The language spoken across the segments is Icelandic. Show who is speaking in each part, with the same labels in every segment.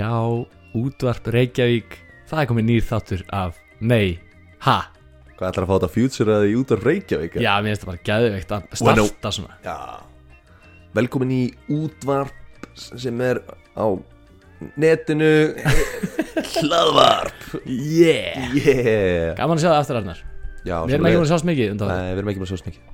Speaker 1: á útvarp Reykjavík Það er komið nýr þáttur af Nei, ha,
Speaker 2: Hvað ætlar að fá þetta future eða í út af Reykjavík?
Speaker 1: já, mér finnst það bara geðveikt að
Speaker 2: Bueno.
Speaker 1: starta svona
Speaker 2: Já. Velkomin í útvarp sem er á netinu Hlaðvarp
Speaker 1: Yeah
Speaker 2: Yeah
Speaker 1: Gaman að sjá það aftur Arnar
Speaker 2: Já,
Speaker 1: Við erum ekki búin að sjást mikið um það
Speaker 2: Nei, við erum ekki búin að sjá smikið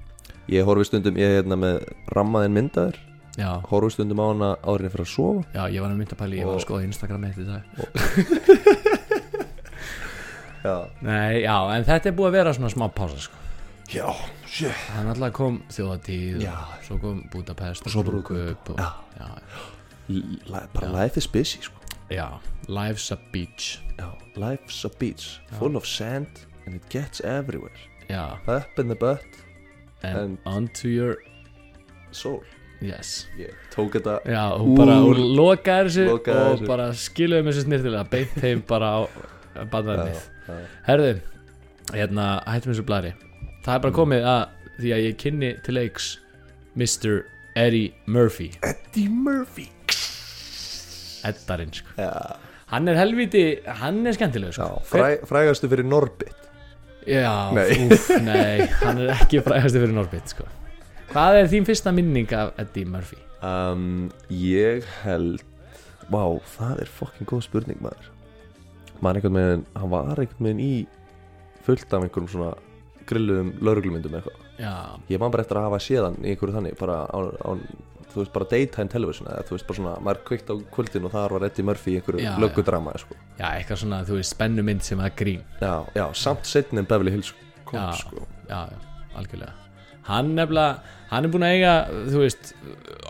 Speaker 2: Ég horfi stundum, ég er hérna með rammaðin myndaður
Speaker 1: já,
Speaker 2: Horfi stundum á hana árinni fyrir að sofa
Speaker 1: já, ég var að mynda pæli, ég var að
Speaker 2: Og-
Speaker 1: skoða Instagram eitt í dag
Speaker 2: Já,
Speaker 1: Nei, já, en þetta er búið að vera svona smá pása sko.
Speaker 2: já, shit
Speaker 1: Það er náttúrulega kom þjóðatíð
Speaker 2: Já.
Speaker 1: og Svo kom Budapest
Speaker 2: svo brúðkaup.
Speaker 1: brúðkaup og, já,
Speaker 2: L Bara life is busy, sko
Speaker 1: já, Life's a beach
Speaker 2: Já, life's a beach Full of sand and it gets everywhere
Speaker 1: Já,
Speaker 2: Up in the butt
Speaker 1: and
Speaker 2: And-
Speaker 1: onto your
Speaker 2: Soul
Speaker 1: Yes
Speaker 2: Ég tók þetta
Speaker 1: Já, hún bara,
Speaker 2: Úr-
Speaker 1: hún lokaði þessu
Speaker 2: lokaði
Speaker 1: og
Speaker 2: þessu.
Speaker 1: bara skiluði mér þessu snirtilega beint þeim bara á bandvæðnið
Speaker 2: Já, já.
Speaker 1: Herðu, hérna, hættum þessu blæri Það
Speaker 2: Mm.
Speaker 1: er bara komið að því að ég kynni til leiks Mr. Eddie Murphy
Speaker 2: Eddie Murphy
Speaker 1: Eddarinn, sko
Speaker 2: Já,
Speaker 1: Hann er helviti, hann er skemmtileg, sko
Speaker 2: já fræ, frægastu fyrir Norbit
Speaker 1: Já,
Speaker 2: Nei.
Speaker 1: úf, nei, hann er ekki frægasti fyrir Norbit, sko Hvað er þín fyrsta minning af Eddie Murphy?
Speaker 2: um, Ég held Vá, það er fucking góð spurning maður Man einhvern veginn Hann var einhvern veginn í fullt af einhverjum svona grilluðum lauruglumyndum eitthvað
Speaker 1: Já,
Speaker 2: Ég man bara eftir að hafa séðan í einhverju þannig bara á, á, þú veist bara daytime television eða þú veist bara svona, maður kveikt á kvöldin og þar var Eddie Murphy í
Speaker 1: Já,
Speaker 2: einhverju
Speaker 1: já.
Speaker 2: löggudrama sko.
Speaker 1: já, eitthvað svona, þú veist, spennu mynd sem að grín
Speaker 2: Já, já, samt setni en Beverly Hills Cop,
Speaker 1: Já.
Speaker 2: sko.
Speaker 1: já, já, algjörlega hann nefnilega, hann er búinn að eiga þú veist,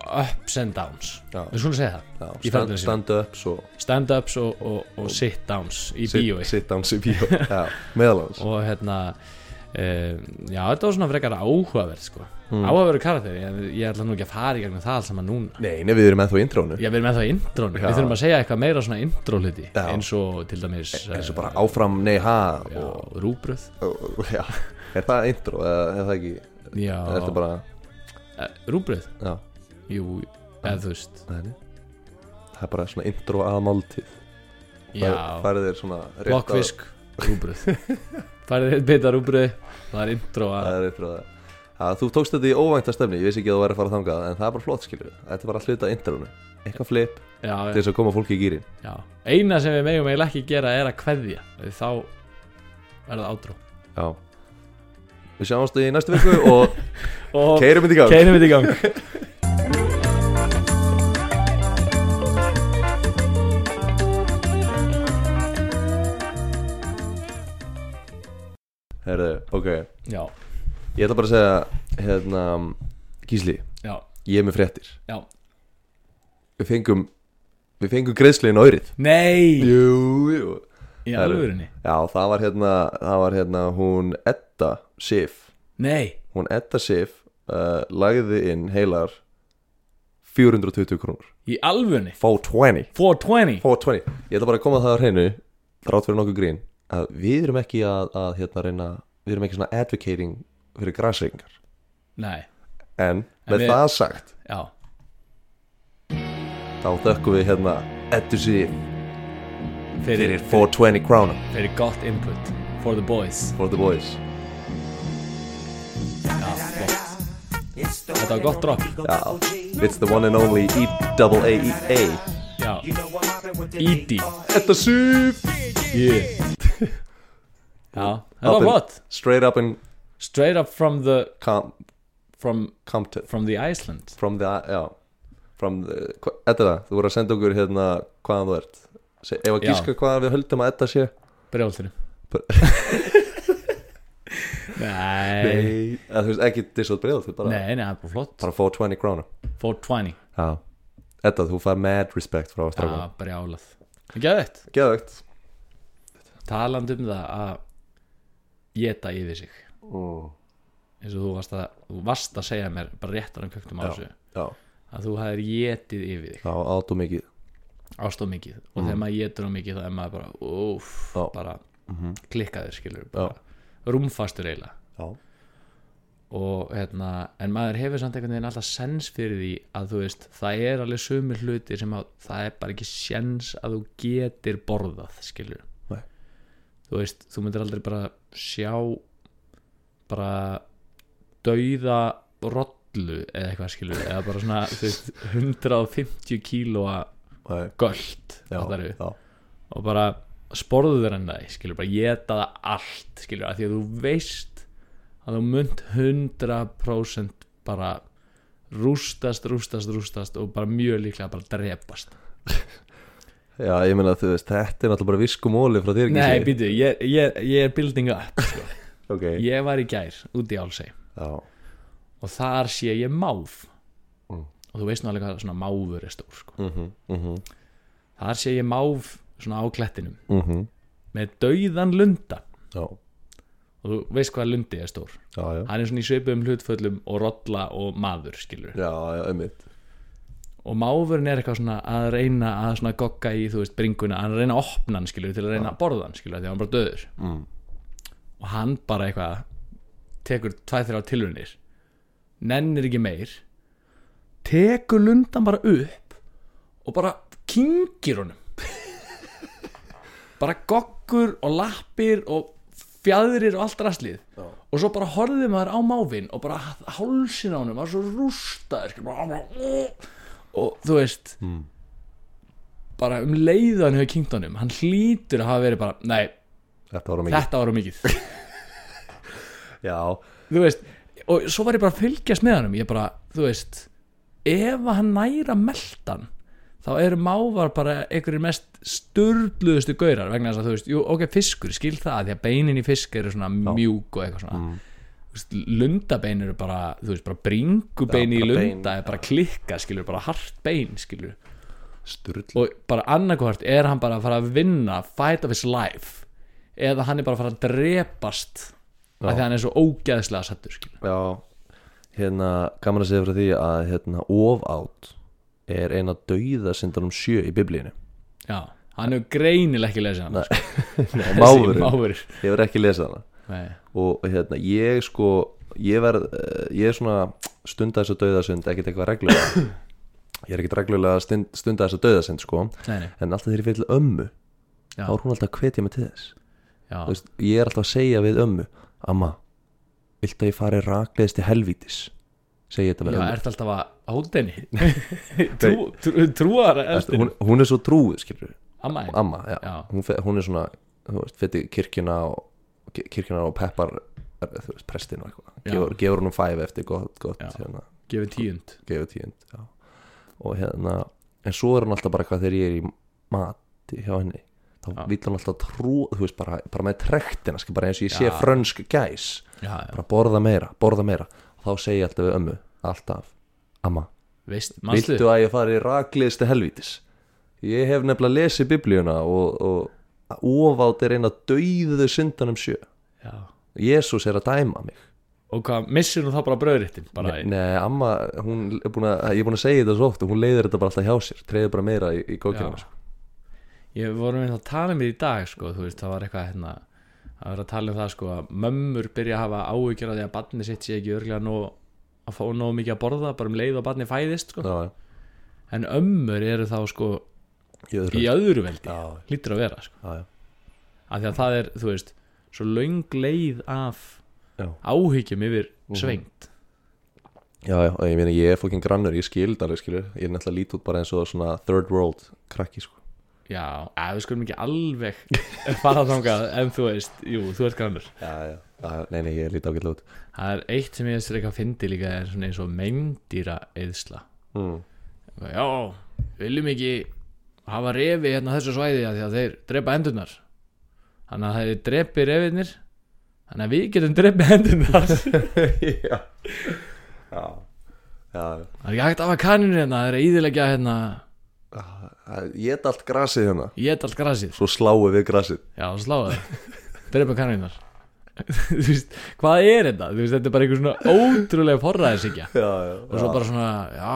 Speaker 1: ups and downs
Speaker 2: Já.
Speaker 1: við svona segja það,
Speaker 2: Já,
Speaker 1: Í
Speaker 2: stand,
Speaker 1: ferlinu sínu.
Speaker 2: stand ups og
Speaker 1: stand-ups og, og, og sit-downs í bíói
Speaker 2: sit, sit downs í bíó Já, meðal hans
Speaker 1: og hérna um, já, þetta var svona frekar áhugaverð sko.
Speaker 2: Hmm.
Speaker 1: áhugaverð karakter, ég, ég ætla nú ekki að fara í gegnum það allt saman núna
Speaker 2: Nei, nei, við erum ennþá í intrónu
Speaker 1: Já, við erum ennþá í intrónu,
Speaker 2: Já.
Speaker 1: við þurfum að segja eitthvað meira svona intró hluti
Speaker 2: Já. E-
Speaker 1: eins og til dæmis
Speaker 2: eins og bara áfram, nei, ha
Speaker 1: eh, já,
Speaker 2: og,
Speaker 1: rúbröð
Speaker 2: og, og, já. Er það intro, eða er það ekki
Speaker 1: já,
Speaker 2: Er þetta bara,
Speaker 1: eh, rúbröð,
Speaker 2: já,
Speaker 1: jú, eða þú veist
Speaker 2: nei, nei Það er bara svona intro að máltíð
Speaker 1: já,
Speaker 2: Það er þér svona rétt að-
Speaker 1: Blokkfisk, rúbröð Færið eitt bita rúbröð Það er intro að
Speaker 2: Það er rétt frá það Já, þú tókst þetta í óvænta stefni, ég vissi ekki að þú væri að fara þangað En það er bara flott, skilur Þetta er bara hluta intrónu Eitthvað flip, til
Speaker 1: já,
Speaker 2: þess að koma fólki í gýrin
Speaker 1: já. Eina sem við megum eiginlega ekki gera er að kveðja því Þá er það átrú
Speaker 2: Já Við sjáumst í næstu viku og
Speaker 1: Og
Speaker 2: keirum þetta í gang
Speaker 1: keirum við í gang
Speaker 2: Herðu, ok
Speaker 1: Já,
Speaker 2: Ég ætla bara að segja hérna, Gísli,
Speaker 1: já,
Speaker 2: ég er með fréttir
Speaker 1: já
Speaker 2: Við fengum Við fengum greiðsliðin á árið
Speaker 1: Nei,
Speaker 2: Jú, jú
Speaker 1: í
Speaker 2: það eru-
Speaker 1: alvörinni
Speaker 2: Já, það var hérna, það var hérna hún Edda Sif
Speaker 1: Nei,
Speaker 2: Hún Edda Sif uh, lagði inn heilar 420 krónur
Speaker 1: í alvörinni
Speaker 2: 420
Speaker 1: 420
Speaker 2: 420 Ég ætla bara að koma það á hreinu Rátt fyrir nokkuð grín að Við erum ekki að, að hérna reyna Við erum ekki svona advocating fyrir græsreikingar
Speaker 1: Nei,
Speaker 2: En með
Speaker 1: við-
Speaker 2: það sagt
Speaker 1: já
Speaker 2: Þá þökkum við hérna Eddu síðan
Speaker 1: Fyrir,
Speaker 2: Fyrir 420 krónum
Speaker 1: fyrir gott input For the boys
Speaker 2: For the boys
Speaker 1: Já, flott Þetta var gott drop
Speaker 2: Já It's the one and only E E-double-A-E-A
Speaker 1: Já Ídi
Speaker 2: Edda síf
Speaker 1: Yeah Já, þetta var flott
Speaker 2: Straight up in
Speaker 1: Straight up from the
Speaker 2: com
Speaker 1: from
Speaker 2: Compton
Speaker 1: from the Iceland
Speaker 2: From the Já From the hva- Edda það Þú voru að senda okkur hérna Hvaðan þú ert Se- Ef að
Speaker 1: Já.
Speaker 2: gíska hvaðan við höldum að Edda sé
Speaker 1: Brjólþinu
Speaker 2: Br-
Speaker 1: Nei
Speaker 2: Nei, að, þú veist ekki disað bregð Þú bara,
Speaker 1: Nei, nei, það er bara flott
Speaker 2: bara 420 krónur
Speaker 1: 420
Speaker 2: Já Edda, þú fær mad respect frá
Speaker 1: Já,
Speaker 2: strafum
Speaker 1: brjálað Gæðvett
Speaker 2: Geðvögt
Speaker 1: Talandi um það að Geta yfir sig eins og þú varst að, þú varst að segja mér bara réttar um köktum á þessu
Speaker 2: Já,
Speaker 1: að þú hafðir getið yfir þig
Speaker 2: já, átum mikið
Speaker 1: ástóð mikið og þegar maður getur á mikið þá er maður bara úf,
Speaker 2: Mhm. Já. Mhm.
Speaker 1: bara klikkaður skilur bara, rúmfastur eiginlega
Speaker 2: Já
Speaker 1: og hérna, en maður hefur samt einhvern veginn alltaf sens fyrir því að þú veist, það er alveg sömur hluti sem að það er bara ekki sens að þú getir borðað, skilur
Speaker 2: Nei.
Speaker 1: þú veist, þú myndir aldrei bara sjá bara dauða rollu eða eitthvað skilur, eða bara svona þú veist, 150 kílóa
Speaker 2: Nei,
Speaker 1: göld
Speaker 2: já,
Speaker 1: fattarðu?
Speaker 2: já,
Speaker 1: og bara sporðu þér henni skilur bara geta það allt skilur að því að þú veist að þú munt 100% bara rústast, rústast, rústast og bara mjög líklega bara drepast
Speaker 2: já, ég meina þú veist, þetta er náttúrulega bara viskumóli frá þér
Speaker 1: Nei,
Speaker 2: Gísli.
Speaker 1: býtu, ég, ég, ég er building up sko.
Speaker 2: Ok,
Speaker 1: ég var í gær út í Álsey
Speaker 2: já,
Speaker 1: og þar sé ég máf
Speaker 2: Mm.
Speaker 1: og þú veist nú alveg hvað svona máfur er stór sko.
Speaker 2: mhm, mhm,
Speaker 1: þar sé ég máf svona á klettinum
Speaker 2: mhm
Speaker 1: með dauðan lunda
Speaker 2: Já,
Speaker 1: og þú veist hvað lundi er stór
Speaker 2: já, já,
Speaker 1: hann er svona í sveipum hlutföllum og rolla og maður skilur
Speaker 2: já, já, einmitt
Speaker 1: og máfurinn er eitthvað svona að reyna að svona gogga í þú veist bringuna hann er að reyna að opna hann skilur til að reyna að borða hann skilur því að hann er bara döður
Speaker 2: Mm.
Speaker 1: og hann bara eitthvað tekur tvæð þrjá tilrunir nennir ekki meir tekur lundan bara upp og bara kingir honum bara goggur og lappir og fjadrir og allt rastlið
Speaker 2: Já.
Speaker 1: og svo bara horfði maður á máfin og bara hálsin á honum var svo rústaður skilur, bara, og þú veist
Speaker 2: Mm.
Speaker 1: bara um leiðan hefur kingt honum hann hlýtur að hafa verið bara nei,
Speaker 2: Þetta var á mikið
Speaker 1: þetta var á mikið
Speaker 2: Já,
Speaker 1: þú veist og svo var ég bara að fylgjast með hann ég bara, þú veist ef að hann næra meldan þá eru mávar bara einhverjir mest sturdluðustu gaurar vegna þess að þú veist, jú, ok, fiskur, skil það því að beinin í fisk eru svona mjúk og eitthvað svona
Speaker 2: Hmm.
Speaker 1: mm. lundabein eru bara, þú veist, bara bringubein
Speaker 2: Já,
Speaker 1: í
Speaker 2: bara bein,
Speaker 1: lunda er bara klikka, skilur, bara hart bein, skilur
Speaker 2: sturl
Speaker 1: og bara annarkvart er hann bara að fara að vinna fight of his life eða hann er bara að fara að drepast af því að hann er svo ógeðslega sattur, skilur
Speaker 2: Já, hérna gaman að segja frá því að hérna ofátt er eina dauða syndanum sjö í biblíinu
Speaker 1: Já, hann hefur greinilega ekki lesið hann
Speaker 2: Nei,
Speaker 1: Þessi
Speaker 2: máfurinn.
Speaker 1: máfur.
Speaker 2: Ég verð ekki lesað hana
Speaker 1: Nei,
Speaker 2: og hérna ég sko ég verð, eh, ég er svona stunda þess að dauðasund, ekkert eitthvað reglulega ég er ekkert reglulega að stund, stunda þess að dauðasund sko,
Speaker 1: nei, nei.
Speaker 2: en alltaf þegar ég fyrir ömmu
Speaker 1: Já.
Speaker 2: þá er hún alltaf að hvetja mig til þess
Speaker 1: Já,
Speaker 2: Þú veist, ég er alltaf að segja við ömmu amma, viltu að ég fari rakleðist til helvítis segi ég þetta
Speaker 1: já
Speaker 2: við ömmu
Speaker 1: ertu alltaf að hóta henni trú, trú, Trúar
Speaker 2: Ertu-
Speaker 1: eldin
Speaker 2: hún, hún er svo trúið skilur
Speaker 1: Amma
Speaker 2: og amma, já,
Speaker 1: Já.
Speaker 2: Hún, fe, hún er svona þú veist, fyrir kirkjuna og ki- kirkjuna og peppar er, þú veist, prestin og eitthvað
Speaker 1: Já.
Speaker 2: gefur, gefur húnum fæf eftir gott, gott
Speaker 1: Já.
Speaker 2: hérna,
Speaker 1: gefið tíund
Speaker 2: gefur tíund já. og hérna, en svo er hún alltaf bara eitthvað þegar ég er í mati hjá henni þá
Speaker 1: Já.
Speaker 2: vill hún alltaf trú þú veist, bara, bara með trektina, skil, bara eins og ég sé
Speaker 1: Já.
Speaker 2: frönsk gæs,
Speaker 1: já, já.
Speaker 2: bara borða meira borða meira, og þá segi ég alltaf við ömmu alltaf, amma
Speaker 1: Veist,
Speaker 2: Viltu
Speaker 1: manstu?
Speaker 2: að ég fari rakliðst til helvítis Ég hef nefnilega lesið biblíuna og, og ofátt er eina döiðu syndanum sjö
Speaker 1: Já.
Speaker 2: Jésús er að dæma mig
Speaker 1: Og hvað, missir hún þá bara bröðréttin bara,
Speaker 2: Nei, nei amma, hún er búin að, ég er búin að segja þetta svo oft og hún leiðir þetta bara alltaf hjá sér Treyður bara meira í, í
Speaker 1: Já.
Speaker 2: kókina sko.
Speaker 1: Ég vorum við að tala um þetta í dag sko, þú veist, það var eitthvað hérna að vera að tala um það sko að mömmur byrja að hafa áhyggjur af því að barni sitt sé ekki örglega nóg, að fá nóg mikið að borða bara um leið og barni fæðist sko.
Speaker 2: Já,
Speaker 1: en ömmur eru þá sko
Speaker 2: í öðru
Speaker 1: í öðru veldi
Speaker 2: Já,
Speaker 1: lítur að vera sko.
Speaker 2: já, já,
Speaker 1: af því að það er, þú veist, svo löng leið af
Speaker 2: Já.
Speaker 1: áhyggjum yfir
Speaker 2: Mhm.
Speaker 1: svengt
Speaker 2: já, já, og ég meina ég er fókin grannur, ég skil þetta alveg skilur Ég er nefnilega lít út bara eins og svona third world krakki sko
Speaker 1: já, að við skulum ekki alveg fara þangað, en þú veist, jú, þú ert grannur
Speaker 2: Já, já, já, nei, nei, ég lít ágætlega út
Speaker 1: það er eitt sem ég veist eitthvað fyndi líka er svona eins og meindýra eðsla
Speaker 2: mm.
Speaker 1: já, viljum ekki hafa refi hérna á þessu svæði af því að þeir drepa endurnar þannig að þeir drepi refinir þannig að við getum drepi endurnar það
Speaker 2: Já, já, já, já
Speaker 1: er ekki hægt að hafa kaninu hérna, það er að íðilegja hérna,
Speaker 2: Geta allt grasið hérna
Speaker 1: ég allt grasið
Speaker 2: Svo sláu við grasið
Speaker 1: Já, sláðu það Drepa kanínar Þú veist, hvað er þetta? Þú veist, þetta er bara einhver svona ótrúlega forræðisíkja
Speaker 2: Já, já,
Speaker 1: Og svo bara svona, já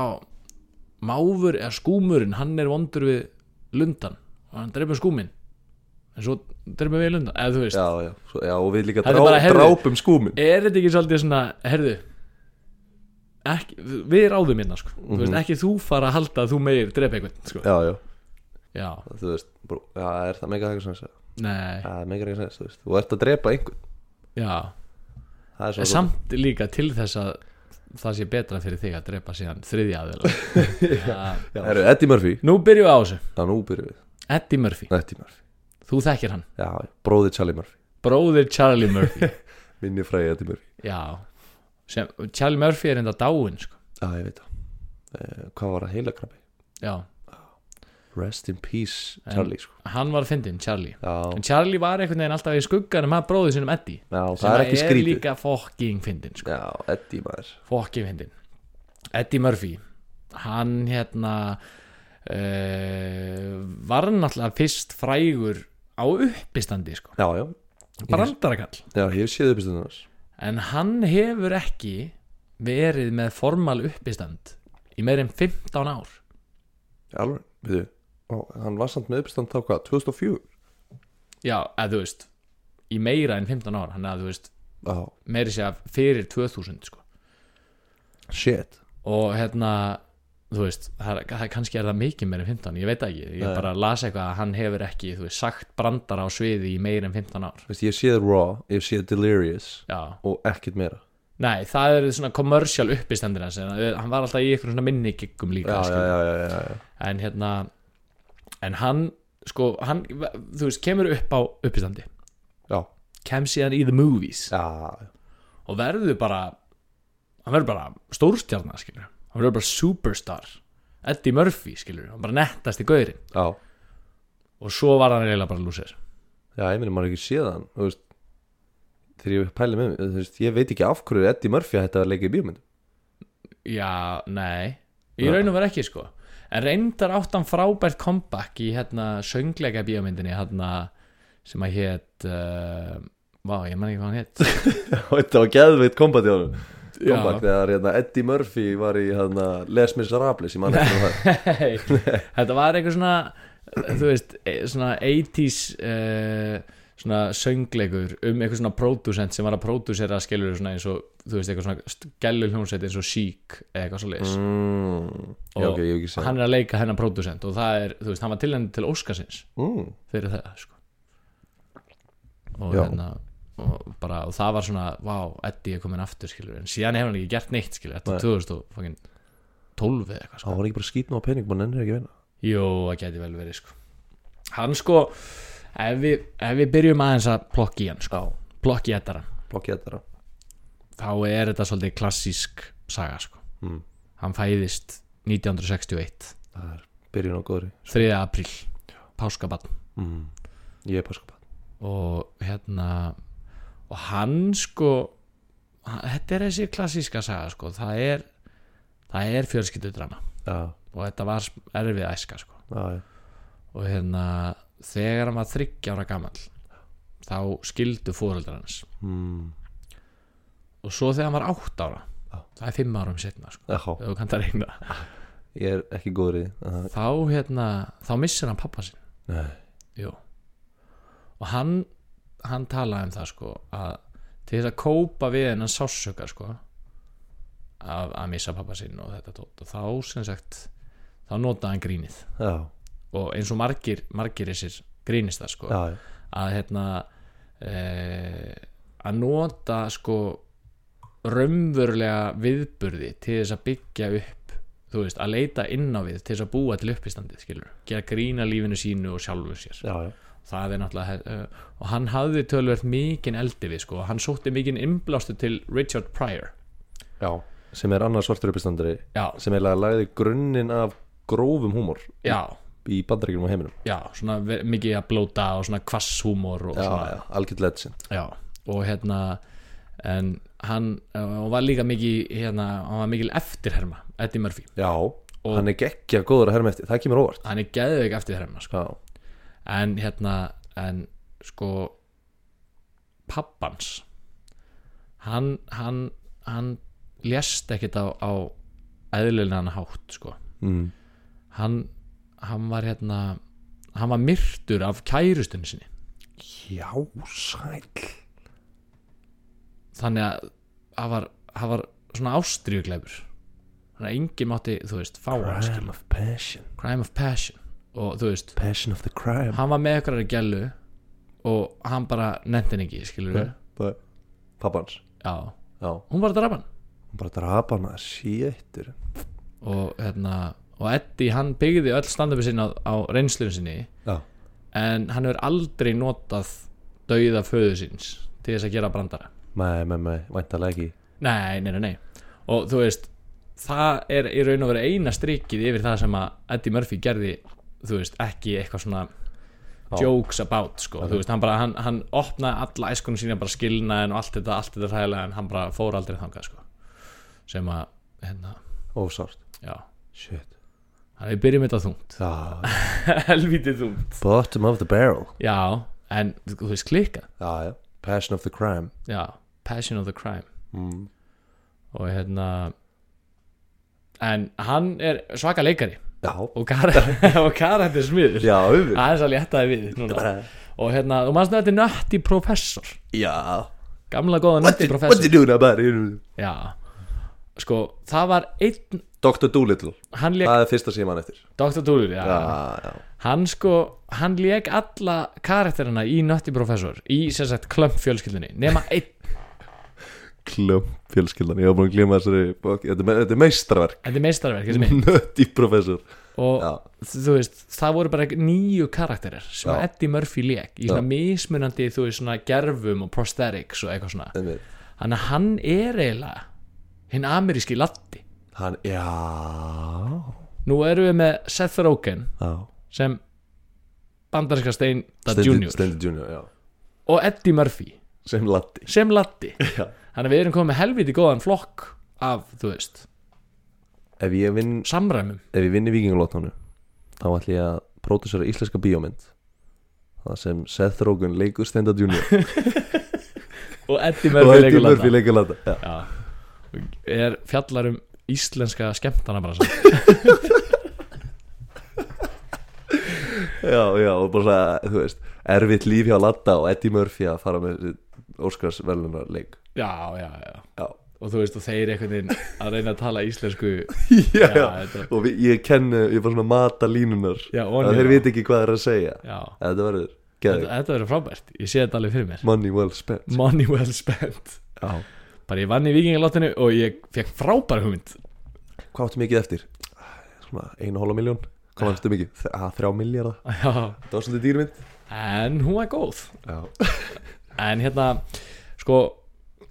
Speaker 1: Máfur, eða skúmurinn, hann er vondur við lundan Og hann drepa skúminn en svo drefum við lundan eða þú veist,
Speaker 2: já, já, svo, já, og við líka
Speaker 1: Þetta er
Speaker 2: drá,
Speaker 1: bara, heyrðu-
Speaker 2: drápum skúmin
Speaker 1: er þetta ekki svolítið svona herðu ekki, við ráðum hérna sko þú
Speaker 2: Mhm.
Speaker 1: veist, ekki þú fara að halda að þú meir drepa einhvern sko.
Speaker 2: já, já,
Speaker 1: já,
Speaker 2: þú veist brú, já, er það mega eitthvað sens
Speaker 1: nei,
Speaker 2: það er mega eitthvað sens, þú veist, þú ert að drepa einhvern
Speaker 1: já
Speaker 2: það er
Speaker 1: En
Speaker 2: svo
Speaker 1: samt líka til þess að það sé betra fyrir þig að drepa síðan þriðja aðeila ja.
Speaker 2: Herru, Eddie Murphy,
Speaker 1: Nú byrjum við á þessu
Speaker 2: já, nú byrjum við
Speaker 1: Eddie Murphy,
Speaker 2: Eddie Murphy,
Speaker 1: þú þekkir hann
Speaker 2: já, bróði Charlie Murphy
Speaker 1: Bróðir Charlie Murphy
Speaker 2: minni fræði Eddie Murphy
Speaker 1: Já Sem, Charlie Murphy er enda dáin sko.
Speaker 2: já, ég veit það, eh, hvað var að heila krabbi
Speaker 1: Já,
Speaker 2: rest in peace, Charlie, sko
Speaker 1: hann var fyndinn Charlie
Speaker 2: já,
Speaker 1: En Charlie var einhvern veginn alltaf í skugganum að bróðið sinum Eddie
Speaker 2: já,
Speaker 1: sem
Speaker 2: það er ekki skrítið
Speaker 1: líka fokking fyndinn sko.
Speaker 2: já, Eddie maður
Speaker 1: Fokking fyndinn Eddie Murphy Hann hérna uh, Var náttúrulega fyrst frægur á uppistandi sko
Speaker 2: já, já,
Speaker 1: brandarakall
Speaker 2: já, ég hef séð uppistundum hans
Speaker 1: en hann hefur ekki verið með formal uppistand í meir en 15 ár
Speaker 2: alveg, við þau hann var samt með uppistand þá hvað, 2004
Speaker 1: já, að þú veist í meira en 15 ár, hann að þú veist
Speaker 2: já,
Speaker 1: meiri segja fyrir 2000 sko.
Speaker 2: shit
Speaker 1: og hérna þú veist, það, er- það, kannski er það mikið meir en 15 ég veit það ekki, ég
Speaker 2: Nei.
Speaker 1: bara las eitthvað að hann hefur ekki, þú veist, sagt brandara á sviði í meir en 15 ár
Speaker 2: Veist, ég hef séð Raw, ég hef séð Delirious
Speaker 1: já,
Speaker 2: og ekkert meira
Speaker 1: nei, það eru svona commercial uppistandir hans, en eh, hann var alltaf í eitthvað svona minni giggum líka, skilur.
Speaker 2: já, já, já, já.
Speaker 1: en hérna en hann sko hann, þú veist, kemur upp á uppistandi
Speaker 2: já.
Speaker 1: kemst síðan í the movies
Speaker 2: já.
Speaker 1: og verður bara hann verður bara stórstjarnar skilur hann verður bara superstar Eddie Murphy skilur, hann bara nettast í gaurin
Speaker 2: já.
Speaker 1: og svo var hann eiginlega bara lúsir
Speaker 2: já ég meina maður hefur ekki séð hann þú veist, þegar ég pæli með mig þú veist, ég veit ekki af hverju Eddie Murphy hætti að leika í bíómynd
Speaker 1: já, nei, í raunum var ekki sko en reyndar átt hann frábært comeback í hérna söngleika bíómyndinni hérna sem að hétt uh, vá, ég man ekki hvað hann hétt
Speaker 2: þetta var geðveitt kombat í honum
Speaker 1: Já.
Speaker 2: kombat þegar hérna, Eddie Murphy var í hérna, Les Miserables ég man ekki um það
Speaker 1: Nei, þetta var eitthvað svona þú veist, e- svona 80s uh, svona söngleikur um eitthvað svona pródusent sem var að pródusera skellur svona eins og þú veist, eitthvað svona skellur hljómsveit eins og sík eða eitthvað svo leiðis
Speaker 2: mm. já,
Speaker 1: Og
Speaker 2: ok, ég hef ekki séð hann
Speaker 1: hann er að leika hennar pródusent og það er, þú veist, hann var tilhengi til Óskarsins
Speaker 2: mm.
Speaker 1: fyrir það, sko og
Speaker 2: Já.
Speaker 1: hérna og, bara, og það var svona, vá, Eddie er komin aftur skilur, en síðan hefur hann ekki gert neitt skilur þetta
Speaker 2: Nei.
Speaker 1: er 2012 eða eitthvað sko.
Speaker 2: það var ekki bara skýtna á pening maður ennir ekki að vinna
Speaker 1: Jó, það geti vel verið sko Hann sko Ef við, ef við byrjum aðeins að plokki hann sko Plokki ettara
Speaker 2: blokkið þetta
Speaker 1: Þá er þetta svolítið klassísk saga sko
Speaker 2: Mm.
Speaker 1: Hann fæðist 1961
Speaker 2: það er byrjun á góðri
Speaker 1: 3. apríl Páskabann
Speaker 2: mm. ég er páskabann
Speaker 1: Og hérna Og hann sko hann- Þetta er þessi klassíska saga sko Það er, það er fjölskyldudrama
Speaker 2: já,
Speaker 1: Og þetta var erfið æska sko
Speaker 2: já, já.
Speaker 1: og hérna þegar hann var 30 ára gamall þá skildu fóreldrar hans
Speaker 2: Mm.
Speaker 1: og svo þegar hann var 8 ára
Speaker 2: Já.
Speaker 1: það er 5 árum setna sko,
Speaker 2: já.
Speaker 1: ef þú kannt að reyna
Speaker 2: ég er ekki góður í því Aha.
Speaker 1: þá hérna, þá missir hann pappa sinn
Speaker 2: Nei.
Speaker 1: Jú. og hann hann talaði um það sko að til þess að kópa við hennan sásöka sko að, að missa pappa sinn og þetta tótt og þá sem sagt, þá notaði hann grínið
Speaker 2: já,
Speaker 1: og eins og margir, margir þessir grínist það sko
Speaker 2: já, já.
Speaker 1: að hérna e, að nota sko raunverulega viðburði til þess að byggja upp þú veist, að leita inn á við til þess að búa til uppistandið, skilur, gera grína lífinu sínu og sjálfu sér,
Speaker 2: já, já.
Speaker 1: það er náttúrulega eh, og hann hafði tölvöld mikinn eldi við, sko, og hann sótti mikinn innblástu til Richard Pryor,
Speaker 2: já. sem er annar svartur uppistandari
Speaker 1: já,
Speaker 2: sem eiginlega lagði grunninn af grófum húmor
Speaker 1: já
Speaker 2: í bandaríkjunum og heiminum
Speaker 1: já, svona ve- mikið að blóta og svona kvasshúmor og svona
Speaker 2: já, algjörð legend
Speaker 1: Já, og hérna en hann, eh, og var líka mikið hérna, hann var mikil eftirherma Eddie Murphy,
Speaker 2: já, hann er geggja góður að herma eftir það kemur óvart
Speaker 1: hann er geðveik eftirherma sko.
Speaker 2: já,
Speaker 1: en hérna en sko pappans hann, hann, hann lést ekkit á, á eðlilegan hátt sko.
Speaker 2: mm.
Speaker 1: hann, hann var hérna hann var myrtur af kærustun sinni
Speaker 2: Já, sæl
Speaker 1: þannig að það var, það var svona ástriðugleifur þannig að enginn mátti, þú veist, fá hann skilur.
Speaker 2: Crime of passion
Speaker 1: crime of passion og þú veist,
Speaker 2: Passion of the crime
Speaker 1: hann var með ykkur að gælu og hann bara nefndi henni ekki, skilur við
Speaker 2: Pappans
Speaker 1: já,
Speaker 2: Já,
Speaker 1: hún var að drapa hann
Speaker 2: hún bara drapa hana Sýttur
Speaker 1: og hérna, og Eddie hann byggði öll standupi sinni á, á reynslunum sinni
Speaker 2: Já
Speaker 1: en hann hefur aldrei notað dauða föðu síns til þess að gera brandara
Speaker 2: Nei, nei, nei, væntalega ekki
Speaker 1: nei, nei, nei, nei og þú veist, það er í raun og verið eina strikið yfir það sem að Eddie Murphy gerði, þú veist, ekki eitthvað svona
Speaker 2: Já.
Speaker 1: jokes about, sko, þú veist, hann bara hann, hann opnaði alla æskunum sína, bara skilnaðin og allt þetta, allt þetta hræðilega, en hann bara fór aldrei þangað, sko, sem að hérna,
Speaker 2: Ósárt
Speaker 1: já
Speaker 2: Shit
Speaker 1: hann við byrjum þetta þungt,
Speaker 2: Já,
Speaker 1: helvítið þungt
Speaker 2: bottom of the barrel
Speaker 1: já, en þú veist, klikkað
Speaker 2: Já, já Passion of the crime
Speaker 1: já, passion of the crime
Speaker 2: mm.
Speaker 1: og hérna en hann er svaka leikari
Speaker 2: Já
Speaker 1: og, kar og karættir smiður
Speaker 2: Já, auðvitað
Speaker 1: aðeins að létta þið við núna og hérna, þú mannst þetta er nötti professor
Speaker 2: Já
Speaker 1: gamla góða nötti
Speaker 2: What
Speaker 1: professor
Speaker 2: you doing about it?
Speaker 1: já, sko, það var einn
Speaker 2: Dr. Doolittle
Speaker 1: hann lék,
Speaker 2: Það er fyrsta sem ég man eftir
Speaker 1: Dr. Dúlur já,
Speaker 2: Já, já
Speaker 1: hann sko, hann lék alla karættirina í nötti professor í sem sagt klömp fjölskyldinni nema einn,
Speaker 2: Klömp fjölskyldan Ég var búin að glima þessari bók. Þetta er me- þetta er meistraverk
Speaker 1: þetta er meistarverk þessi mynd.
Speaker 2: Nötti professor
Speaker 1: og
Speaker 2: Já.
Speaker 1: þú veist, það voru bara nýju karakterir sem
Speaker 2: Já.
Speaker 1: Eddie Murphy lék í svona
Speaker 2: Já.
Speaker 1: mismunandi, þú veist, svona gerfum og prosthetics og eitthvað svona
Speaker 2: Einmitt.
Speaker 1: þannig að hann er eiginlega hinn ameríski latti
Speaker 2: Hann, já
Speaker 1: nú erum við með Seth Rogen
Speaker 2: Já
Speaker 1: sem bandarska Steinda
Speaker 2: Stendi-
Speaker 1: Junior
Speaker 2: Stendi Junior, já
Speaker 1: og Eddie Murphy
Speaker 2: Sem Latti
Speaker 1: sem latti
Speaker 2: Já.
Speaker 1: þannig að við erum komið með helviti góðan flokk af, þú veist,
Speaker 2: Ef ég vinn
Speaker 1: samræmum
Speaker 2: Ef ég vinn í Vikingalottónu Þá ætlum ég að pródusera íslenska bíómynd Það sem Seth Rogen leikur Stendi Junior
Speaker 1: og Eddie
Speaker 2: Og
Speaker 1: Murphy
Speaker 2: Eddie
Speaker 1: leikur
Speaker 2: Murphy
Speaker 1: latta
Speaker 2: leikur Latti Já
Speaker 1: Já. er fjallar um íslenska skemmtana bara
Speaker 2: Já, já, og bara svona, þú veist Erfitt líf hjá Latta og Eddie Murphy að fara með Óskars velunar leik
Speaker 1: já, já, já
Speaker 2: Já,
Speaker 1: og þú veist og þeir einhvern veginn að reyna að tala íslensku
Speaker 2: já,
Speaker 1: þetta-
Speaker 2: Og við, ég kenni, ég bara svona mata línunar
Speaker 1: Já, og
Speaker 2: Það
Speaker 1: niður.
Speaker 2: þeir viti ekki hvað þeir eru að segja
Speaker 1: já,
Speaker 2: Þetta verður,
Speaker 1: þetta,
Speaker 2: geðu,
Speaker 1: þetta Mm, verður frábært ég sé þetta alveg fyrir mér
Speaker 2: money well spent
Speaker 1: money well spent
Speaker 2: Já,
Speaker 1: bara ég vann í vikingalottinu og ég fekk frábær hugmynd
Speaker 2: hvað áttu mikið eftir? Svona, einu hóla miljón
Speaker 1: Ah.
Speaker 2: Hvað vannstu mikið? Þ- að, Þrjá miljardar
Speaker 1: já,
Speaker 2: Það var svolítið dýrmynd
Speaker 1: en hún var góð
Speaker 2: Já,
Speaker 1: en hérna, sko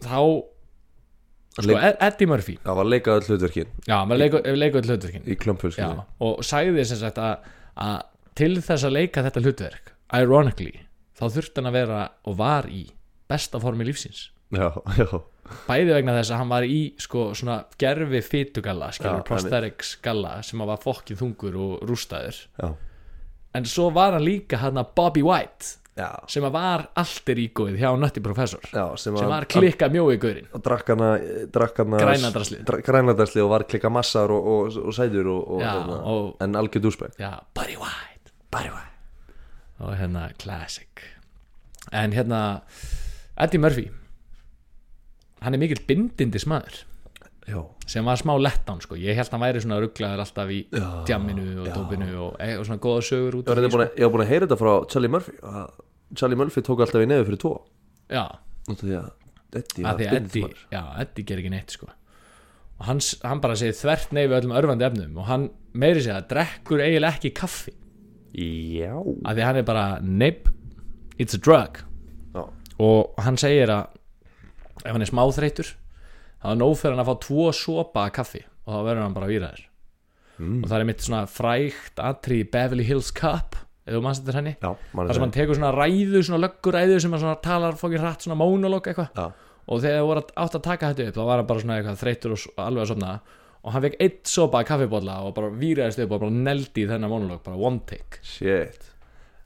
Speaker 1: þá sko,
Speaker 2: Leik-
Speaker 1: Ed- Eddie Murphy
Speaker 2: það var leikað öll hlutverkin
Speaker 1: já, maður leikur, leikur hlutverkin
Speaker 2: Í klumpfjölskyldinni
Speaker 1: já, og sagði sem sagt að, að til þess að leika þetta hlutverk ironically, þá þurfti hann að vera og var í besta formi lífsins
Speaker 2: já, já,
Speaker 1: bæði vegna þess að hann var í sko, svona gerfi fitugalla skilur,
Speaker 2: Já,
Speaker 1: prosthetics galla sem að var fokkið þungur og rústaður
Speaker 2: já
Speaker 1: en svo var hann líka hann að Bobby White
Speaker 2: Já,
Speaker 1: sem að var alltir ígóið hjá Nutty Professor
Speaker 2: já sem,
Speaker 1: sem
Speaker 2: að-
Speaker 1: var klikka mjói gaurinn
Speaker 2: og drakk hana, eh, drakk hana
Speaker 1: Græna draslið.
Speaker 2: dra- græna draslið og var klika massar og, og, og sæður og, og,
Speaker 1: Já,
Speaker 2: hérna,
Speaker 1: og-
Speaker 2: en algjör dúsbæk
Speaker 1: já, Bobby White Bobby White og hérna classic en hérna Eddie Murphy hann er mikill bindindis maður
Speaker 2: já,
Speaker 1: sem var smá letdown sko ég held hann væri svona rugglaður alltaf í djamminu og dópinu og, eh, og svona góða sögur út úr
Speaker 2: ég
Speaker 1: því,
Speaker 2: var reyndar búinn að- ég var búin að heyra þetta frá Charlie Murphy að Charlie Murphy tók alltaf í nefið fyrir
Speaker 1: sko.
Speaker 2: tvo
Speaker 1: já
Speaker 2: út af því að
Speaker 1: að
Speaker 2: Eddie var
Speaker 1: því að Eddi,
Speaker 2: stundinsmaður
Speaker 1: já, Eddi ger ekki neitt sko. og hans, hann bara segir þvert nei við öllum örfandi efnum og hann meiri segja að drekkur eiginlega ekki kaffi
Speaker 2: já,
Speaker 1: að því hann er bara neip, it's a drug
Speaker 2: já,
Speaker 1: og hann segir að ef hann er smáþreytur þá er nóg fyrir hann að fá tvo sopa af kaffi og þá verður hann bara výraður mm. og það er mitt svona frægt atrið Beverly Hills Cup ef þú manns þetta henni
Speaker 2: já, mann
Speaker 1: þar sem
Speaker 2: er
Speaker 1: hann tekur svona ræðu, svona lögguræðu sem hann svona talar fókin hratt, svona monolog eitthvað
Speaker 2: já,
Speaker 1: og þegar það voru átt að taka þetta upp þá var hann bara svona eitthvað þreytur og s- alveg að sofna og hann fekk eitt sopa af kaffibólla og bara výraðist upp og bara neldi í þennan monolog bara one take
Speaker 2: shit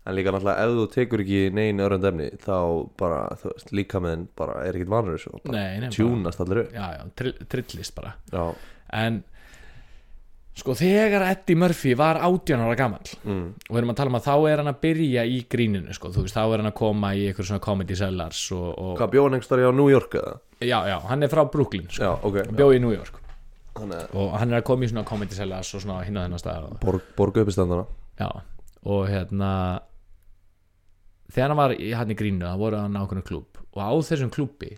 Speaker 2: en líka náttúrulega ef þú tekur ekki neina örönd efni þá bara, þú veist, líka með bara er ekkert vanur þessu og bara
Speaker 1: nei, nei, bara,
Speaker 2: tjúnast allir upp
Speaker 1: já, já, trill, trillist bara
Speaker 2: já,
Speaker 1: en Sko þegar Eddie Murphy var 18 ára gamall
Speaker 2: mm.
Speaker 1: og við erum að tala um að þá er hann að byrja í gríninu sko, þú veist, þá er hann að koma í einhver svona comedy sellars og, og
Speaker 2: Hvað bjóðan einhverstari á New York eða?
Speaker 1: já, já, hann er frá Brooklyn sko,
Speaker 2: Já, ok
Speaker 1: bjóði í New York
Speaker 2: Þannig að
Speaker 1: og hann er að koma í svona comedy sellars og svona hinn á þennan stað og,
Speaker 2: borg, borga uppistandana
Speaker 1: já, og hérna þegar hann var í, hann í grínu það voru hann á okkur klúb og á þessum klúbbi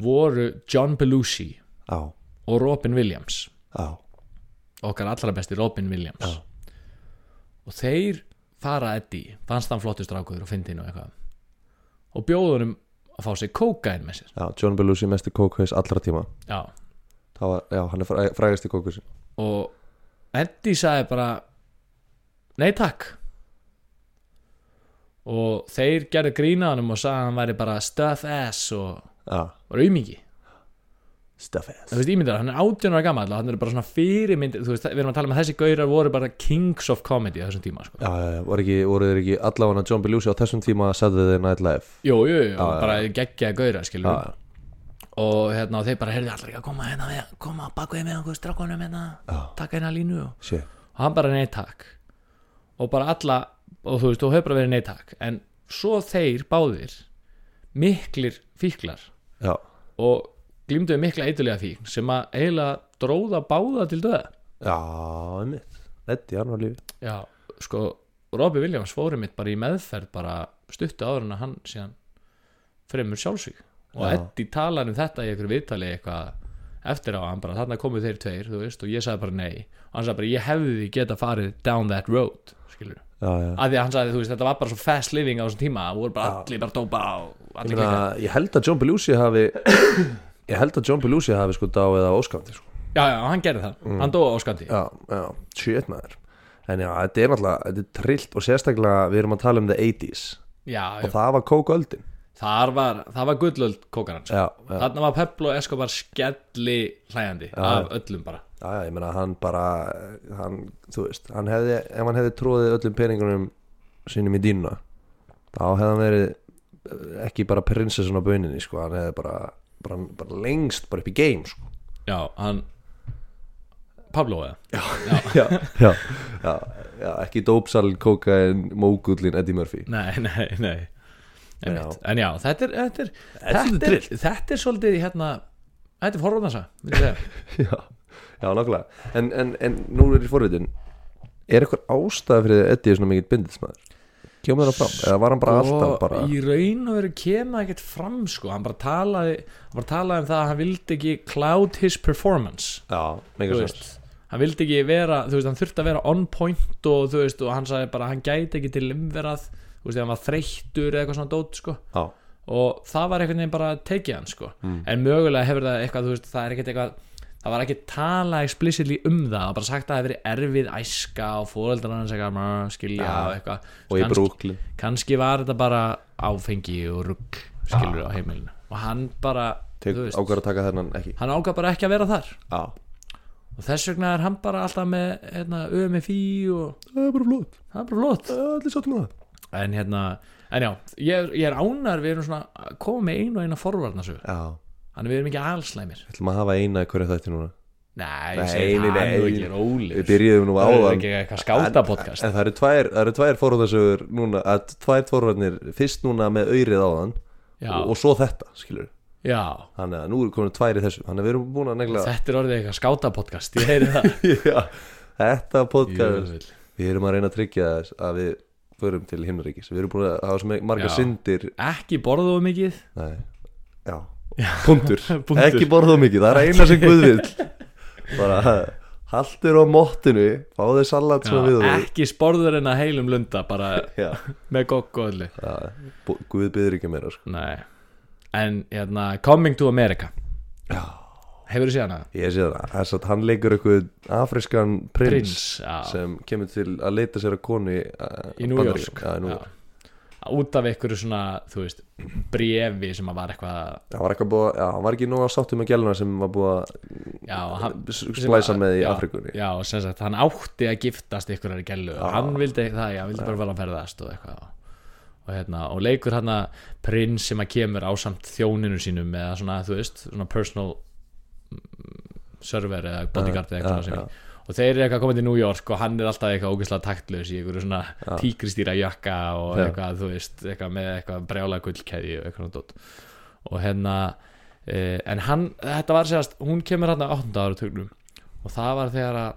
Speaker 1: voru John Belushi
Speaker 2: Á,
Speaker 1: og Robin Williams
Speaker 2: á
Speaker 1: okkar allra besti Robin Williams og þeir fara Eddie, fannst hann flottur strákuður og fyndin og eitthvað og bjóðunum að fá sér kókain með sér
Speaker 2: Já, John Belushi mesti kókveis allra tíma
Speaker 1: já.
Speaker 2: Það var, já, hann er fræ, frægasti kókveis
Speaker 1: og Eddie sagði bara nei takk og þeir gerðu grínaðanum og sagði að hann væri bara stuff ass og
Speaker 2: Já,
Speaker 1: var aumingi
Speaker 2: stuff ass
Speaker 1: þú veist ímyndar, hann er 18 ára gammal og hann er bara svona fyrirmynd þú veist, við erum að tala um að þessi gaurar voru bara kings of comedy á þessum tíma sko.
Speaker 2: Já, já, já, voru ekki, voru þeir ekki allavega John Belushi á þessum tíma Saturday Night Live
Speaker 1: jú, jú, jú, bara geggjaði gaurar skilur
Speaker 2: Já,
Speaker 1: og hérna og þeir bara heyrðu allir ekki að koma hérna við, koma bakveið með okkur strákonum hérna, taka hérna línu og
Speaker 2: shit
Speaker 1: og hann bara nei takk og bara alla, og þú veist, þú hefur bara verið nei takk en svo þeir báðir miklir fíklar
Speaker 2: Já,
Speaker 1: og glýmdu við mikla eitulega fíkn sem að eiginlega dróða báða til döða
Speaker 2: já, einmitt Eddi, hann var lífi
Speaker 1: já, sko, Robbie Williams fórum mitt bara í meðferð bara stuttu áður en að hann síðan fremur sjálfsvík og
Speaker 2: Já.
Speaker 1: Eddie talar um þetta í einhverju viðtali eitthvað eftir á hann bara, þarna komu þeir tveir, þú veist, og ég sagði bara nei og hann sagði bara, ég hefði geta farið down that road, skilur
Speaker 2: Já, já
Speaker 1: að því að hann sagði, þú veist, þetta var bara svo fast living á þessum tíma, það voru bara allir bara dópa og
Speaker 2: Ég,
Speaker 1: allir
Speaker 2: meina,
Speaker 1: klikka
Speaker 2: ég held að John Belushi hafi Ég held að John Belushi hafi sko dáið af óskandi sko.
Speaker 1: já, já, hann gerði það, hann dói á skandi
Speaker 2: Mm. Já, já, shit maður En já, þetta er náttúrulega, þetta er trillt og sérstaklega við erum að tala um the 80s
Speaker 1: já,
Speaker 2: og
Speaker 1: já,
Speaker 2: það var kóköldin
Speaker 1: þar var það var gullöld kókarans
Speaker 2: Já, já,
Speaker 1: þarna var Pablo Escobar skelli hlæjandi af öllum bara
Speaker 2: já, já, ég meina hann bara hann, þú veist, hann hefði ef hann hefði tróðið öllum peningunum sínum í dýna þá hefði hann verið eh, ekki bara prinsessun á bauninni, sko, hann hefði bara bara, bara lengst, bara upp í game sko.
Speaker 1: Já, hann Pablo eða?
Speaker 2: já, já, já, já, ekki dópsal, kókain, mógullin Eddie Murphy
Speaker 1: Nei, nei, nei já.
Speaker 2: Já.
Speaker 1: En já, þetta er Þetta er,
Speaker 2: svolítið
Speaker 1: þetta er, þetta er svolítið hérna Þetta er forróðansa
Speaker 2: já, já, nákvæmlega en, en, en nú er ég forvitin er eitthvað ástæða fyrir því að Eddie er svona mikið bindismæður kemur það fram, Sko, eða var hann bara alltaf bara
Speaker 1: Sko, í raun og veru kemur ekkert fram sko, hann bara talaði hann bara talaði um það að hann vildi ekki cloud his performance
Speaker 2: já,
Speaker 1: þú
Speaker 2: mega
Speaker 1: veist, hann vildi ekki vera þú veist, hann þurfti að vera on point og þú veist, og hann sagði bara, hann gæti ekki til umverað þú veist, ef hann var þreyttur eða eitthvað svona dót sko
Speaker 2: já,
Speaker 1: og það var einhvern veginn bara að tekið hann sko.
Speaker 2: Mm.
Speaker 1: en mögulega hefur það eitthvað þú veist, það er ekkert eitthvað það var ekki tala explicitly um það það var bara sagt að það hefur verið erfið æska og fóreldrar hans eitthvað mjö, skilja
Speaker 2: Ja.
Speaker 1: og eitthvað
Speaker 2: og í
Speaker 1: Kannski-
Speaker 2: brúkli
Speaker 1: kannski var þetta bara áfengi og rugg
Speaker 2: Ah.
Speaker 1: skilur á heimilinu og hann bara þú veist,
Speaker 2: ákvæður að taka þennan ekki
Speaker 1: hann ágaf bara ekki að vera þar
Speaker 2: já,
Speaker 1: og þess vegna er hann bara alltaf með hérna, UMFI og
Speaker 2: það er bara flott,
Speaker 1: það er bara flott
Speaker 2: það er allir sáttum að
Speaker 1: en hérna en já, ég er, ég er ánar við erum svona að koma með einu og eina forvarnasögu
Speaker 2: já,
Speaker 1: Þannig við erum ekki allslæmir
Speaker 2: ætlum að hafa eina í hverju þætti núna
Speaker 1: Nei,
Speaker 2: Nei,
Speaker 1: ég segi
Speaker 2: nei,
Speaker 1: það
Speaker 2: nei.
Speaker 1: nú ekki róli
Speaker 2: við byrjuðum nú
Speaker 1: Það er
Speaker 2: áðan
Speaker 1: ekki eitthvað
Speaker 2: En-
Speaker 1: skátapodcast
Speaker 2: En það eru tvær, það eru tvær forvarnasögur núna, að tvær forvarnir, fyrst núna með auðrið áðan
Speaker 1: Já,
Speaker 2: og, og svo þetta, skilur
Speaker 1: já
Speaker 2: Þannig að nú eru komin tvær í þessu Þannig að við erum búin að negla
Speaker 1: Þetta er orðið eitthvað skátapodcast Ég heyri það
Speaker 2: Já, Þetta podcast
Speaker 1: Jöfull.
Speaker 2: Við erum að reyna að tryggja þess að við förum til himnaríkis Við erum búin að hafa svo marga
Speaker 1: Já.
Speaker 2: syndir
Speaker 1: Ekki borðuðu mikið
Speaker 2: Nei, já, punktur
Speaker 1: Punktur.
Speaker 2: Ekki borða of mikið, það er eina sem Guð vill Bara Haldur á mottinu, fá þér salat sem
Speaker 1: já,
Speaker 2: við og
Speaker 1: Ekki sporður en að heilum lunda Bara
Speaker 2: Já,
Speaker 1: með gogg og öllu
Speaker 2: já, bú- Guð byður ekki meira sko.
Speaker 1: Nei En hérna, Coming to America Hefur þú séð hana?
Speaker 2: Ég sé það, þess að hann leikur eitthvað afriskan prins,
Speaker 1: Prins já,
Speaker 2: sem kemur til að leita sér að konu í,
Speaker 1: Í New York sko.
Speaker 2: Já, í New York
Speaker 1: já. Út af einhverju svona, þú veist Brefi sem að var eitthvað
Speaker 2: Það var eitthvað búið, að- já, hann var ekki nóga sáttum með gæluna sem var búið að
Speaker 1: Já, hann,
Speaker 2: eh, splæsa
Speaker 1: sem að-
Speaker 2: með í
Speaker 1: já,
Speaker 2: Afríkunni.
Speaker 1: Já, sem sagt, hann átti að giftast ykkur er gælu og hann vildi það, já, hann vildi bara fara að ferðast og eitthvað og, hérna, og leikur hann að prins sem að kemur á samt þjóninu sínum eða svona, þú veist, svona personal mm, server eða bodyguard eða eitthvað sem
Speaker 2: já.
Speaker 1: ég og þeir eru eitthvað að koma til New York og hann er alltaf eitthvað ógeðslega taktlaus í einhverju svona
Speaker 2: Já.
Speaker 1: tíkristýra jakka og
Speaker 2: Já.
Speaker 1: eitthvað, þú veist, eitthvað með eitthvað brjála gullkeði og eitthvað dót og hérna, eh, en hann þetta var segast, hún kemur hann að 8. áratugnum og það var þegar að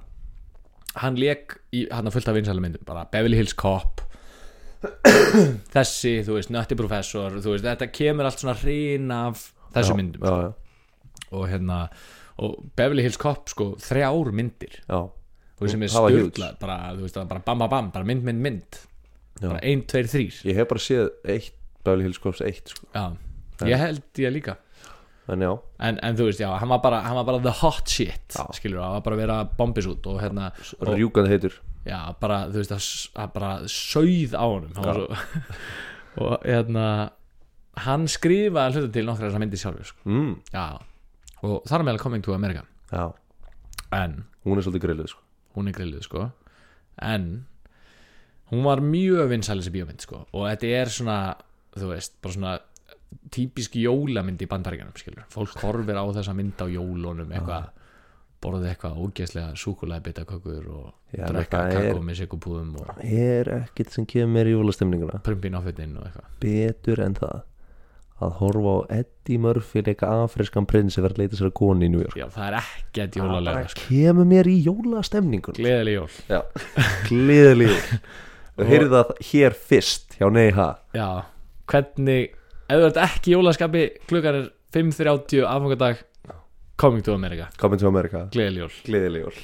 Speaker 1: hann lék í hann fullt af vinsæla myndum, bara Beverly Hills Cop þessi, þú veist, Nutty Professor, þú veist, þetta kemur allt svona hrein af þessu
Speaker 2: já,
Speaker 1: myndum sko.
Speaker 2: já, já,
Speaker 1: og hérna, og Beverly Hills Cop sko, þrjár myndir
Speaker 2: já,
Speaker 1: þú veist sem er
Speaker 2: Það var huge.
Speaker 1: styrla bara, þú veist, það er bara bam, bam, bam, bara mynd, mynd, mynd
Speaker 2: Já.
Speaker 1: bara ein, tveir, þrýr
Speaker 2: ég hef bara séð eitt Beverly Hills Cops eitt sko.
Speaker 1: já. ég held ég líka
Speaker 2: en já,
Speaker 1: en, en þú veist, já, hann var bara, hann var bara the hot shit,
Speaker 2: Já.
Speaker 1: skilur, hann var bara að vera bombis út og hérna, og,
Speaker 2: rjúkandi heitur
Speaker 1: já, bara, þú veist, það, það bara sauð á honum hann var svo, og hérna hann skrifaði hluta til nokkra þessar myndir sjálfur, sko,
Speaker 2: mm,
Speaker 1: já og þar með alveg Coming to America,
Speaker 2: já,
Speaker 1: en
Speaker 2: hún er svolítið grilluð sko.
Speaker 1: hún er grilluð sko en hún var mjög vinsæl þessi bíómynd sko og þetta er svona, þú veist, bara svona típisk jólamynd í bandaríkanum skilur, fólk horfir á þessa mynd á jólunum eitthvað, borðið eitthvað ógeðslega súkulega bitakökur og
Speaker 2: Já,
Speaker 1: drekka
Speaker 2: þetta er-
Speaker 1: kakó með sikupúðum og
Speaker 2: er ekkert sem kemur mér í jólastemninguna
Speaker 1: prumpin á fötin og eitthvað
Speaker 2: betur en það að horfa á Eddie Murphy leika afriskan prinsi verið að leita sér að koni í New York
Speaker 1: já, það er ekkert
Speaker 2: það
Speaker 1: jólalega
Speaker 2: bara
Speaker 1: sko.
Speaker 2: kemur mér í jólastemningun
Speaker 1: gleðileg jól
Speaker 2: gleðileg jól. og heyrðu það hér fyrst hjá Neiha
Speaker 1: já, hvernig, ef þú ert ekki í jólaskapi klukkan er 5.30 afhangadag coming to America,
Speaker 2: Coming to America
Speaker 1: gleðileg jól
Speaker 2: gleðileg jól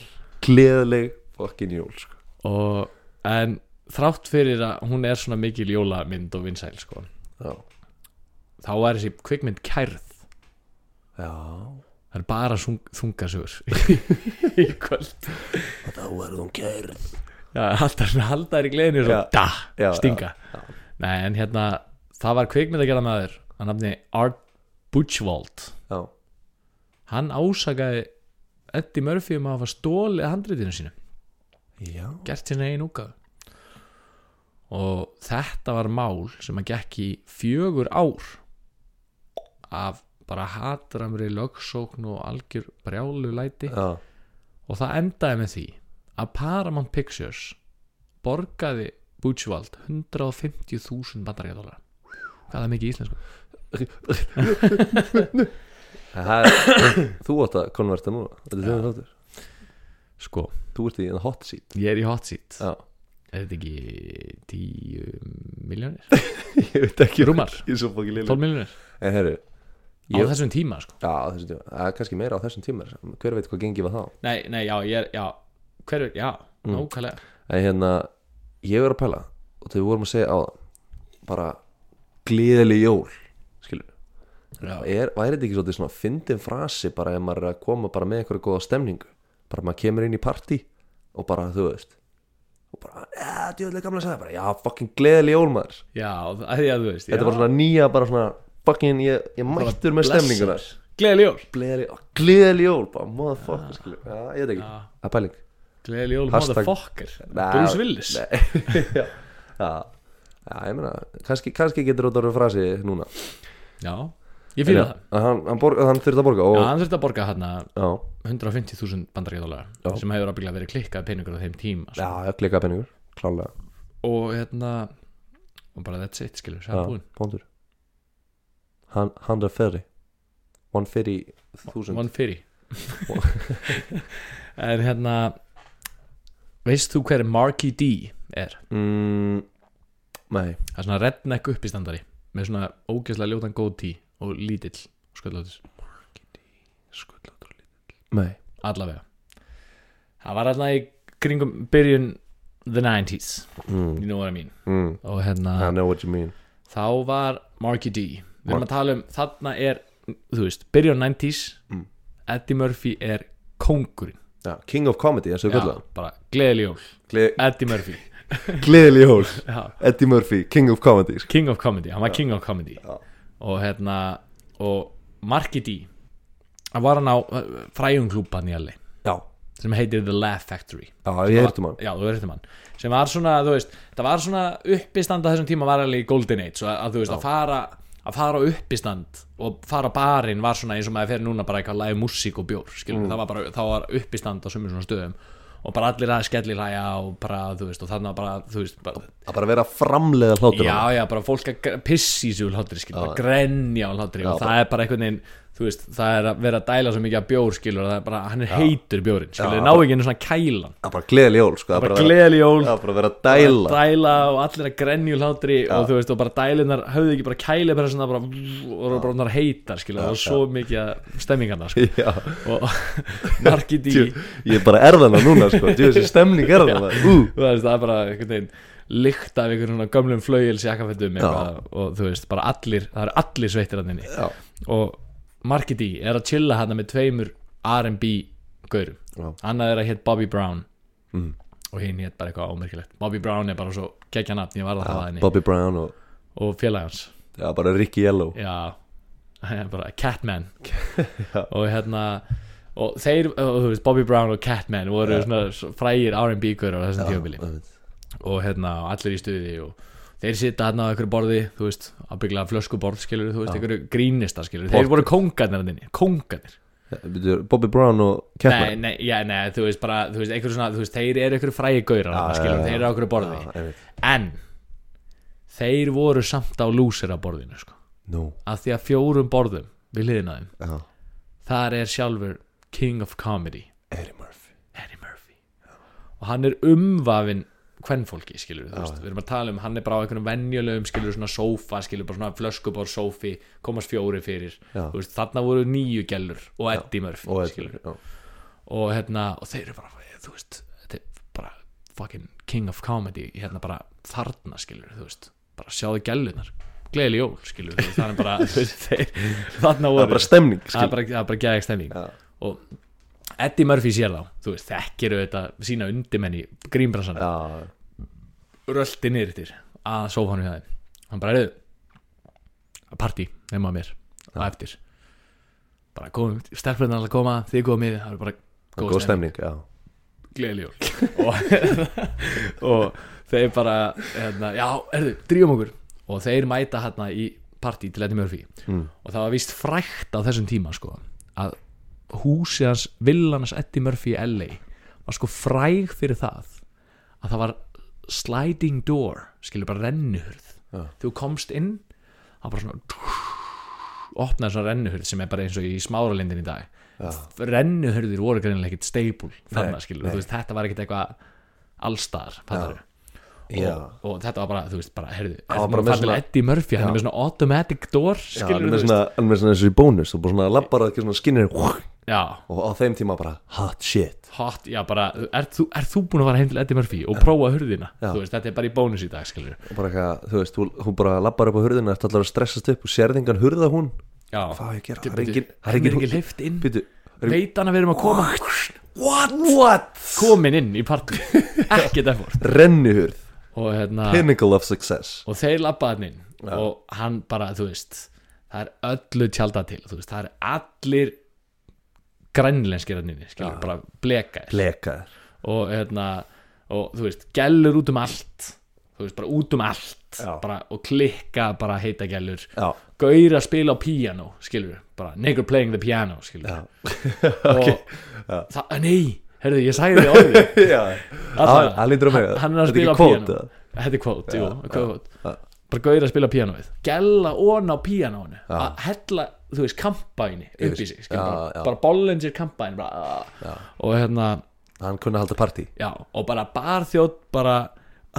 Speaker 2: gleðileg fokkin jól sko.
Speaker 1: og, en þrátt fyrir að hún er svona mikil jólamynd og vinsæl sko,
Speaker 2: já.
Speaker 1: þá er þessi kvikmynd kærð
Speaker 2: já
Speaker 1: það er bara sung, þungasögur í kvöld
Speaker 2: og þá verður hún kærð
Speaker 1: já, halda, halda þær í gleðinu svo,
Speaker 2: Já.
Speaker 1: da,
Speaker 2: Já,
Speaker 1: stinga Nei, en hérna, það var kvikmynd að gera maður að nafni Art Butchwald
Speaker 2: já,
Speaker 1: hann ásakaði Eddie Murphy um að hafa stólið handritinu sínu
Speaker 2: já.
Speaker 1: gert sína einu úka og þetta var mál sem að gekk í fjögur ár af bara hatramri lögsókn og algjör brjálulæti
Speaker 2: já.
Speaker 1: og það endaði með því að Paramount Pictures borgaði Bútsvald 150.000 bandaríkadólar hvað er það mikið í íslensku?
Speaker 2: Það Er, þú átt að konverta núna þetta er þjóðum þáttur
Speaker 1: sko,
Speaker 2: þú ert í en hot seat
Speaker 1: ég er í hot seat
Speaker 2: já.
Speaker 1: er þetta ekki 10 miljónir?
Speaker 2: ég veit ekki
Speaker 1: Rúmar.
Speaker 2: ég er svo fokkin lilla
Speaker 1: 12 miljónir?
Speaker 2: en herru
Speaker 1: á
Speaker 2: Ég-
Speaker 1: þessum tíma sko
Speaker 2: Já, á þessum tíma, eða kannski meira á þessum tíma hver veit hvað gengið var þá
Speaker 1: nei, nei, já, ég er, já, hver, já, nákvæmlega
Speaker 2: en hérna, ég er að pæla og þegar við vorum að segja á það bara gleðileg jól skilur,
Speaker 1: Já.
Speaker 2: er, væri þetta ekki svolítið svona fyndin frasi bara ef maður er að koma bara með einhverju góða stemningu bara maður kemur inn í partí og bara, þú veist og bara, eða, djöðlega gamla að segja bara, já, fucking gleðileg jól maður
Speaker 1: Já, að því að þú veist
Speaker 2: þetta var svona nýja, bara svona fucking, ég, ég mættur með stemninguna
Speaker 1: Gleðileg jól
Speaker 2: gleðileg, gleðileg jól, bara, motherfucker skilur, já, ég veit ekki,
Speaker 1: Já.
Speaker 2: það er pæling
Speaker 1: Gleðileg jól,
Speaker 2: Hashtag-
Speaker 1: motherfucker
Speaker 2: Nei,
Speaker 1: Bruce Willis
Speaker 2: nei, já, já, já, ég meina kannski, kannski getur þetta orðið frasi núna
Speaker 1: Já, ég fyrir
Speaker 2: já,
Speaker 1: það
Speaker 2: að hann, hann, borg, hann þurft að borga
Speaker 1: Já,
Speaker 2: og,
Speaker 1: hann þurfti að borga hérna
Speaker 2: já,
Speaker 1: 150.000 bandaríkjadólar sem hefur ábygglega verið klikkað peningur á þeim tíma
Speaker 2: já, já, klika penningur klálega,
Speaker 1: og hérna og bara that's it, skilur, það
Speaker 2: já,
Speaker 1: er búinn
Speaker 2: bóndur hann, hann er ferri one ferri þúsund
Speaker 1: One fyrir En hérna veist þú hver Marky D er?
Speaker 2: mm, nei,
Speaker 1: Það er svona redneck uppistandari með svona ógeðslega ljótan góð tí og lítill og sköldlótis
Speaker 2: skullat og lítill nei,
Speaker 1: allavega það var alltaf í kringum byrjun the 90s,
Speaker 2: mm,
Speaker 1: you know what I mean
Speaker 2: mm,
Speaker 1: og hérna,
Speaker 2: I know what you mean
Speaker 1: þá var Marky D við erum
Speaker 2: Mark-
Speaker 1: að tala um, þarna er þú veist, byrjun 90s
Speaker 2: Mm.
Speaker 1: Eddie Murphy er kóngurinn
Speaker 2: já, king of comedy, þessu
Speaker 1: Já,
Speaker 2: kallað
Speaker 1: bara gleðileg jól,
Speaker 2: Gle-
Speaker 1: Eddie Murphy
Speaker 2: gleðileg jól,
Speaker 1: Já.
Speaker 2: Eddie Murphy king of comedy sko.
Speaker 1: King of Comedy, hann var King of Comedy
Speaker 2: Já.
Speaker 1: og hérna og Marky D hann var hann á fræjunglúpan í alli
Speaker 2: já,
Speaker 1: sem heitir The Laugh Factory
Speaker 2: já, ég heyrtum hann
Speaker 1: Já, þú ertum hann sem var svona, þú veist, það var svona uppistand á þessum tíma var alveg í Golden Age svo að, að þú veist, að fara að fara á uppistand og fara á barinn Mm. var svona eins og maður fer núna bara eitthvað að lægi músík og bjór skilur, það var bara, þá var uppistand á sömur svona stöðum og bara allir að skellir hlæja og bara, þú veist, og þannig að bara, þú veist bara,
Speaker 2: að bara vera að framleiða hlátur
Speaker 1: já, já, bara fólk að gr- pissa í sig úr hlátri, skilur, bara grenja úr hlátri og
Speaker 2: Já,
Speaker 1: það er bara einhvern veginn, þú veist, það er að vera að dæla svo mikið af bjór, skilur, það er bara, hann er heitur bjórinn, skilur, ná ekki einu svona kælan
Speaker 2: að bara gleðli jól sko, að
Speaker 1: bara
Speaker 2: vera-
Speaker 1: gleðli jól,
Speaker 2: að bara vera að dæla
Speaker 1: dæla og allir að grenja úr hlátri og þú veist, og bara dælinar, höfðu ekki bara kæli bara svona bara, og eru bara orðnar heitar, skilur, það er svo mikið af stemmingarnar, sko,
Speaker 2: já,
Speaker 1: og markið í
Speaker 2: djú- ég er bara erðana núna sko, djú, þessi stemning erðana ú,
Speaker 1: þú veist, það er bara einhvern veginn lykt af einhvern svona gömlum flauils jakkafettum eitthvað, og þú veist, bara allir það eru allir sveittir hann inni
Speaker 2: Já.
Speaker 1: og Marky D er að chilla hann með tveimur R&B
Speaker 2: Já. Mhm.
Speaker 1: gaurum annað er að hétt Bobby Brown og hinn hétt bara eitthvað ómerkilegt Bobby Brown er bara svo kekja nafn, ég var að hafa henni
Speaker 2: Bobby Brown og
Speaker 1: og félagans,
Speaker 2: já, bara Ricky Yellow
Speaker 1: já bara Catman og hérna og þeir, og þú veist, Bobby Brown og Catman voru svona frægir R&B gaurar á þessum tjófili og hérna og allir í stuði og þeir sita hérna á einhverju borði þú veist, að byggla flöskuborð skilur þú veist, einhverju grínista skilur þeir
Speaker 2: Porter.
Speaker 1: voru kóngarnir hann inni, kóngarnir
Speaker 2: Bíddu, Bobby Brown og
Speaker 1: nei,
Speaker 2: Catman
Speaker 1: nei, já, nei, þú veist bara þú veist, einhverju svona, þú veist, þeir eru einhverju frægi gaurar ja,
Speaker 2: Já,
Speaker 1: skilur,
Speaker 2: já, já.
Speaker 1: þeir eru á einhverju borði
Speaker 2: Já, einmitt.
Speaker 1: en þeir voru samt á lúseraborðinu sko,
Speaker 2: nú,
Speaker 1: af því að fjórum borðum við hliðina á þeim,
Speaker 2: já,
Speaker 1: þar er sjálfur King of Comedy
Speaker 2: Eddie Murphy
Speaker 1: Eddie Murphy og hann er umvafinn kvennfólki skilur þú veist, við erum að tala um hann er bara á einhvernum venjulegum skilur svona sófa skilur bara svona flöskubor sófi komast fjóri fyrir
Speaker 2: Já.
Speaker 1: Þú veist, þarna voru nýju gælur og Eddie Murphy
Speaker 2: og
Speaker 1: skilurðu.
Speaker 2: Eddie, já,
Speaker 1: og, hérna, og þeir eru bara þú veist, þetta er bara fucking king of comedy hérna bara þarna skilur þú veist bara sjáðu gælunar gleðli jól skilur þú veist, það er bara þú veist, þeir, þarna
Speaker 2: það er
Speaker 1: voru
Speaker 2: bara
Speaker 1: það
Speaker 2: stemning
Speaker 1: er
Speaker 2: skil,
Speaker 1: bara, það er bara geðið stemning
Speaker 2: Já.
Speaker 1: og Eddie Murphy sér þá þú veist, þekkir auðvitað sína undimenni grínbransan, ja.
Speaker 2: já,
Speaker 1: röldi niður yttir að sófanum hjá þeim hann bara erðu partí, nema mér, á eftir bara komum, stelpurinn að koma þið komið, það er bara góð
Speaker 2: góð stemning já,
Speaker 1: stemning, gleðileg jól og, og þeir bara hérna, já, erðu, drífum okkur og þeir mæta hérna í partí til Eddie Murphy
Speaker 2: Mm.
Speaker 1: og það var víst frækt á þessum tíma sko, að húsið hans villanars Eddie Murphy í LA var sko fræg fyrir það að það var sliding door skilur bara rennuhurð
Speaker 2: Já.
Speaker 1: þegar þú komst inn það var bara svona opnaði svona rennuhurð sem er bara eins og í smáralindin í dag
Speaker 2: Já.
Speaker 1: rennuhurðir voru greinilega ekkit steipul þarna skilur,
Speaker 2: nei.
Speaker 1: þú veist þetta var ekkit eitthvað allstar, fattar
Speaker 2: já
Speaker 1: og, og þetta var bara, þú veist, bara, herðu
Speaker 2: var
Speaker 1: Hann var
Speaker 2: bara með
Speaker 1: fattilega
Speaker 2: svona-
Speaker 1: Eddie Murphy, hann er með svona automatic door
Speaker 2: Já, hann
Speaker 1: skilur,
Speaker 2: er með svona, hann er með svona eins og í bónus og bara svona labbar að ekki svona skinnir og
Speaker 1: já,
Speaker 2: á þeim tíma bara hot shit
Speaker 1: hot, já bara, er þú, er þú búin að fara heim til Eddie Murphy og prófa hurðina,
Speaker 2: Já.
Speaker 1: þú veist, þetta er bara í bónus í dag, skilur
Speaker 2: og bara eitthvað, þú veist, þú- hún bara labbar upp á hurðina eftir allar að stressast upp og sérðingan hurða hún
Speaker 1: já,
Speaker 2: hvað á ég að gera,
Speaker 1: Þetta
Speaker 2: það er engin
Speaker 1: er engin hleyft inn,
Speaker 2: býtu,
Speaker 1: veit hann að við erum að koma
Speaker 2: what, what
Speaker 1: komin inn í partí, ekkert effort
Speaker 2: rennuhurð,
Speaker 1: og hérna,
Speaker 2: pinnacle of success
Speaker 1: og þeir labbaði hann inn og hann bara, þú veist það er öllu tjálta til, þú veist það er allir grænlenskir hann inni, skilur, bara blekaðir
Speaker 2: lekaður,
Speaker 1: og hérna og þú veist, gælur út um allt þú veist, bara út um allt
Speaker 2: Já.
Speaker 1: bara, og klikka bara heita gælur
Speaker 2: Já.
Speaker 1: gaur að spila á piano skilur, bara nigger playing the piano skilur og það, nei, herðu, ég sagði því orðið
Speaker 2: já,
Speaker 1: Allavega.
Speaker 2: Hann- hann lítur á mig,
Speaker 1: Hann- hann er að
Speaker 2: þetta er
Speaker 1: spila á
Speaker 2: ekki quote,
Speaker 1: piano
Speaker 2: eða?
Speaker 1: þetta er kvót, jú, kvót bara gauðir að spila pianoið, gælla ón á pianoinu, að hella þú veist, kampæni upp í sig skilur,
Speaker 2: Já,
Speaker 1: bara,
Speaker 2: já.
Speaker 1: bara bollinger kampæni bara, og hérna
Speaker 2: hann kunni að halda partí
Speaker 1: Já, og bara barþjótt bara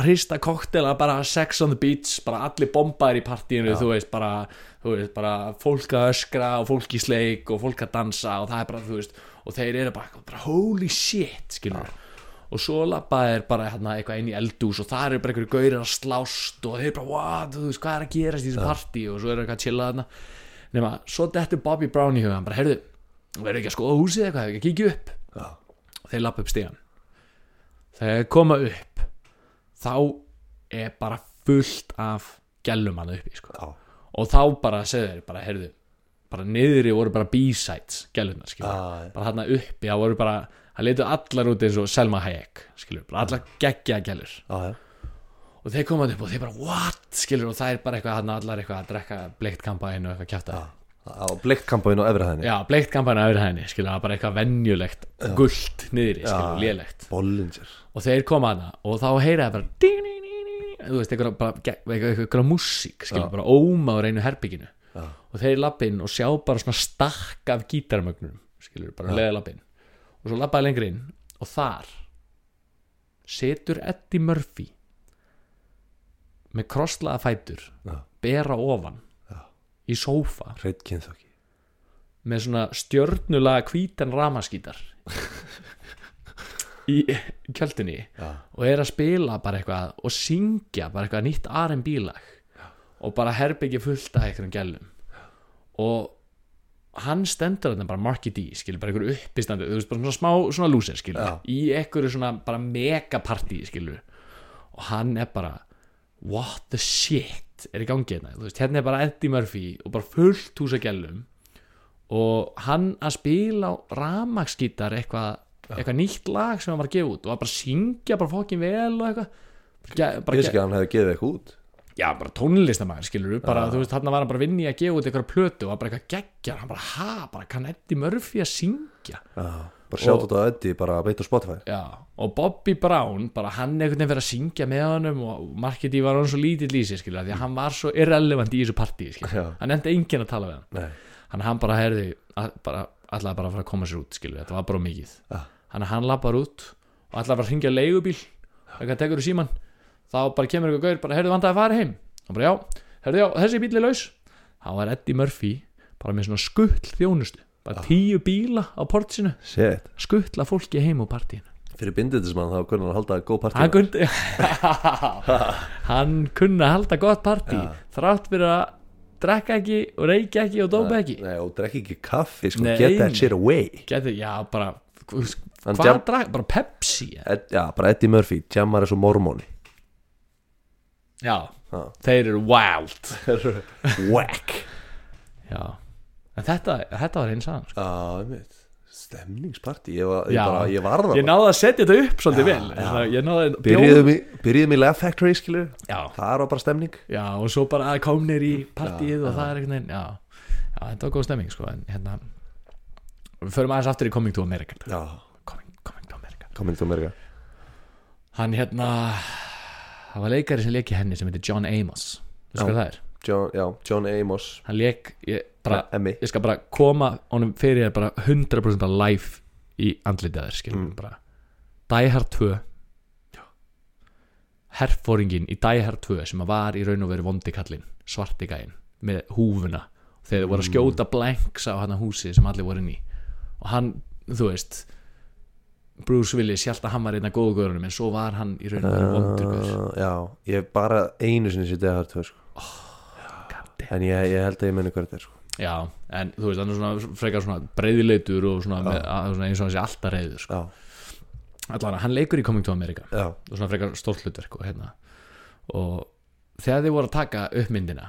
Speaker 1: hrista koktela, bara sex on the beach bara allir bombaðir í partíinu þú veist, bara, þú veist, bara fólk að öskra og fólk í sleik og fólk að dansa og það er bara, þú veist, og þeir eru bara, bara holy shit, skilur og svo labba er bara hérna, eitthvað inn í eldús og það eru bara einhverju gaurir að slást og þeir bara, what, þú veist, hvað er að gerast í þessu partí og svo eru eitthvað að chilla þarna nema, svo dettur Bobby Brown í huga hann bara, heyrðu, verður ekki að skoða húsið eitthvað, hefur ekki að kíkja upp og þeir lappa upp stígan þegar þeir koma upp þá er bara fullt af gælum hann uppi sko.
Speaker 2: Já.
Speaker 1: og þá bara segðu þeir bara heyrðu bara niðri voru bara b-sides gælunar skilur
Speaker 2: Ah, Já, já.
Speaker 1: bara þarna uppi það voru bara það leitu allar út eins og Selma Hayek skilur bara allar geggja gælur
Speaker 2: já, já,
Speaker 1: og þeir
Speaker 2: Ah.
Speaker 1: koma upp og þeir bara what skilur og það er bara eitthvað hann allar eitthvað að drekka bleikt kampa og eitthvað kjæfta
Speaker 2: á bleiktkampaðin á efrihæðinni
Speaker 1: Já, bleikt kampana öðru hæðinni, skilur það var bara eitthvað venjulegt, gullt niður, skilur,
Speaker 2: Já.
Speaker 1: lélegt
Speaker 2: Bollinger
Speaker 1: og þeir koma hana og þá heyra það bara ding, ding, ding, ding, ding, þú veist, eitthvað, bara, ge- eitthvað, eitthvað, eitthvað músík, skilur, bara óma á reynu herbygginu
Speaker 2: Já.
Speaker 1: og þeir labba inn og sjá bara svona stakk af gítarmögnum, skilur, bara leða labba inn og svo labbaði lengri inn og þar setur Eddie Murphy með krosslaða fætur
Speaker 2: Já.
Speaker 1: bera ofan
Speaker 2: Já.
Speaker 1: í sófa
Speaker 2: Reit kynþokki
Speaker 1: með svona stjörnulega hvítan ramaskítar í kjöldinni
Speaker 2: Já.
Speaker 1: og er að spila bara eitthvað og syngja bara eitthvað nýtt R&B lag og bara herbyggi fullt af einhverjum gælum og hann stendur þarna bara Marky D skilur bara einhverju uppistandi þú veist bara svona smá svona lúsir skilur
Speaker 2: Já.
Speaker 1: í einhverju svona bara megapartí skilur og hann er bara what the shit er í gangi hérna þú veist hérna er bara Eddie Murphy og bara fullt hús af gælum og hann að spila á ramagsgítar eitthvað eitthvað nýtt lag sem hann var að gefa út og að bara syngja bara fokkin vel og eitthvað Ge- bara
Speaker 2: Ég
Speaker 1: ge-
Speaker 2: veist ekki að hann hefði gefið eitthvað út
Speaker 1: já, bara tónlistamæður, skilur bara, þú veist, þarna var hann bara að vinna í að gefa út einhverja plötu og var bara eitthvað geggjar, hann bara, ha, bara kann Eddie Murphy að syngja
Speaker 2: Já. Bara sjátt þetta að Eddie bara beitt á Spotify
Speaker 1: já, og Bobby Brown, bara hann einhvern veginn fyrir að syngja með honum og markið í var hann svo lítill í sig, skilur því að hann var svo irrelevant í þessu partí, skilur
Speaker 2: Já.
Speaker 1: hann enda enginn að tala við hann
Speaker 2: Nei
Speaker 1: hann, hann bara herði bara, allavega bara að fara að koma sér út skilur, þetta var bara of mikið
Speaker 2: Ah.
Speaker 1: hann, hann lappar út og allavega bara að hringja á leigubíl eitthvað tekur úr síman þá bara kemur eitthvað gaur, bara herðu vandaði að fara heim og bara já, herðu já, þessi bíl er laus þá var Eddie Murphy bara með svona skuttl þjónustu bara tíu bíla á portsinu
Speaker 2: Shit
Speaker 1: skuttla fólki heim úr partíinu
Speaker 2: Fyrir bindindismann þá kunni hann að halda góð partí
Speaker 1: hann kunni hann kunni að halda gott partí þrátt fyrir að drekka ekki og reykja ekki og dópa ekki
Speaker 2: Nei og drekki ekki kaffi sko
Speaker 1: Nei.
Speaker 2: Get that shit away
Speaker 1: Gæti, já, bara
Speaker 2: Hann
Speaker 1: Hvað
Speaker 2: jam-
Speaker 1: drakk, bara Pepsi eða?
Speaker 2: Ed, Já bara Eddie Murphy Jammar er svo mormóni
Speaker 1: Já,
Speaker 2: Já.
Speaker 1: þeir eru wild
Speaker 2: Whack
Speaker 1: Já, en þetta, þetta var eins aðan sko.
Speaker 2: Já ég veit Stemningspartí Ég var, ég
Speaker 1: Já.
Speaker 2: bara, ég var það
Speaker 1: Ég
Speaker 2: bara.
Speaker 1: náði að setja þetta upp svolítið vel Þannig að Ég náði að
Speaker 2: Byrjuðum í, byrjuðum í Laugh Factory skilur
Speaker 1: Já,
Speaker 2: Það var bara stemning
Speaker 1: já, og svo bara að komnir í partíið og það er einhvern veginn Já, já þetta var góð stemming sko En hérna, við förum aðeins aftur í Coming to America
Speaker 2: Já
Speaker 1: Coming, coming to America
Speaker 2: Komin til Amerika
Speaker 1: Hann hérna, það var leikari sem leiki henni sem heitir John Amos Þú veist
Speaker 2: Já.
Speaker 1: hvað það er?
Speaker 2: John, já, John Amos
Speaker 1: Hann leik, ég bara
Speaker 2: Emmy
Speaker 1: ég skal bara koma honum fyrir þér bara 100% bara live í andlitið að þér skilum mm. bara Die Hard 2 herfóringin í Die Hard 2 sem að var í raun og veru vondi kallinn svarti gæinn með húfuna þegar þau voru að skjóta blanks á hann húsi sem allir voru inn í og hann, þú veist Bruce Willis hjælt að hann var einn af góðugörunum en svo var hann í raun og veru vondurgur
Speaker 2: Uh, já, ég hef bara einu sinni sér degar tvö sko.
Speaker 1: Oh,
Speaker 2: en ég, ég held að ég meni hvað þetta er sko.
Speaker 1: já, en þú veist, hann er svona frekar svona breyðileitur og svona, með, að, svona eins og hann sé alltaf reyður sko.
Speaker 2: já,
Speaker 1: allan hann leikur í Coming to America
Speaker 2: já,
Speaker 1: og svona frekar stórt hlutverk og hérna og þegar þið voru að taka upp myndina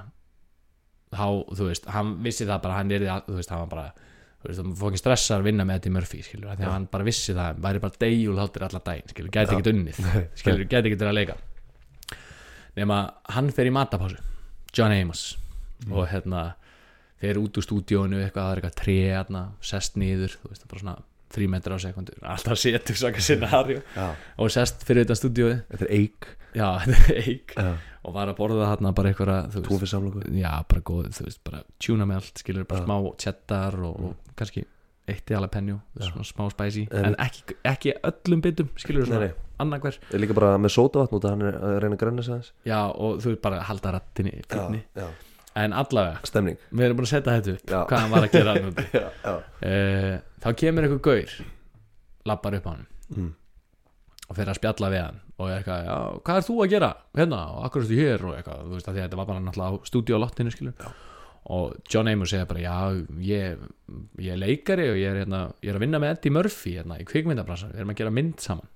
Speaker 1: þá, þú veist, hann vissi það bara hann er því, þú veist, hann var bara þú veist, þú fókin stressar að vinna með Eddie Murphy skilur, þegar hann bara vissi það, væri bara degjúlháttir allar daginn, skilur, gæti ekkert unnið skilur, gæti ekkert verið að leika nema hann fer í matapásu John Amos og hérna fer út úr stúdíónu eitthvað, það er eitthvað tré, hérna, sest niður þú veist, bara svona þrí metrar á sekundur alltaf setur svaka scenario
Speaker 2: já.
Speaker 1: og sest fyrir utan stúdíóið
Speaker 2: þetta er eik
Speaker 1: já, þetta er eik
Speaker 2: Já.
Speaker 1: og var að borða þarna bara einhverja þú veist,
Speaker 2: tófið samlokku
Speaker 1: já, bara góð, þú veist, bara tjúna með allt skilur, bara smá cheddar og,
Speaker 2: Mm.
Speaker 1: og kannski eitt í jalapeno, svona smá spicy en ekki, ekki öllum bitum, skilur
Speaker 2: Nei,
Speaker 1: svona
Speaker 2: nei.
Speaker 1: annarkver,
Speaker 2: er líka bara með sótavatn út að hann er að reyna að grenna sig aðeins
Speaker 1: já, og þú veist bara halda rattinni fyrni,
Speaker 2: já.
Speaker 1: en allavega
Speaker 2: stemning
Speaker 1: við erum búin að setja þetta upp,
Speaker 2: Já.
Speaker 1: hvað hann var að gera þarna úti.
Speaker 2: já, já.
Speaker 1: uh, þá kemur eitthvað gaur lappar upp á hann
Speaker 2: Mm.
Speaker 1: og fer að spjalla við hann og er eitthvað, já, hvað er þú að gera hérna og akkur ertu hér og eitthvað þú veist að því að þetta var bara náttúrulega á stúdíolottinu skilur já. og John Amos segir bara já, ég, ég er leikari og ég er, hérna, ég er að vinna með Eddie Murphy hérna, í kvikmyndabransan, við erum að gera mynd saman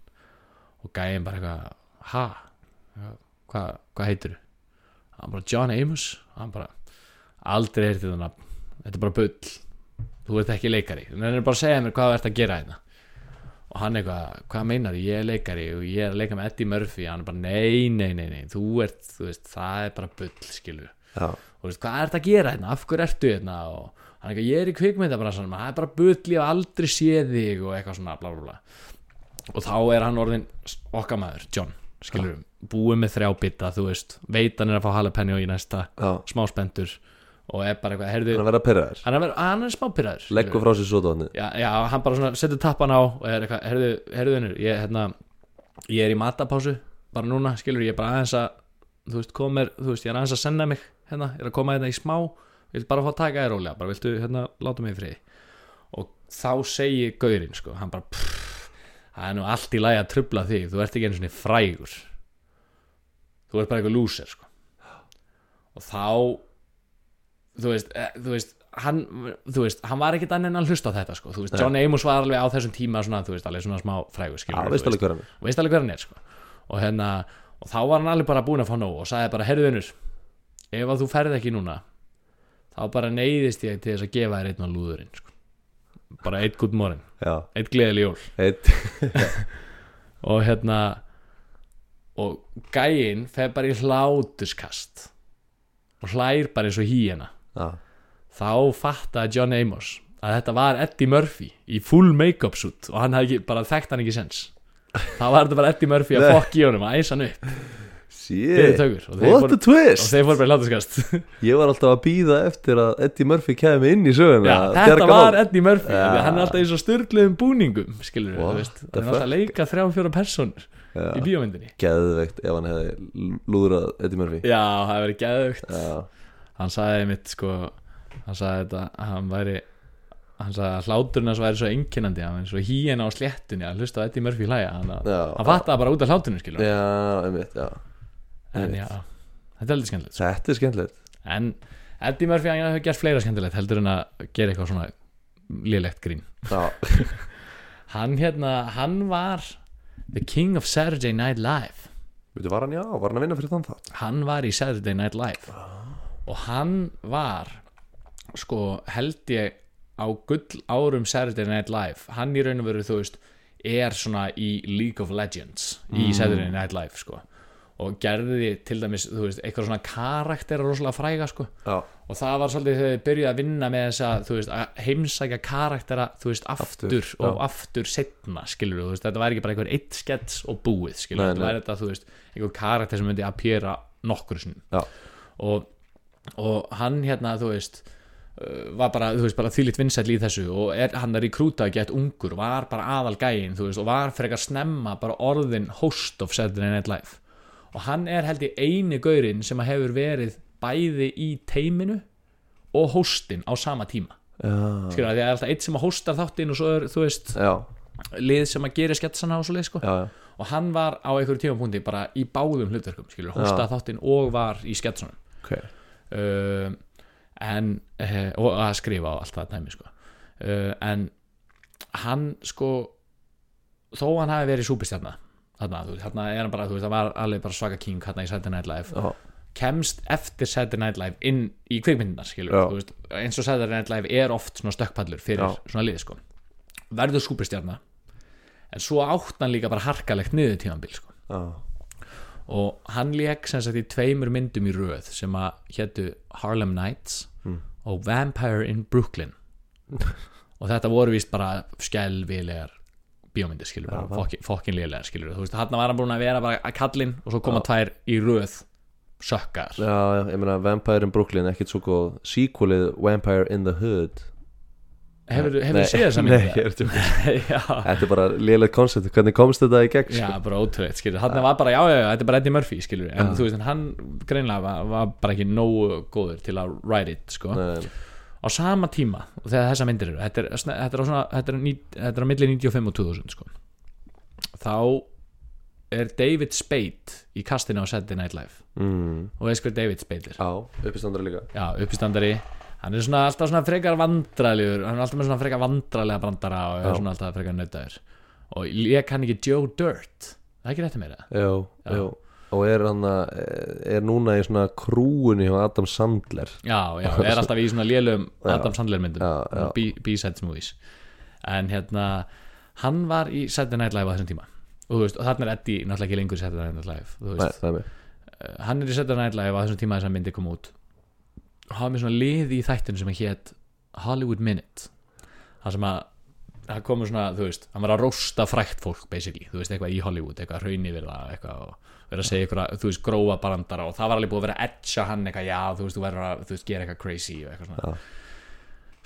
Speaker 1: og gæðin bara eitthvað ha, hvað hva heitir þú hann bara John Amos hann bara, aldrei heyrti þetta nafn þetta er bara bull þú ert ekki leikari en hann er bara að segja mér hvað þú ert að gera hérna og hann eitthvað, hvað meinar ég er leikari og ég er að leika með Eddie Murphy hann er bara, nei, nei, nei, nei þú ert, þú veist, það er bara bull skilur
Speaker 2: já,
Speaker 1: og veist, hvað er þetta að gera hérna, af hverju ertu hérna og hann eitthvað, ég er í kvikmyndabransanum það er bara bulli og aldrei sé þig og eitthvað svona, bla bla bla og þá er hann orðin okkar maður, John skilur, búið með þrjá bita, þú veist veit hann er að fá jalapeno í næsta
Speaker 2: já
Speaker 1: smá spendur og er bara eitthvað, heyrðu
Speaker 2: Þannig að vera perraðar
Speaker 1: hann er, að vera- hann er smá pyrraður
Speaker 2: Leggur frá sér sótavatnið
Speaker 1: já, já, hann bara svona setur tappan á og er eitthvað, heyrðu, heyrðu hennur ég, hérna, ég er í matapásu bara núna, skilur, ég er bara aðeins að þú veist, komer, þú veist, ég er aðeins að senna mig hérna, ég er að koma hérna í smá ég vil bara fá að taka þér rólega, bara viltu, hérna, láta mig í friði og þá segi gaurinn, sko, hann bara pff, það er nú allt í lagi að trubla þig þú ert ekki einu svona frægur þú ert bara eitthvað lúser, sko og þá þú veist, eh, þú veist hann, þú veist, hann var ekkit annað en að hlusta á þetta sko. þú veist, John Amos var alveg á þessum tíma svona, þú veist, alveg svona smá frægur
Speaker 2: Já,
Speaker 1: skilur,
Speaker 2: veist alveg hver hann er
Speaker 1: veist alveg hver hann er sko. og hérna, og þá var hann alveg bara búinn að fá nóg og sagði bara, herðu vinnur ef að þú ferð ekki núna þá bara neyðist ég til þess að gefa þér einn á lúðurinn sko. bara einn gútt morinn,
Speaker 2: Já,
Speaker 1: einn gleðil jól
Speaker 2: eitt
Speaker 1: og hérna og gæinn fer bara í hlátuskast og hlær bara eins og hýjana
Speaker 2: Já,
Speaker 1: þá fattaði John Amos að þetta var Eddie Murphy í full make-up suit og hann hafði ekki, bara þekkt hann ekki sens þá var þetta bara Eddie Murphy að
Speaker 2: Nei.
Speaker 1: fokk í honum að æsa hann upp fyrir
Speaker 2: shit
Speaker 1: tökur og þeir,
Speaker 2: What
Speaker 1: fóru,
Speaker 2: a twist
Speaker 1: og þeir fóru bara í hlátuskast
Speaker 2: Ég var alltaf að býða eftir að Eddie Murphy kemi inn í söguna
Speaker 1: Já,
Speaker 2: að
Speaker 1: þetta
Speaker 2: bjarga
Speaker 1: var
Speaker 2: honum.
Speaker 1: Eddie Murphy
Speaker 2: Já.
Speaker 1: ja. hann er alltaf í svo styrluðum búningum skilur
Speaker 2: What
Speaker 1: þú veist,
Speaker 2: the
Speaker 1: hann er alltaf að leika þrjá fjóra personur í bíómyndinni
Speaker 2: Geðveikt ef hann hefði lúðrað Eddie Murphy
Speaker 1: Já, það hefur verið geðugt
Speaker 2: Já,
Speaker 1: hann sagði mitt sko hann sagði þetta, að hann væri hann sagði að hláturinn hans væri svo einkennandi hann væri svo híina á sléttunni að hlusta á Eddie Murphy hlæja hann, að,
Speaker 2: Já.
Speaker 1: hann fattaði bara út af hláturinn skilur
Speaker 2: já, einmitt, já
Speaker 1: en já, þetta er heldur skemmtilegt sko.
Speaker 2: Þetta er skemmtilegt
Speaker 1: en Eddie Murphy hann hefur gert fleira skemmtilegt heldur en að gera eitthvað svona lélegt grín
Speaker 2: Já,
Speaker 1: hann hérna, hann var the king of Saturday Night Live
Speaker 2: veitu, var hann já, var hann að vinna fyrir þann þátt
Speaker 1: hann var í Saturday Night Live og hann var sko held ég á gull árum Saturday Night Live hann í raun og veru þú veist er svona í League of Legends
Speaker 2: Mm.
Speaker 1: í Saturday Night Live sko og gerði til dæmis þú veist eitthvað svona karakter rosalega fræga sko
Speaker 2: Já,
Speaker 1: og það var svolítið þegar þið byrjuði að vinna með þess að, þú veist, að heimsækja karaktera þú veist, aftur,
Speaker 2: Aftur, já.
Speaker 1: og aftur setna, skilur þú veist, þetta væri ekki bara einhver eitt skets og búið, skilur
Speaker 2: Nei,
Speaker 1: þetta
Speaker 2: nei.
Speaker 1: væri þetta, þú veist, einhver karakter sem myndi að pjera nokkur sinnum
Speaker 2: já,
Speaker 1: og, og hann hérna, þú veist uh, var bara, þú veist, bara þýlitt vinsæll í þessu og er, hann er í krúta að geta ungur var bara aðal gæin, þú veist, og var frekar snemma bara orðin host of Saturday Night Live og hann er held ég eini gaurinn sem að hefur verið bæði í teiminu og hostin á sama tíma
Speaker 2: já,
Speaker 1: skilur það, það er alltaf eitt sem að hostar þáttinn og svo er, þú veist,
Speaker 2: já,
Speaker 1: lið sem að gera sketsana og svo leið, sko
Speaker 2: já, já.
Speaker 1: og hann var á einhverjum tímapunkti bara í báðum hlutverkum, skilur, hostaði þáttinn og var í sketsunum
Speaker 2: ok
Speaker 1: uh, en uh, og að skrifa á allt það dæmi sko. uh, en hann sko þó hann hafi verið súpistjarna þarna, þú veist, þarna er hann bara, þú veist, það var alveg bara svaka king hérna í Saturday Night Live
Speaker 2: Já,
Speaker 1: kemst eftir Saturday Night Live inn í kvikmyndinar skilur,
Speaker 2: Já.
Speaker 1: þú veist, eins og Saturday Night Live er oft svona stökkpallur fyrir
Speaker 2: Já.
Speaker 1: svona liði sko. verður súpistjarna en svo átt hann líka bara harkalegt niður tímanbíl sko
Speaker 2: já,
Speaker 1: og hann lék sem sagt í tveimur myndum í röð sem að héttu Harlem Nights
Speaker 2: Hmm.
Speaker 1: og Vampire in Brooklyn og þetta voru víst bara skjálfilegar bíómyndir skilur bara, fokkin- fokkin lélegar skilur þú veist, hann var hann búin að vera bara að kallinn og svo koma tvær í röð sökkar
Speaker 2: já, já, ég meina Vampire in Brooklyn, ekkert svo góð Sequelið Vampire in the Hood
Speaker 1: hefur þú
Speaker 2: Nei,
Speaker 1: séð þess að
Speaker 2: Nei, ég er
Speaker 1: mynda?
Speaker 2: að tjóka.
Speaker 1: já,
Speaker 2: Þetta er bara lélegt koncept, hvernig komst þetta í gegn
Speaker 1: já,
Speaker 2: sko?
Speaker 1: bara ótrúleitt skilur hann var bara, já, já, já, þetta er bara Eddie Murphy skilur en þú veist, en hann greinlega var, var bara ekki nógu góður til að write it sko
Speaker 2: Nei, nei.
Speaker 1: á sama tíma og þegar þessa myndir eru þetta er, sne- þetta er, á, svona, þetta er, ní, þetta er á milli 95 og 2000 sko. þá er David Spade í kastinu á Saturday Night Live
Speaker 2: Mm.
Speaker 1: og veist hver David Spade er
Speaker 2: Já, uppistandara líka
Speaker 1: já, uppistandari hann er svona, alltaf svona frekar vandralegur hann er alltaf með svona frekar vandralega brandara og
Speaker 2: Já.
Speaker 1: er svona alltaf frekar nautaður og ég kann ekki Joe Dirt það er ekki rétti meira
Speaker 2: Jú, jú Og er hann að, er núna í svona krúunni hjá Adam Sandler
Speaker 1: já, já, er alltaf í svona lélum Adam Sandler
Speaker 2: já, já.
Speaker 1: myndum B- B-Sides movies en hérna, hann var í Saturday Night Live á þessum tíma og, þú veist, og þarna er Eddie náttúrulega ekki lengur í Saturday Night Live þú
Speaker 2: Nei,
Speaker 1: veist,
Speaker 2: það er mig
Speaker 1: uh, hann er í Saturday Night Live á þessum tíma þess að myndi kom út hafa mér svona lið í þættinu sem að hét Hollywood Minute það sem að það komur svona, þú veist, hann var að rósta frækt fólk basically, þú veist, eitthvað í Hollywood eitthvað hraunir við það, eitthvað og verið að segja eitthvað, þú veist, gróa barandara og það var alveg búið að vera að etcha hann eitthvað, já, þú veist, þú verður að þú veist, gera eitthvað crazy og eitthvað svona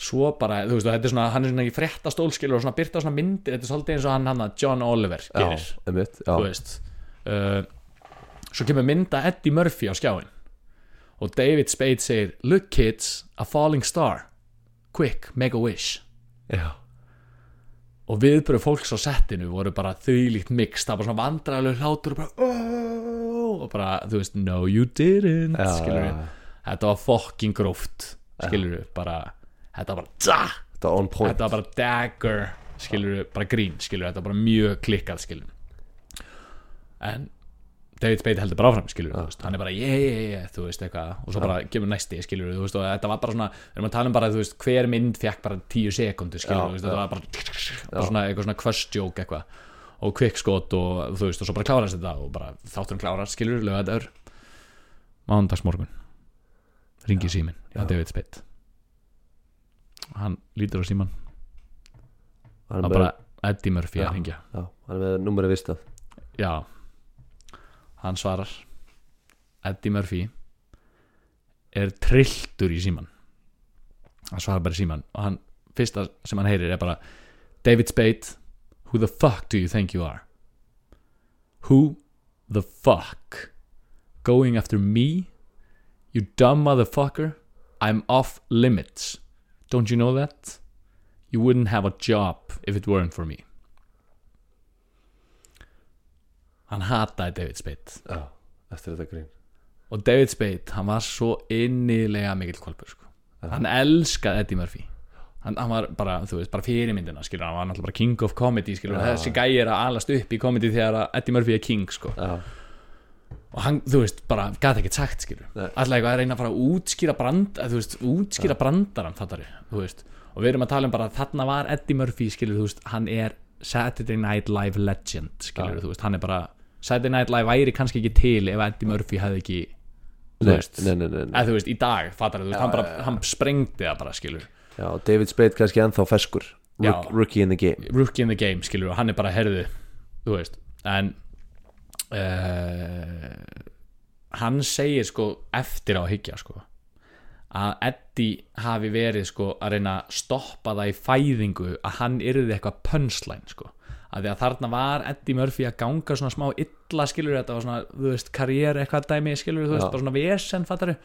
Speaker 1: svo bara, þú veist, og þetta er svona, hann er svona í frétta stólskilur og svona byrta svona myndir þetta er svolítið eins og hann hann að John Oliver
Speaker 2: já,
Speaker 1: gerir,
Speaker 2: einmitt,
Speaker 1: þú
Speaker 2: já,
Speaker 1: veist uh, svo kemur mynda Eddie Murphy á skjáin og David Spade segir look kids, a falling star quick, make a wish
Speaker 2: já,
Speaker 1: og viðbröð fólks á settinu voru bara þvílíkt mix, það var svona vandræðalegu hlátur og bara "Oh," og bara, þú veist, no you didn't
Speaker 2: Já,
Speaker 1: skilur
Speaker 2: já, já.
Speaker 1: þetta var fucking gróft skilur bara, þetta var bara tja,
Speaker 2: þetta er on point
Speaker 1: þetta var bara dagger skilur bara grín, skilur þetta var bara mjög klikkað, skilur en David Spade heldur bara áfram, skilur þú veist, hann er bara, yeah, yeah, yeah, þú veist, eitthvað og svo bara kemur næsti, skilur þú veist, og þetta var bara svona við erum að tala um bara, þú veist, hver mynd fekk bara tíu sekundu, skilur
Speaker 2: Já,
Speaker 1: þú veist, þetta var bara, bara svona, eitthvað svona kvöstjók, eitthvað og kvikkskot og þú veist, og svo bara klárast þetta og bara þátturum klárast, skilur þú, lögat ör mándagsmorgun ringi síminn, það David Spade hann lítur á símann
Speaker 2: hann
Speaker 1: það
Speaker 2: er
Speaker 1: var
Speaker 2: með,
Speaker 1: bara Eddie Murphy að ringja
Speaker 2: já, hann er með numeri vistað
Speaker 1: Já Hann svarar Eddie Murphy er trilltur í síman hann svarar bara í síman og hann, fyrsta sem hann heyrir er bara David Spade Who the fuck do you think you are? Who the fuck going after me? You dumb motherfucker I'm off limits Don't you know that? You wouldn't have a job if it weren't for me Hann hataði David Spade
Speaker 2: já, eftir þetta grín
Speaker 1: og David Spade, hann var svo innilega mikill kvalpur sko. hann elskaði Eddie Murphy hann, hann var bara, þú veist, bara fyrirmyndina skilur, hann var náttúrulega bara king of comedy skilur, þessi gæi er að alast upp í comedy þegar að Eddie Murphy er king sko.
Speaker 2: já,
Speaker 1: og hann, þú veist, bara gæti ekkert sagt skilur,
Speaker 2: Nei.
Speaker 1: alltaf eitthvað að reyna að fara að útskýra brand, að, þú veist, útskýra brandaran fattar við, þú veist, og við erum að tala um bara þarna var Eddie Murphy, skilur, þú veist hann er Saturday Night Live legend skilur, þú veist, hann er bara Saturday Night Live væri kannski ekki til ef Eddie Murphy hefði ekki, þú
Speaker 2: nei,
Speaker 1: veist
Speaker 2: nei, nei, nei, nei.
Speaker 1: eða þú veist, í dag, fattar þú veist, hann bara, hann sprengdi það bara, skilur
Speaker 2: já, David Spade kannski ennþá ferskur Rook,
Speaker 1: Já.
Speaker 2: rookie in the game
Speaker 1: rookie in the game, skilur, og hann er bara herðu, þú veist, en uh, hann segir sko eftir á að hyggja sko að Eddie hafi verið sko að reyna að stoppa það í fæðingu að hann yrði eitthvað pönslæn sko að því að þarna var Eddie Murphy að ganga svona smá illa skilur þetta var svona, þú veist, karriér eitthvað dæmi skilur, þú veist,
Speaker 2: Já.
Speaker 1: bara svona vesen fattari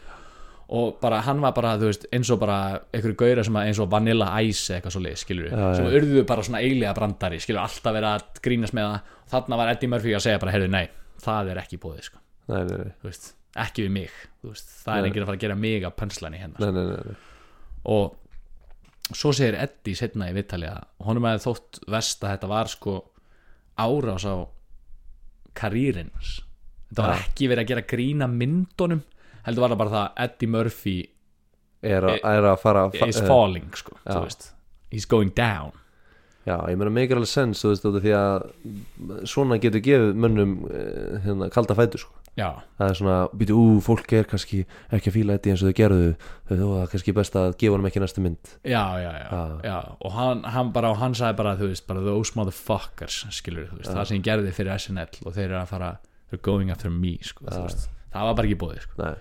Speaker 1: og bara hann var bara, þú veist, eins og bara einhverju gauðra sem að eins og Vanilla Ice eitthvað svo leið, skilur
Speaker 2: Já,
Speaker 1: sem urðu bara svona eilega brandari, skilur alltaf vera að grínast með það, þarna var Eddie Murphy að segja bara, heyrðu, nei, það er ekki búið, sko
Speaker 2: nei, nei, nei,
Speaker 1: þú veist, ekki við mig þú veist, það er
Speaker 2: Nei.
Speaker 1: enginn að fara að gera mig að pönslan í hennar
Speaker 2: nei, nei, nei, nei.
Speaker 1: og svo segir Eddie setna í vittali að honum hefði þótt vest að þetta var sko árás á karýrins þetta var
Speaker 2: Ja.
Speaker 1: ekki verið að gera grína myndunum heldur var það bara það að Eddie Murphy
Speaker 2: Er, a, er að fara
Speaker 1: is
Speaker 2: eh,
Speaker 1: falling sko,
Speaker 2: já.
Speaker 1: þú veist he's going down
Speaker 2: Já, ég meina meikir alveg sens þú veist út af því að svona getur gefið mönnum eh, hérna, kalda fætur sko.
Speaker 1: já,
Speaker 2: það er svona, býtu, ú, fólk er kannski ekki að fíla þetta eins og þau gerðu þau þú, það er kannski best að gefa honum ekki næstu mynd
Speaker 1: já, já, já, já. og hann, hann bara, og hann sagði bara, þú veist, bara those motherfuckers skilur, þú veist, það sem ég gerði fyrir SNL og þeir eru að fara, they're going after me sko, þú veist, það var bara ekki bóðið sko.
Speaker 2: Nei,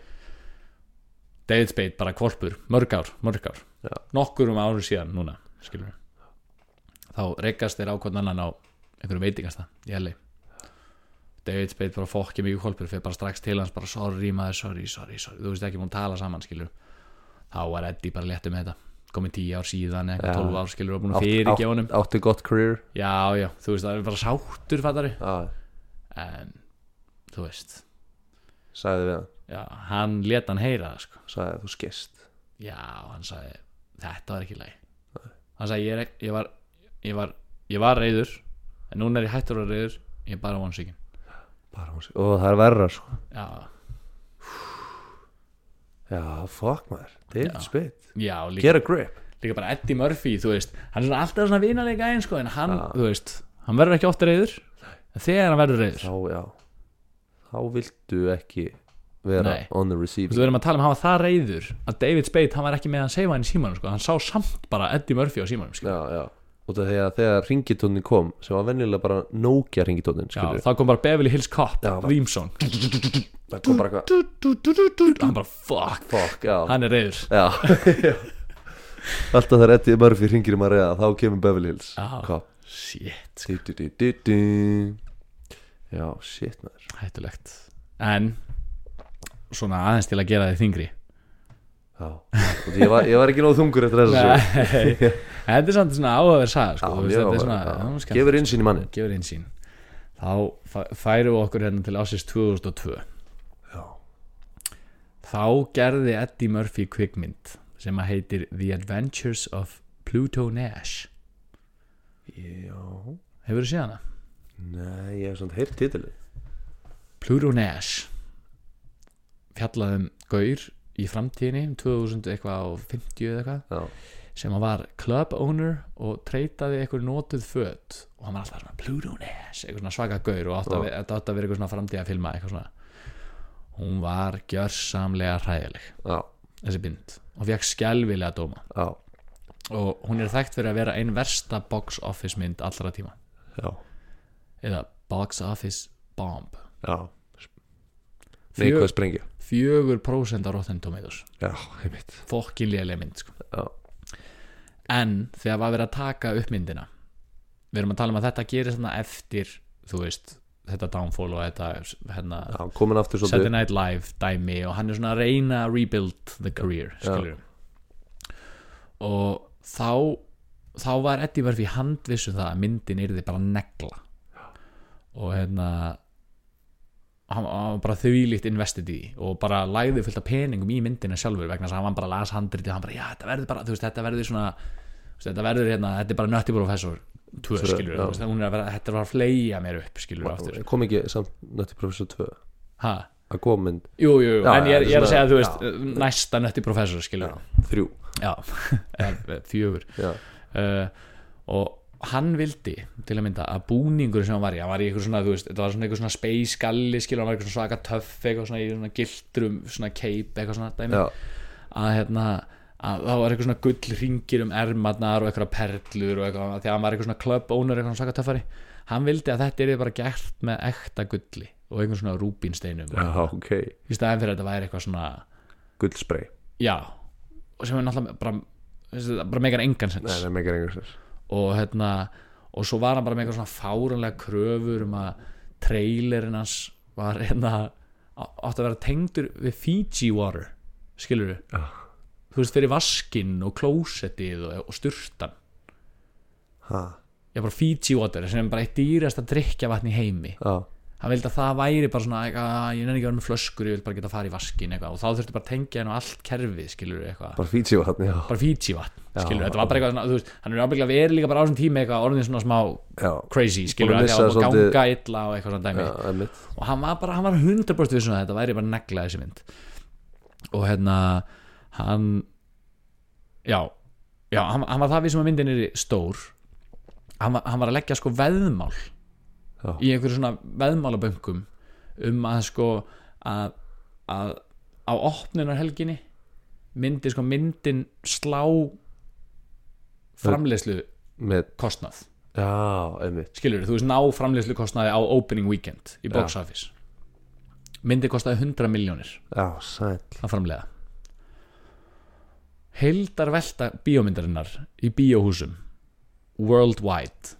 Speaker 1: David Spade bara kvolpur, mörg ár, mörg ár
Speaker 2: Já.
Speaker 1: nokkurum árum síðan núna skilur við þá reykast þeir ákvæðan annan á einhverjum veitingastað í LA David Spade bara fokki mikið kvolpur fyrir bara strax til hans bara sorry maður, sorry, sorry, sorry þú veist ekki múin tala saman skilur þá var Eddie bara léttum með þetta komið tíu ár síðan,
Speaker 2: Já.
Speaker 1: eitthvað 12 ár skilur og búin
Speaker 2: Átt-
Speaker 1: að fyrirgefa honum
Speaker 2: átt- Áttu gott career
Speaker 1: já, já, þú veist það er bara sáttur fattari
Speaker 2: Já,
Speaker 1: en þú veist,
Speaker 2: sagði við hann
Speaker 1: já, hann lét hann heyra það sko
Speaker 2: sagði þú skist
Speaker 1: já, hann sagði þetta var ekki læg hann sagði ég, er, ek- ég var ég var, ég var reyður en núna er ég hættur að vera reyður ég er bara vonsvíkin
Speaker 2: Bara hún sig, og það er verra sko
Speaker 1: já,
Speaker 2: Já, fuck maður, David Spade
Speaker 1: já og líka,
Speaker 2: Get a grip
Speaker 1: líka bara Eddie Murphy þú veist, hann er svona alltaf svona vinalega eins sko, en hann, þú veist, hann verður ekki ofta reyður en þegar hann verður reyður
Speaker 2: Þá, já, þá viltu ekki vera
Speaker 1: Nei.
Speaker 2: on the
Speaker 1: Þú
Speaker 2: receiving
Speaker 1: veist, við erum að tala um að hafa það reyður að David Spade, hann var ekki með að seifa hann í símanum sko. hann sá samt bara Eddie Murphy á símanum skilur.
Speaker 2: já, já. og þegar, þegar ringitónin kom sem var venjulega bara Nokia ringitónin
Speaker 1: Já,
Speaker 2: það
Speaker 1: þá kom bara Beverly Hills Cop,
Speaker 2: Já, bara-
Speaker 1: Vímsson
Speaker 2: kom bara eitthvað
Speaker 1: hann bara fuck,
Speaker 2: fuck, já,
Speaker 1: hann er reyður
Speaker 2: já. alltaf þegar Eddie Murphy ringir um að reyða þá kemur Beverly Hills
Speaker 1: Já.
Speaker 2: Cop.
Speaker 1: shit,
Speaker 2: Du, du, du, du, du. já, shit maður
Speaker 1: hættulegt en svona aðeins til að gera þig þingri
Speaker 2: já. Og því ég, var, ég var ekki nóg þungur eftir þess að
Speaker 1: Nei. þetta er samt svona áhugaverð saga sko. Þú veist, þetta er svona, já, skemmt.
Speaker 2: gefur innsýn í mannin
Speaker 1: gefur einsýn þá fæ- færum við okkur hérna til ásins 2002
Speaker 2: Já.
Speaker 1: þá gerði Eddie Murphy kvikmynd sem að heitir The Adventures of Pluto Nash
Speaker 2: já,
Speaker 1: hefur þú séð hana?
Speaker 2: nei, ég hef svona heyrt titili
Speaker 1: Pluto Nash fjallaðum gaur í framtíðinni 2000 eitthvað og 50 eða eitthvað
Speaker 2: já,
Speaker 1: sem að var club owner og treytaði eitthvað notuð föt og hann var alltaf svona Pluto Nash eitthvað svona svaka gaur og átti að,
Speaker 2: Já.
Speaker 1: ve- þetta átti að vera eitthvað svona framtíða filma eitthvað svona hún var gjörsamlega hræðileg
Speaker 2: já,
Speaker 1: þessi mynd og fekk skelvilega dóma
Speaker 2: já,
Speaker 1: og hún er þekkt fyrir að vera ein versta box office mynd allra tíma
Speaker 2: já,
Speaker 1: eða box office bomb
Speaker 2: já.
Speaker 1: Fjö-
Speaker 2: neikvæð sprengja
Speaker 1: 4% á Rotten Tomatoes
Speaker 2: já, heimitt
Speaker 1: fokkin lélega mynd sko.
Speaker 2: já,
Speaker 1: en þegar var verið að taka upp myndina við erum að tala um að þetta gerir svona eftir þú veist, þetta downfall og þetta hérna,
Speaker 2: já, komin aftur
Speaker 1: Saturday
Speaker 2: svolítið
Speaker 1: Night Live dæmi og hann er svona að reyna að rebuild the career skilur og þá þá var Eddie Murphy handvissu það að myndin yrði bara negla og hérna hann hann var bara þvílíkt investið í því og bara læði fullt af peningum í myndina sjálfur vegna þess að hann bara las handriti og hann bara já þetta verður bara, þú veist þetta verður svona þú veist, þetta verður hérna, þetta er bara nötti professor tvö
Speaker 2: Tvö,
Speaker 1: skilur,
Speaker 2: já.
Speaker 1: þú veist hún er að vera, þetta er bara að fleia mér upp skilur aftur,
Speaker 2: kom ekki samt nötti professor 2
Speaker 1: ha
Speaker 2: að komin
Speaker 1: Jú, jú,
Speaker 2: Já,
Speaker 1: en ég er,
Speaker 2: já,
Speaker 1: ég er að
Speaker 2: svona-
Speaker 1: segja að þú veist
Speaker 2: já.
Speaker 1: næsta nötti professor skilur já,
Speaker 2: þrjú
Speaker 1: eða eh, fjögur
Speaker 2: já,
Speaker 1: uh, og hann vildi til að mynda að búningur sem hann var í hann var í eitthvað svona, þú veist, þetta var svona eitthvað svona space galli skilur, hann var eitthvað svona svaka töff eitthvað svona í svona gildrum, svona cape eitthvað svona dæmi,
Speaker 2: já,
Speaker 1: að hérna að það var eitthvað svona gull ringir um ermarnar og eitthvað perlur og eitthvað því að hann var eitthvað svona club owner, eitthvað svona svaka töffari hann vildi að þetta er bara gert með ekta gulli og einhvern svona rúbínsteinum
Speaker 2: já, ok
Speaker 1: í staðin fyrir að þetta væri eitthvað svona
Speaker 2: gullspray,
Speaker 1: já og sem er náttúrulega bara, þessi, það bara megar engan sens
Speaker 2: nei, nei, megar engur sér
Speaker 1: og hérna og svo var hann bara með eitthvað svona fáranlega kröfur um að trailerinn hans var hérna á- átti að vera tengdur við Fiji water skilur við
Speaker 2: Já.
Speaker 1: þú veist fyrir vaskinn og klósettið og, og sturtan
Speaker 2: ha,
Speaker 1: já bara Fiji water sem er bara eitt dýrast að drikja vatn í heimi
Speaker 2: já,
Speaker 1: hann vildi að það væri bara svona eitthvað, ég nefnir ekki að vera með flöskur, ég vil bara geta að fara í vaskinn eitthvað og þá þurfti bara að tengja henn og allt kerfið skilur við eitthvað
Speaker 2: bara fítsíu hann, já,
Speaker 1: bara Fiji vatn
Speaker 2: Já.
Speaker 1: skilur, þetta var bara eitthvað svona, þú veist, hann er ábygglega verið líka bara á þessum tíma eitthvað orðin svona smá
Speaker 2: já
Speaker 1: crazy, skilur,
Speaker 2: Búin að
Speaker 1: að það var
Speaker 2: missa
Speaker 1: búið að
Speaker 2: svolítið-
Speaker 1: ganga illa og eitthvað svona dæmi
Speaker 2: já, einmitt,
Speaker 1: og hann var bara, hann var 100% við svona um þetta væri bara negla þessi mynd og hérna, hann já, já hann, hann var það við sem að myndin er stór hann var, hann var að leggja sko veðmál
Speaker 2: Já.
Speaker 1: í einhverju svona veðmálaböngum um að sko að, að á opnunarhelginni myndi sko myndin slá framleiðslu
Speaker 2: með,
Speaker 1: kostnað
Speaker 2: já, einmitt
Speaker 1: skilur þú veist ná framleiðslu kostnaði á opening weekend í box office myndi kostaði 100 miljónir
Speaker 2: já, sæll,
Speaker 1: að framleiða heildar velta bíómyndarinnar í bíóhúsum worldwide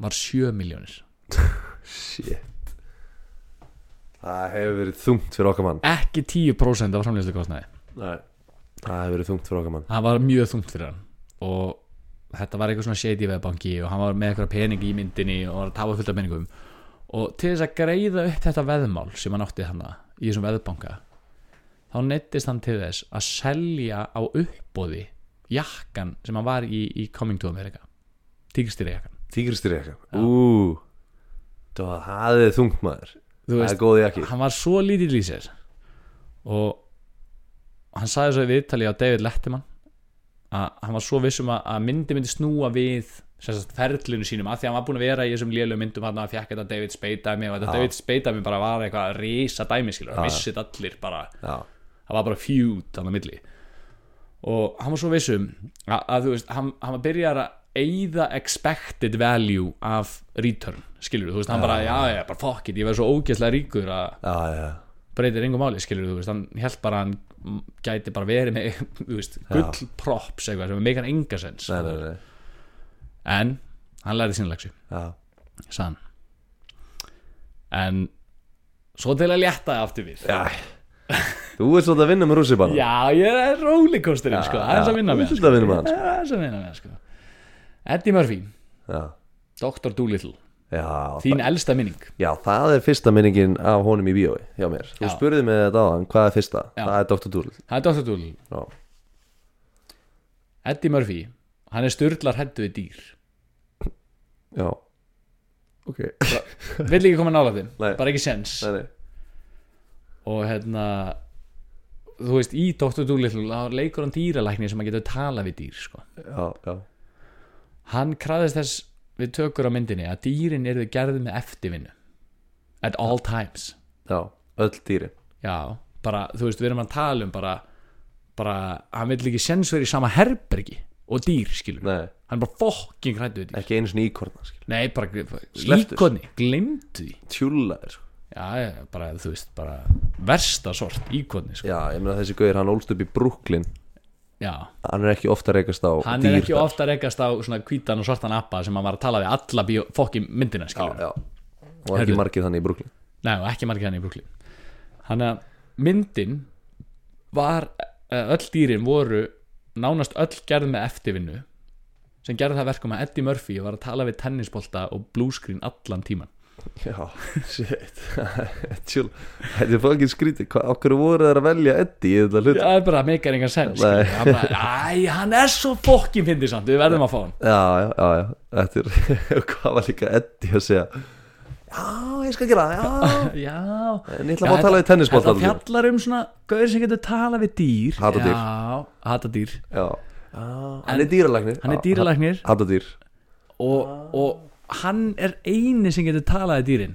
Speaker 1: var 7 miljónir
Speaker 2: shit það hefur verið þungt fyrir okkar mann
Speaker 1: ekki 10% af framleiðslu kostnaði
Speaker 2: nei, það hefur verið þungt fyrir okkar mann
Speaker 1: það var mjög þungt fyrir hann og þetta var eitthvað svona shady veðbanki og hann var með eitthvað pening í myndinni og var að tafa fullt af peningum og til þess að greiða upp þetta veðmál sem hann átti hann í þessum veðbanka þá neittist hann til þess að selja á uppbóði jakkan sem hann var í, í Coming to America tíkstýri jakkan
Speaker 2: tígristir eitthvað, ú það það er þungt maður
Speaker 1: Þú
Speaker 2: það
Speaker 1: veist,
Speaker 2: er góð jakki
Speaker 1: hann var svo lítill í sér og hann um sagði svo í viðtali á David Letterman að hann var svo vissum að, að myndi myndi snúa við sem sagt, ferlinu sínum að því að hann var búin að vera í þessum lélum myndum hann að fjekk þetta David Spade dæmi og þetta David Spade dæmi bara var eitthvað risa dæmi skilur, hann vissið allir bara
Speaker 2: já,
Speaker 1: það var bara fjút hann að milli og hann var svo vissum að, að þú veist, hann, hann var byrjar að eyða expected value af return, skilur þú veist, hann bara, já, já, bara fuck it, ég verð svo ógeðslega ríkur að
Speaker 2: já, já,
Speaker 1: breytir engum máli, skilur þú veist, hann held bara að hann gæti bara verið með, þú veist, gull props eitthvað sem er meikar engasens
Speaker 2: nei, nei, nei
Speaker 1: en hann lærið sína leksu
Speaker 2: já,
Speaker 1: sann en svo til að létta það aftur við
Speaker 2: já þú ert svolítið að vinna með rússi bara
Speaker 1: já, ég er rollercoasterinn sko, það er að vinna með
Speaker 2: þú ert
Speaker 1: hann,
Speaker 2: svolítið að vinna með
Speaker 1: sko. það
Speaker 2: hans
Speaker 1: er að vinna með hann, sko. Eddie Murphy,
Speaker 2: já,
Speaker 1: Dr. Doolittle
Speaker 2: já,
Speaker 1: þín elsta minning
Speaker 2: já, það er fyrsta minningin af honum í bíói hjá mér þú
Speaker 1: Já.
Speaker 2: spurði mig þetta á hann, hvað er fyrsta?
Speaker 1: Já.
Speaker 2: það er Dr. Doolittle
Speaker 1: það er Dr. Doolittle,
Speaker 2: já,
Speaker 1: Eddie Murphy hann er styrlar hættu við dýr
Speaker 2: já, ok
Speaker 1: vill ekki koma nála þeim,
Speaker 2: Nei.
Speaker 1: bara ekki sens
Speaker 2: nei, nei,
Speaker 1: og hérna þú veist, í Dr. Doolittle þá leikur hann dýralækni sem að geta tala við dýr sko.
Speaker 2: já, já
Speaker 1: hann krafðist þess við tökur á myndinni að dýrin eru gerði með eftirvinnu at all times
Speaker 2: Já, öll dýrin
Speaker 1: já, bara, þú veist, við erum að tala um bara, bara, hann vill ekki sensveri í sama herbergi og dýr, skilur
Speaker 2: Nei,
Speaker 1: hann er bara fokking hrættu við dýr
Speaker 2: ekki einu sinni íkorna skil.
Speaker 1: nei, bara,
Speaker 2: Slepptu.
Speaker 1: íkonni, glimtu því
Speaker 2: Tjúlaðir sko.
Speaker 1: já, já, bara, þú veist, bara versta sort, íkonni, sko
Speaker 2: Já, ég meina þessi gauðir, hann ólst upp í Brooklyn
Speaker 1: já,
Speaker 2: Hann er ekki ofta reikast á
Speaker 1: hann
Speaker 2: dýr
Speaker 1: er ekki ofta rekast á svona hvítan og svartan appa sem hann var að tala við alla bíó, fokking myndina,
Speaker 2: Já,
Speaker 1: skilur
Speaker 2: já Og ekki
Speaker 1: Heyrðu.
Speaker 2: margir þannig í Brooklyn
Speaker 1: Nei, og ekki margir hann í Brooklyn Þannig að myndin var, eh, öll dýrin voru nánast öll gerð með eftirvinnu sem gerði það verkum að Eddie Murphy var að tala við tennisbolta og bluescreen allan tíman
Speaker 2: Já, shit Tjúl, þetta er fangin skrítið Hvað, okkur voru þeir að velja Eddi í þetta hlut Já,
Speaker 1: Það er bara meikar engan sens
Speaker 2: Nei.
Speaker 1: skilur. Hann bara, Æ, hann er svo fokkin fyndið samt, við verðum að fá hann
Speaker 2: já, já, já Þetta er, hvað var líka Eddi að segja Já, ég skal gera það, já
Speaker 1: Já
Speaker 2: En ég ætla að fá að tala við tennisbolt
Speaker 1: Það fjallar um svona gauður sem getur tala við dýr
Speaker 2: Hata dýr.
Speaker 1: Já, hata dýr
Speaker 2: Já, hann er dýralæknir
Speaker 1: Hann er dýralæknir
Speaker 2: Hata dýr
Speaker 1: og, og hann er eini sem getur talaði dýrin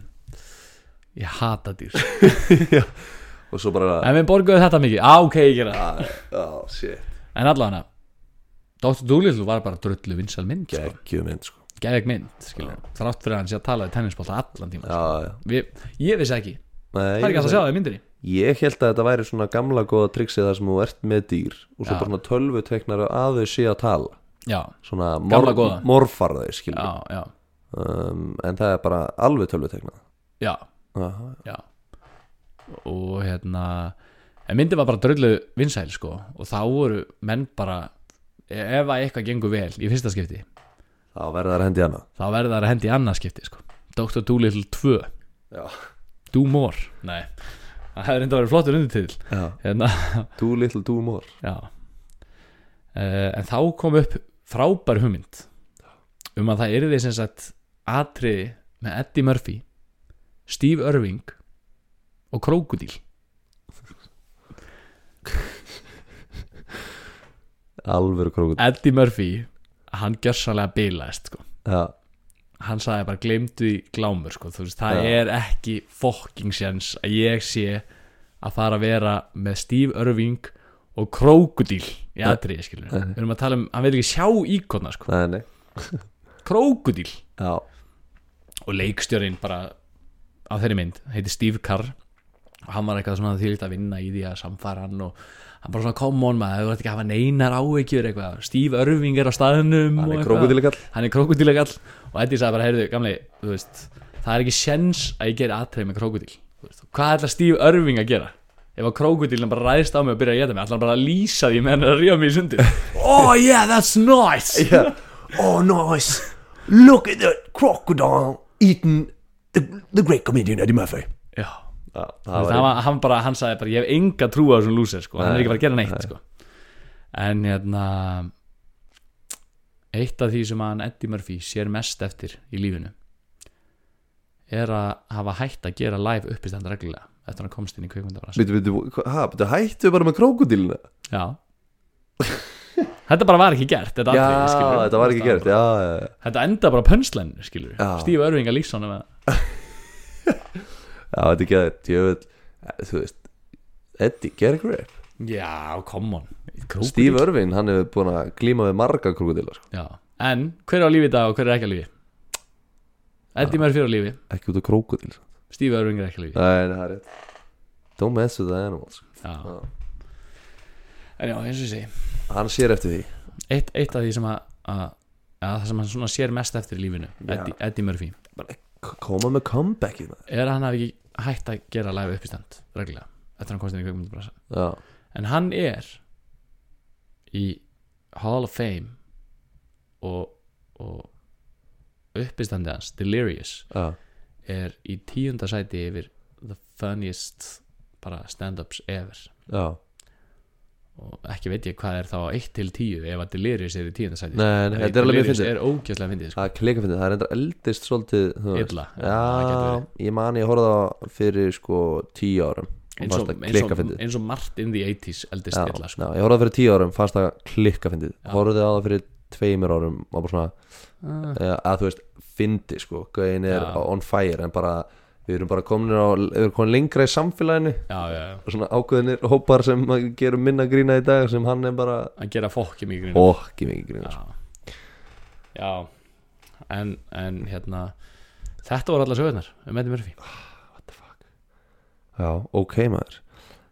Speaker 1: ég hata dýr
Speaker 2: Og svo bara,
Speaker 1: en við borguðu þetta mikið, á ok, ég gera það
Speaker 2: já, shit
Speaker 1: en allavega Dr. Doolittle var bara drullu vinsal mynd sko.
Speaker 2: Geggjum mynd, sko
Speaker 1: geðveik mynd, skilur við. þrátt fyrir að hann sé að talaði tennisbólta allan tíma sko.
Speaker 2: Já, já
Speaker 1: við, ég vissi ekki,
Speaker 2: Nei,
Speaker 1: það er ekki hægt að sjá það í myndinni
Speaker 2: Ég held að þetta væri svona gamla góða triksi þar sem þú ert með dýr og svo
Speaker 1: Já.
Speaker 2: bara svona tölvu teknar að þau sé að tala
Speaker 1: já,
Speaker 2: svona
Speaker 1: Gamla góða.
Speaker 2: morfar þau skilur
Speaker 1: já, já,
Speaker 2: um, en það er bara alveg tölvu teknað
Speaker 1: já,
Speaker 2: Aha,
Speaker 1: já og hérna en myndin var bara drullu vinsæl sko og þá voru menn bara e- ef að eitthvað gengur vel í fyrsta skipti
Speaker 2: þá verður það að hendi hana
Speaker 1: þá verða það að hendi í annað skipti sko. Dr. Doolittle 2
Speaker 2: Já,
Speaker 1: Do More Nei, það hefði reynda að vera flottur undirtill
Speaker 2: já.
Speaker 1: hérna,
Speaker 2: Too little too more
Speaker 1: já uh, En þá kom upp frábær hugmynd um að það yrði sem sagt atriði með Eddie Murphy Steve Irving og Krokodil
Speaker 2: alveg krókut
Speaker 1: Eddie Murphy, hann gjörsalega bilaðist sko
Speaker 2: Já,
Speaker 1: hann sagði bara glemdu í glámur sko, þú veist, það
Speaker 2: Já.
Speaker 1: er ekki fokking sjens að ég sé að fara að vera með Steve Irving og krókudíl í aðrið, skilur við erum að tala um, hann vil ekki sjá íkona sko.
Speaker 2: nei, nei
Speaker 1: krókudíl
Speaker 2: Já,
Speaker 1: og leikstjörinn bara á þeirri mynd, heiti Steve Carr og hann var eitthvað svona því að vinna í því að samfara hann og hann bara svona come on maður, þú ert ekki að hafa neinar áhyggjur eitthvað, Steve Irving er á staðnum
Speaker 2: hann
Speaker 1: og
Speaker 2: er
Speaker 1: eitthvað
Speaker 2: krókutilekall
Speaker 1: hann er krokodílagall og Eddie sagði bara, heyrðu, gamli, þú veist það er ekki sjens að ég ger aðtreyð með krokodíl Þú veist, hvað ætla Steve Irving að gera ef að krokodílinn bara ræðist á mig og byrja að geta mig ætla hann bara að lýsa því með hann er að ríða mig í sundur oh yeah, that's nice
Speaker 2: yeah. Oh nice Look at the crocodile eating the, the great comedian Eddie Murphy
Speaker 1: já,
Speaker 2: Já,
Speaker 1: Þú veist,
Speaker 2: það var
Speaker 1: hann, var- hann bara, hann sagði bara, ég hef enga trú á þessum lúsir, sko, hann er ekki bara að gera neitt, sko en hérna eitt af því sem hann Eddie Murphy sér mest eftir í lífinu er að hafa hægt að gera live uppistand reglulega eftir hann komst inn í kveikmyndavara
Speaker 2: Býtu, býtu, hæ, býtu, hættu bara með krókudílina
Speaker 1: já Þetta bara var ekki gert, þetta
Speaker 2: Já,
Speaker 1: atriði, skilurðu.
Speaker 2: þetta var ekki gert Já, já, já.
Speaker 1: Þetta enda bara pönslen, skilur
Speaker 2: Já.
Speaker 1: Stíf Örvinga Lífsson með
Speaker 2: já þetta er ekki að Djöfull Eh, Þú veist Eddie, get a grip
Speaker 1: Já, come on Krúpur.
Speaker 2: Steve Irvin, hann hefur búin að glíma við marga krokodila sko.
Speaker 1: Já, en hver er á lífi í dag og hver er ekki á lífi? Eddie Murphy er á lífi
Speaker 2: Ekki út af krokodil sko.
Speaker 1: Stíf Örvinga er ekki á lífi
Speaker 2: Nei, nei, það er rétt Don't mess with the animals sko.
Speaker 1: já.
Speaker 2: Já.
Speaker 1: En já, eins og ég segi
Speaker 2: Hann sér eftir því
Speaker 1: eitt, eitt af því sem að, að, að það sem hann svona sér mest eftir í lífinu
Speaker 2: Já.
Speaker 1: Eddie, Eddie Murphy
Speaker 2: K- Koma með comebackið maður.
Speaker 1: er að hann hafi ekki hægt að gera live uppistand reglulega eftir að hann komst inn í kveikmyndabrasa
Speaker 2: Já,
Speaker 1: en hann er í Hall of Fame og, og uppistandi hans Delirious
Speaker 2: já,
Speaker 1: er í tíunda sæti yfir the funniest bara stand-ups ever
Speaker 2: já
Speaker 1: og ekki veit ég hvað er þá 1 til 10 ef að Delirious er í tíunda sæti
Speaker 2: Nei, nei,
Speaker 1: Ef
Speaker 2: þetta er alveg mjög
Speaker 1: Delirious
Speaker 2: fyndið
Speaker 1: er ógjörslega fyndið sko.
Speaker 2: Það er klika fyndið, það er enda eldist svolítið þú veist.
Speaker 1: illa það gæti verið.
Speaker 2: Já, ég man ég horfði á það fyrir sko tíu árum
Speaker 1: eins og, eins,
Speaker 2: klika
Speaker 1: og,
Speaker 2: fyndið
Speaker 1: eins og margt in the 80s eldist
Speaker 2: Já,
Speaker 1: illa sko.
Speaker 2: já, ég horfði á það fyrir tíu árum, fannst það klikka fyndið
Speaker 1: Já.
Speaker 2: Horfði á það fyrir tveimur árum og bara svona,
Speaker 1: Ah.
Speaker 2: eh, að þú veist, fyndi sko, gauðin er
Speaker 1: Já.
Speaker 2: á- on fire en bara, við erum bara komin á, við erum komin lengra í samfélaginu
Speaker 1: já, já, já.
Speaker 2: og svona ákveðinir hópar sem að gerum minna grína í dag sem hann er bara,
Speaker 1: að gera fólki mikið grín
Speaker 2: okki mikið grína
Speaker 1: já. já en, en hérna þetta voru allar sögurnar um Eddie Murphy
Speaker 2: Já, ok maður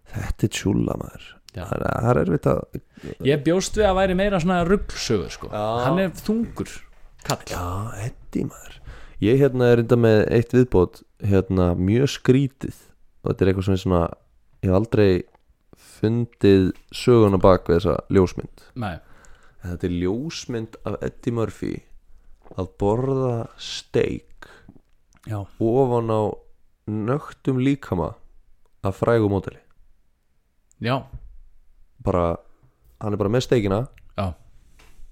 Speaker 2: Þetta er tjúla maður
Speaker 1: Já.
Speaker 2: Það er- það er erfitt að
Speaker 1: ég bjóst við að væri meira svona ruggsögur sko.
Speaker 2: Já.
Speaker 1: hann er þungur kall
Speaker 2: Já, Eddi maður Ég hérna er reynda með eitt viðbót hérna mjög skrítið og þetta er eitthvað sem er svona ég hef aldrei fundið söguna bak við þessa ljósmynd
Speaker 1: Nei,
Speaker 2: en þetta er ljósmynd af Eddie Murphy að borða steik
Speaker 1: já,
Speaker 2: ofan á nögtum líkama af frægum móteli
Speaker 1: já,
Speaker 2: bara, hann er bara með steikina
Speaker 1: já,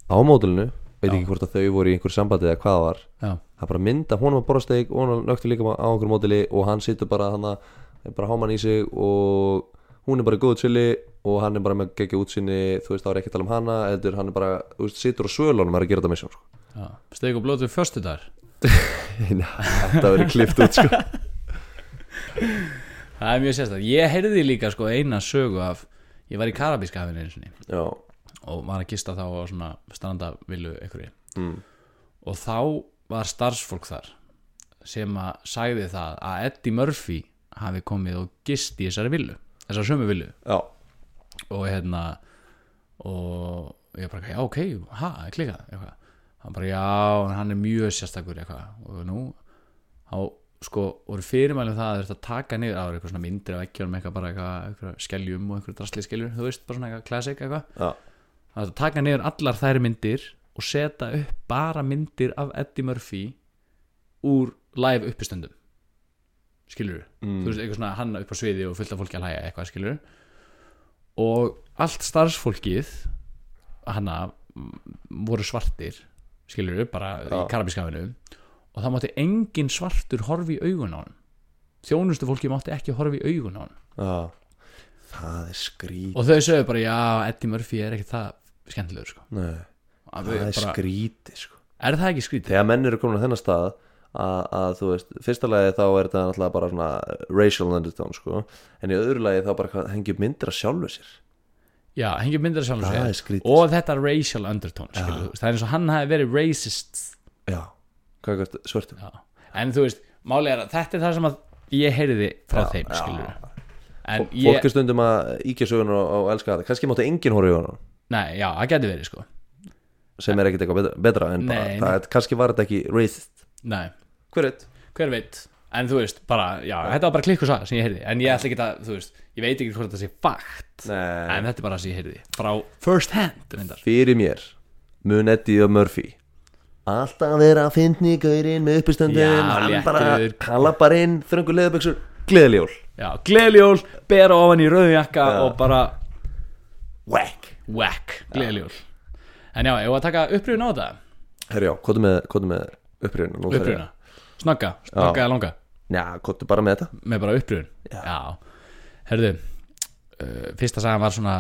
Speaker 2: á mótelinu veit
Speaker 1: Já.
Speaker 2: ekki hvort að þau voru í einhver sambandi eða hvað það var
Speaker 1: já.
Speaker 2: það er bara mynda honum að borða steik og hann nöktur líka á einhverjum mótili og hann situr bara hann bara háman í sig og hún er bara í góðu chili og hann er bara með geggja útsinni þú veist það er ekki að tala um hana eða hann er bara, þú veist, situr á svölunum og er að gera þetta með sér sko.
Speaker 1: já. steik og blóð við förstu þar
Speaker 2: þetta verður klift út sko.
Speaker 1: það er mjög sérstætt, ég heyrði líka sko eina sögu af, ég var í Karabíska hafinu einu sinni
Speaker 2: já,
Speaker 1: og var að gista þá á svona strandavillu einhverju
Speaker 2: mm.
Speaker 1: og þá var starfsfólk þar sem að sagði það að Eddie Murphy hafi komið og gist í þessari villu þessari sömu villu
Speaker 2: já.
Speaker 1: og hérna og ég bara, já ok, ha, klikkað eitthvað. hann bara, já, en hann er mjög sérstakur eitthvað og nú þá sko, voru fyrirmælum það að þetta taka niður, það voru eitthvað svona myndir af ekkjörnum eitthvað bara eitthvað, eitthvað skeljum og eitthvað drastlið skeljum, þú veist, bara svona eitthvað classic eitthvað
Speaker 2: Já.
Speaker 1: það er að taka niður allar þær myndir og setja upp bara myndir af Eddie Murphy úr live uppistöndum skilur
Speaker 2: Mm.
Speaker 1: þú veist eitthvað svona hann upp á sviði og fullt af fólki að hlæja eitthvað skilur og allt starfsfólkið hanna m, voru svartir skilur bara í
Speaker 2: Já.
Speaker 1: karabískafinu og það mátti engin svartur horfi í augun á hann þjónustu fólki mátti ekki horfi í augun á hann
Speaker 2: já það er skrítið
Speaker 1: og þau sögðu bara já Eddie Murphy er ekkert það skemmtilegur sko.
Speaker 2: Nei,
Speaker 1: Að
Speaker 2: það
Speaker 1: við
Speaker 2: er
Speaker 1: bara-
Speaker 2: skrítið sko.
Speaker 1: Er það ekki skrítið?
Speaker 2: þegar menn eru komin á þennan stað að, að þú veist, fyrsta lagi þá er þetta náttúrulega bara svona racial undertone sko, en í öðru lagi þá bara hvað- hengi upp myndir að sjálfu sér
Speaker 1: Já, hengi myndir sjálf
Speaker 2: það er
Speaker 1: sér
Speaker 2: skrítið
Speaker 1: Og þetta racial undertone skilur, þú. Það er eins og hann hafi verið racist
Speaker 2: já, hvað er þetta, svörtum
Speaker 1: Já. En þú veist, málið er að þetta er það sem að ég heyrði frá
Speaker 2: Já,
Speaker 1: þeim
Speaker 2: já.
Speaker 1: skilur En
Speaker 2: fólk
Speaker 1: ég,
Speaker 2: er stundum að íkja söguna og, og elska það kannski mátti enginn horfa í honum
Speaker 1: nei, já, það gæti verið sko
Speaker 2: sem er ekkit eitthvað betra, betra en bara,
Speaker 1: Nei, nei.
Speaker 2: það, er- kannski var þetta ekki racist
Speaker 1: Nei,
Speaker 2: hver veit,
Speaker 1: hver veit En þú veist, bara, já, þetta var bara klikku saga sem ég heyrði En ég ætla ekki að, þú veist, ég veit ekki hvort þetta sé fakt
Speaker 2: nei
Speaker 1: En þetta er bara sem ég heyrði Frá first hand reyndar.
Speaker 2: fyrir mér, mun Eddie og Murphy alltaf vera að fyndni gaurinn með uppistandin
Speaker 1: Já,
Speaker 2: hann bara,
Speaker 1: léttur.
Speaker 2: hann lappar inn þröngu leðaböksur, gleðilegjól
Speaker 1: Já, gleðljól, bera ofan í rauðum jakka
Speaker 2: Já.
Speaker 1: Og bara
Speaker 2: whack
Speaker 1: whack, gleðljól En já, ég var að taka upprýðun á þetta
Speaker 2: Herru já, kóttu með, kóttu með upprýðuna nú þarf ég-
Speaker 1: upprýðuna snagga, snagga eða langa
Speaker 2: Já, kóttu bara með þetta
Speaker 1: með bara upprýðun já. herðu, uh, fyrsta sagan var svona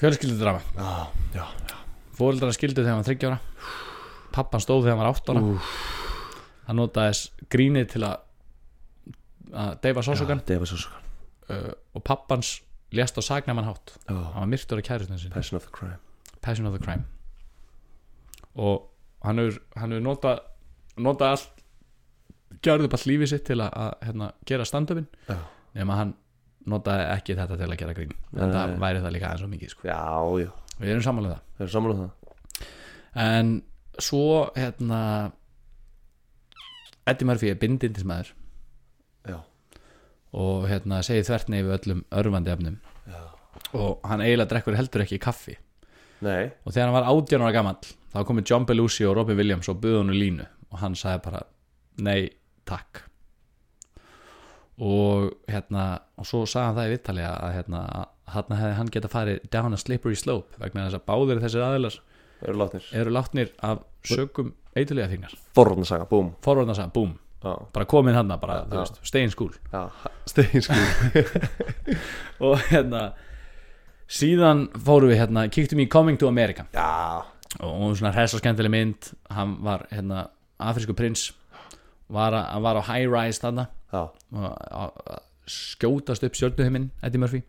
Speaker 1: fjölskyldudrama
Speaker 2: Já, já, já
Speaker 1: fóreldrar skildu þegar hann var 30 ára pappan stóð þegar hann var 8 ára hann notaðis grínið til að að deyfa sásugan
Speaker 2: Deva Sásugan
Speaker 1: uh, og pappans lést á sagnaman hátt
Speaker 2: Já,
Speaker 1: hann var myrtur af kærustunum sinni
Speaker 2: Passion of the Crime
Speaker 1: Passion of the Crime og hann hefur, hann hefur notað notað allt gjörðu upp allt lífið sitt til að, að hérna, gera stand-upin
Speaker 2: Já.
Speaker 1: nema hann notaði ekki þetta til að gera grín en
Speaker 2: Nei.
Speaker 1: það væri það líka aðeins og mikið sko.
Speaker 2: Já, já
Speaker 1: við erum samanlega það
Speaker 2: Þeir eru saman um það
Speaker 1: en svo hérna Eddie Murphy er bindindismæður
Speaker 2: Já.
Speaker 1: og hérna segir þvert neyfi öllum örfandi efnum
Speaker 2: Já.
Speaker 1: og hann eiginlega drekkur heldur ekki kaffi
Speaker 2: Nei
Speaker 1: og þegar hann var 18 ára gamall þá komu John Belushi og Robin Williams og buðu hann línu og hann sagði bara nei, takk og hérna og svo sagði hann það í vittali að hérna hann hefði hann geta farið down a slippery slope vegna þess að báðir þessir aðilar
Speaker 2: Þeir eru látnir
Speaker 1: eru látnir af sögum eitulega fíknar
Speaker 2: Forvarnasaga, búm
Speaker 1: forvarnarsaga, búm,
Speaker 2: Já,
Speaker 1: bara komin hann bara, þú
Speaker 2: Já.
Speaker 1: veist, stein skúl
Speaker 2: já Steinskúl
Speaker 1: og hérna síðan fórum við hérna, kíktum í Coming to America
Speaker 2: Já
Speaker 1: og hún var svona hressa skemmtileg mynd hann var hérna afrísku prins var, að- hann var á high rise þarna
Speaker 2: Já,
Speaker 1: og að- að skjótast upp stjórnuhiminn Eddie Murphy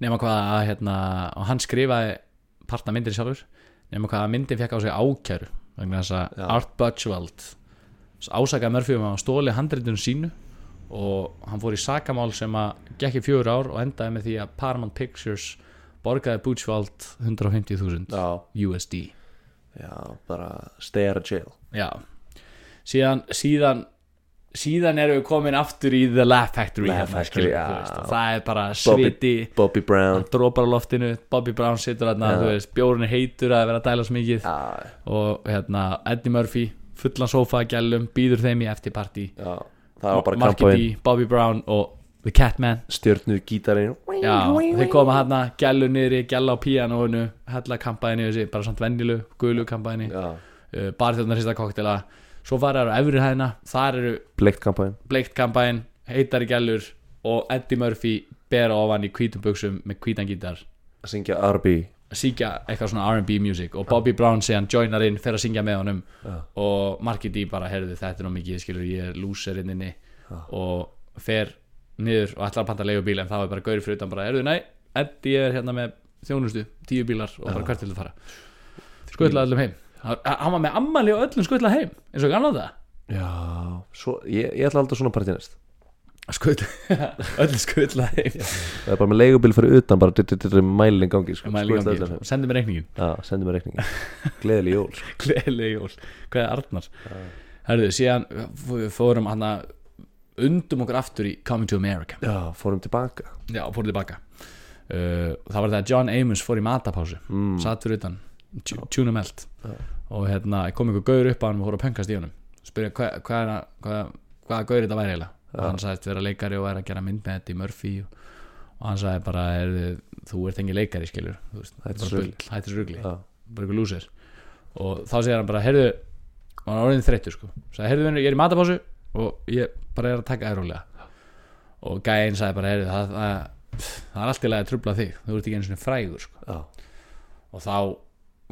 Speaker 1: nema hvað að hérna og hann skrifaði partna myndir sjálfur nema hvað að myndin fekk á sig ákæru vegna þess að
Speaker 2: Já.
Speaker 1: Art Butchwald ásakaði Murphy um að hann stóli handreitinu sínu og hann fór í sakamál sem að gekk í fjögur ár og endaði með því að Paramount Pictures borgaði Butchwald 150.000
Speaker 2: já
Speaker 1: USD
Speaker 2: Já, bara Stay out of jail
Speaker 1: Já Síðan, síðan Síðan erum við komin aftur í The Laugh Factory
Speaker 2: Laugh
Speaker 1: hérna,
Speaker 2: Factory,
Speaker 1: skilur,
Speaker 2: já.
Speaker 1: þú veist, og Það er bara
Speaker 2: Bobby-
Speaker 1: sviti
Speaker 2: Bobby Brown
Speaker 1: Drópar á loftinu, Bobby Brown situr þarna
Speaker 2: Já.
Speaker 1: Þú veist, bjórinn er heitur að vera að dæla svo mikið
Speaker 2: Já,
Speaker 1: Og hérna, Eddie Murphy Fullan sófa að gælum, býður þeim í eftir partí
Speaker 2: já Það var bara
Speaker 1: Marky D,
Speaker 2: kampaðinn
Speaker 1: Bobby Brown og The Catman
Speaker 2: Stjörnu gítarinn
Speaker 1: Já, þeir koma hérna, gælu niðri, gæla á píanóinu Hella kampaðinu þessi, bara samt vennilu Gulu kampaðinu,
Speaker 2: Já
Speaker 1: uh, barþjóðnar sista koktela Svo fara þær á efri hæðina, þar eru
Speaker 2: Bleikt kampaðinn
Speaker 1: bleikt kampæn, heitari gælur og Eddie Murphy bera ofan í hvítum buksum með hvítan gítar
Speaker 2: Að syngja R.B.
Speaker 1: syngja eitthvað svona R&B music og Bobby Brown sé hann joinar inn, fer að syngja með honum og Marky D bara, heyrðu þetta er ná mikið, skilur ég er lúserinn inni og fer niður og ætlar að panta leigubíl en það er bara gauri fyrir utan bara, heyrðu nei, Eddie er hérna með þjónustu, tíu bílar og bara hvert vil þú fara skutlaði öllum heim Hann- hann var með ammali og öllum skutlaði heim eins og annan það
Speaker 2: Já Svo, ég, ég ætla aldrei svona partí næst
Speaker 1: Skut, öll skutlaði heim
Speaker 2: Það er bara með leigubil fyrir utan bara dyr, dyr, dyr, mælinn gangi sko,
Speaker 1: Mæli
Speaker 2: Skoðast
Speaker 1: gangi,
Speaker 2: öll af þeim.
Speaker 1: sendi mér reikningin
Speaker 2: Já, sendu mér reikningi Gleðileg jól sko.
Speaker 1: Gleðileg jól, hvað er Arnar Herðu, síðan f- við fórum hann undum okkur aftur í Coming to America
Speaker 2: Já, fórum tilbaka
Speaker 1: Já, og fórum tilbaka uh, Það var það að John Amos fór í matapásu mm. Satt fyrir utan, tjú- tjúna meld Og hérna, kom einhver gaur upp á hann og fór að pöngast í honum Spyrja hvað hva, hva, hva, hva gaur þetta væri eiginlega Og hann sagðist vera leikari og væri að gera mynd með þetta í Murphy og, og hann sagði bara, er, þú ert engin leikari skilur Þú veist, bara
Speaker 2: Hættu þessu rugli."
Speaker 1: bull, Hættu þessu rugli
Speaker 2: Já,
Speaker 1: bara ykkur lúsir og þá segir hann bara, heyrðu og hann er orðin þreyttur sko sagði, heyrðu vinnur, ég er í matapásu og ég bara er að taka þér rólega og gæinn sagði bara, heyrðu það, það, það er allt í lagi að trubla þig þú ert ekki einu svona frægur sko
Speaker 2: já,
Speaker 1: og þá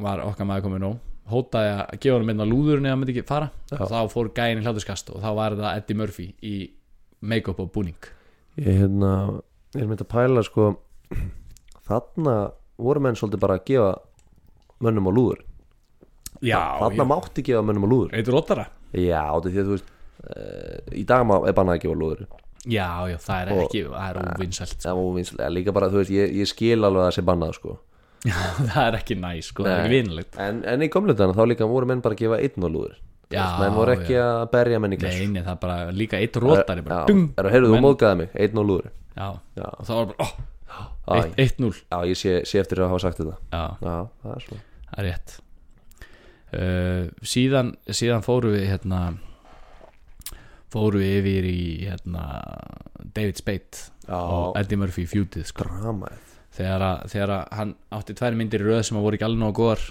Speaker 1: var okkar maður komið nóg hótaði að gefa hann myndin á lúðurinn eða hann myndi ekki fara og þá fór gæinn í hlátuskast og þá var það Eddie Murphy í make-up og búning
Speaker 2: Ég hérna Ég er myndi að pæla sko Þarna voru menn svolítið bara að gefa mönnum á lúður
Speaker 1: já,
Speaker 2: Þarna mátti gefa mönnum á lúður
Speaker 1: eitthvað rótara
Speaker 2: Já, þetta er því að þú veist uh, Í dag má- er bannað að gefa lúður
Speaker 1: já, já, það er
Speaker 2: Og- Ah.
Speaker 1: ekki, það er óvinsælt
Speaker 2: Það var vinsilega Líka bara, þú veist, ég, ég skil alveg að það sé bannað sko
Speaker 1: það er ekki næ, sko, það er
Speaker 2: Nei.
Speaker 1: ekki vinilegt
Speaker 2: En, en í komlutana þá líka voru menn bara að gefa einn á lúður Þú
Speaker 1: Já,
Speaker 2: veist, Menn voru ekki að berja menn í klass
Speaker 1: Nei, nei, það er bara líka eitt rótari bara,
Speaker 2: Já,
Speaker 1: dung,
Speaker 2: er að heyrðu þú móðgæði mig, einn og lúður
Speaker 1: já,
Speaker 2: Já.
Speaker 1: og það var bara,
Speaker 2: Æ.
Speaker 1: oh, 1-0
Speaker 2: Já, ég sé, sé eftir að hafa sagt þetta
Speaker 1: Já,
Speaker 2: Já, það er svona
Speaker 1: það er rétt uh, síðan, síðan fórum við hérna fórum við yfir í hérna, David Spade
Speaker 2: Já.
Speaker 1: og Eddie Murphy í fjútið sko.
Speaker 2: Dramaðið
Speaker 1: þegar, að, þegar að hann átti tvær myndir í röð sem að voru ekki alveg nógu góðar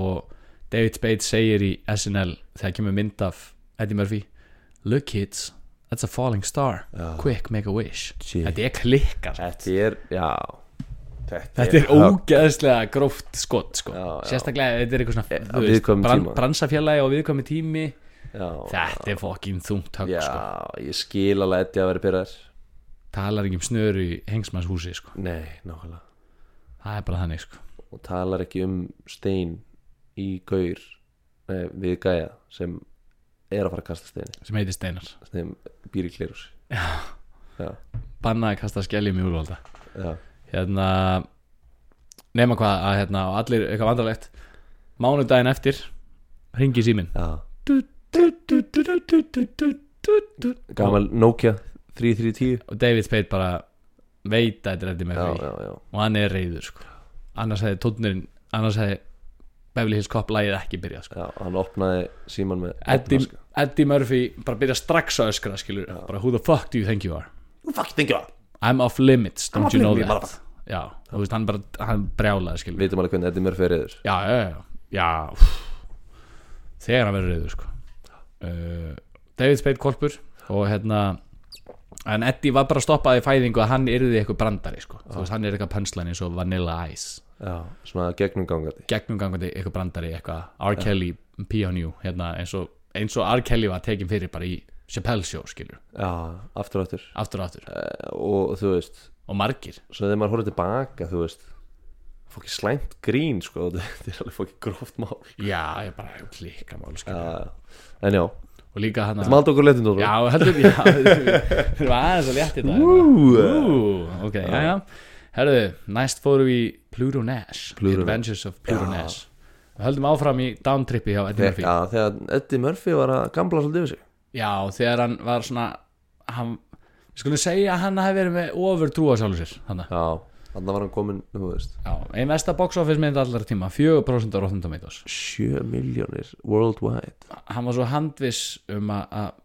Speaker 1: og David Spade segir í SNL þegar kemur mynd af Eddie Murphy Look kids, that's a falling star
Speaker 2: Já.
Speaker 1: quick make a wish
Speaker 2: Shit.
Speaker 1: þetta er klikkar
Speaker 2: Þetta er, já
Speaker 1: Þetta er ógeðslega gróft skot sko.
Speaker 2: Já, já.
Speaker 1: Sérstaklega ef þetta er eitthvað svona
Speaker 2: á
Speaker 1: þú veist,
Speaker 2: viðkvæmum
Speaker 1: bran,
Speaker 2: tíma.
Speaker 1: Bransafélagi og viðkomi tími
Speaker 2: já,
Speaker 1: Þetta er fokkin þungt högg
Speaker 2: já,
Speaker 1: sko.
Speaker 2: ég skil alveg Eddi að vera pyrrar
Speaker 1: Talar ekki um snöru í hengsmannshúsi sko.
Speaker 2: Nei, nákvæmlega
Speaker 1: Það er bara þannig sko.
Speaker 2: Og talar ekki um stein í gaur nei, við gæja sem er að fara að kasta steini
Speaker 1: sem heitir Steinar
Speaker 2: sem býr í klirus Já,
Speaker 1: Bannaði að kasta skelljum í úrvalda
Speaker 2: já,
Speaker 1: hérna, Nefna hvað að hérna, og allir eitthvað vandralegt Mánudaginn eftir Ringi síminn
Speaker 2: já.
Speaker 1: Og
Speaker 2: Gamal Nokia 3310
Speaker 1: David Spade bara veit að þetta er eftir með
Speaker 2: Já,
Speaker 1: því
Speaker 2: já, já,
Speaker 1: og hann er reyður sko. annars hefði tónurinn annars hefði Beverly Hills Cop lagið ekki byrjað sko.
Speaker 2: já, hann opnaði síman með
Speaker 1: Eddie, Eddie Murphy bara byrja strax að öskra skilur bara who the fuck do you think you are
Speaker 2: Fuck, thank you
Speaker 1: I'm off limits, don't
Speaker 2: off
Speaker 1: you know
Speaker 2: limits,
Speaker 1: that já, þú veist hann bara hann brjálaði skilur
Speaker 2: Vitum alveg hvernig Eddi Murphy er yfir
Speaker 1: já, já, já, já úff. þegar hann verður reyður sko. uh, David Spade korpur og hérna en Eddie var bara stoppaði í fæðingu að hann yrði eitthvað brandari sko. þú veist hann er eitthvað pönslan eins og Vanilla Ice
Speaker 2: Já, svona gegnumgangandi
Speaker 1: gegnumgangandi eitthvað brandari eitthvað R. Kelly P.O.N.U. Hérna, eins, og, eins og R. Kelly var tekin fyrir bara í Chappelle show skilur,
Speaker 2: Já, aftur og aftur
Speaker 1: aftur og aftur
Speaker 2: Eh, Og þú veist,
Speaker 1: og margir
Speaker 2: svo þegar maður horfður tilbaka þú veist, fokki slæmt grín sko, þetta er alveg fokki gróft mál
Speaker 1: já, ég bara klika mál skilur
Speaker 2: Já, en já,
Speaker 1: og líka hann
Speaker 2: sem aldrei okkur letin
Speaker 1: já, heldur, já það var aðeins að létti þetta Ú, ok, já, já herðu, næst fórum við í Pluto Nash
Speaker 2: Pluto
Speaker 1: Adventures of Pluto Nash við höldum áfram í downtrippi hjá Eddie Murphy
Speaker 2: Já, þegar Eddie Murphy var að gambla svolítið yfir sig
Speaker 1: já, þegar hann var svona hann, við skulum segja að hann hafi verið með ofurtrú á sjálfur sér þannig
Speaker 2: Já, þannig var hann komin, þú veist
Speaker 1: Já, ein mesta box office mynd allar tíma 4% á Rotten Tomatoes
Speaker 2: 7 miljónir worldwide
Speaker 1: Hann var svo handviss um að, að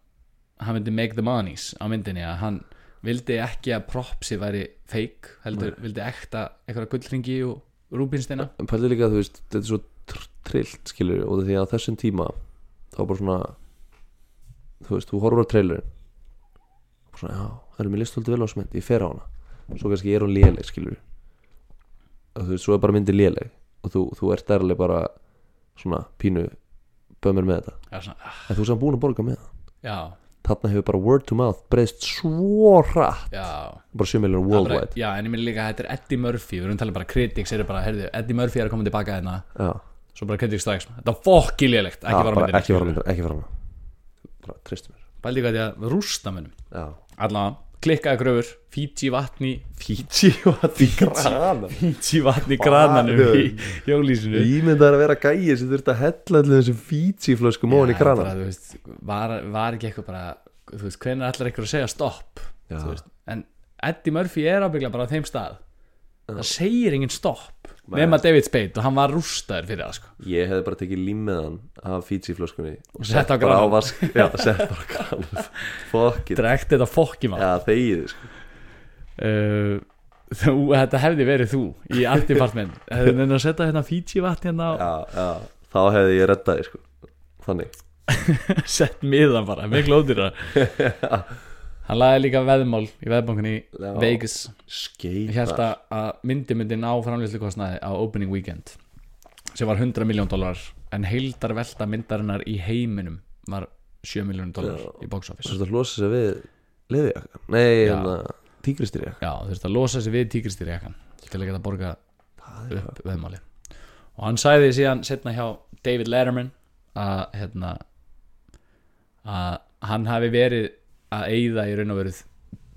Speaker 1: hann myndi make the monies á myndinni að hann vildi ekki að propsi væri fake heldur vildi ekta einhverja gullringi og rúbinsteina
Speaker 2: En pælið líka, þú veist, þetta er svo tr trillt skilur, og því að á þessum tíma þá bara svona þú veist, þú horfur á trailerin og svona, já, það er mér list svolítið vel á smend ég fer á hana, svo kannski er hún léleg skilur og þú veist, svo er bara myndin léleg og þú, þú ert erlega bara svona pínu bömmir með þetta,
Speaker 1: Já, svona, ah,
Speaker 2: en þú sem búin að borga með það
Speaker 1: já,
Speaker 2: þarna hefur bara word to mouth breyðst svo hratt
Speaker 1: já
Speaker 2: bara 7 miljonar
Speaker 1: Það bara-
Speaker 2: worldwide
Speaker 1: Já, en ég myndi líka að þetta er Eddie Murphy við erum talað bara critics eru bara, heyrðu, Eddie Murphy er að koma tilbaka hérna
Speaker 2: já,
Speaker 1: svo bara critics strax, þetta er fokkilélegt
Speaker 2: já,
Speaker 1: ekki var á
Speaker 2: bara
Speaker 1: myndinni
Speaker 2: ekki fara á myndin ekki fara á myndin bara treystu mér
Speaker 1: Bældi hvað því að rústa mönnum
Speaker 2: já
Speaker 1: Allavega, klikkaði gröfur, Fiji vatni
Speaker 2: Fiji og að því grana
Speaker 1: Fiji vatni grananum í jólísinu
Speaker 2: Ímyndar að vera gæið sem þurft að hella allir þessum Fiji flöskum ofan í
Speaker 1: bara,
Speaker 2: grana
Speaker 1: þú veist, var, var ekki eitthvað bara þú veist, hvenær ætlar eitthvað að segja stopp
Speaker 2: Já.
Speaker 1: þú veist, en Eddie Murphy er ábyggla bara á þeim stað það segir enginn stopp
Speaker 2: Nei.
Speaker 1: nema David Spade og hann var rústaður fyrir það sko.
Speaker 2: Ég hefði bara tekið límiðan af Fiji flöskunni og
Speaker 1: Sett á
Speaker 2: bara
Speaker 1: granann.
Speaker 2: vask Já, sett bara á grana Fuck it
Speaker 1: drekt þetta fokkim á
Speaker 2: Já, þegið sko.
Speaker 1: uh, þú, þetta hefði verið þú í allt department hefði neina að setja hérna Fiji vatn hérna og
Speaker 2: Já, já Þá hefði ég reddaði sko Þannig
Speaker 1: sett miðan bara, miklu ódýra hann lagði líka veðmál í veðbankunni í
Speaker 2: Já.
Speaker 1: Vegas Ég held
Speaker 2: Skeita
Speaker 1: að, að myndi myndi ná framlýslu kostnaði á opening weekend sem var 100 miljón dólar en heildar velta myndarinnar í heiminum var 7 miljón dólar í box office
Speaker 2: Svo þetta losa sér við Leði jakkan Nei, hérna Tígristir jakkan
Speaker 1: Já, þurfti að losa sig við tíkristýri ekkan til að geta borga upp veðmáli og hann sagði síðan setna hjá David Letterman að hérna að hann hafi verið að eyða í raun og veruð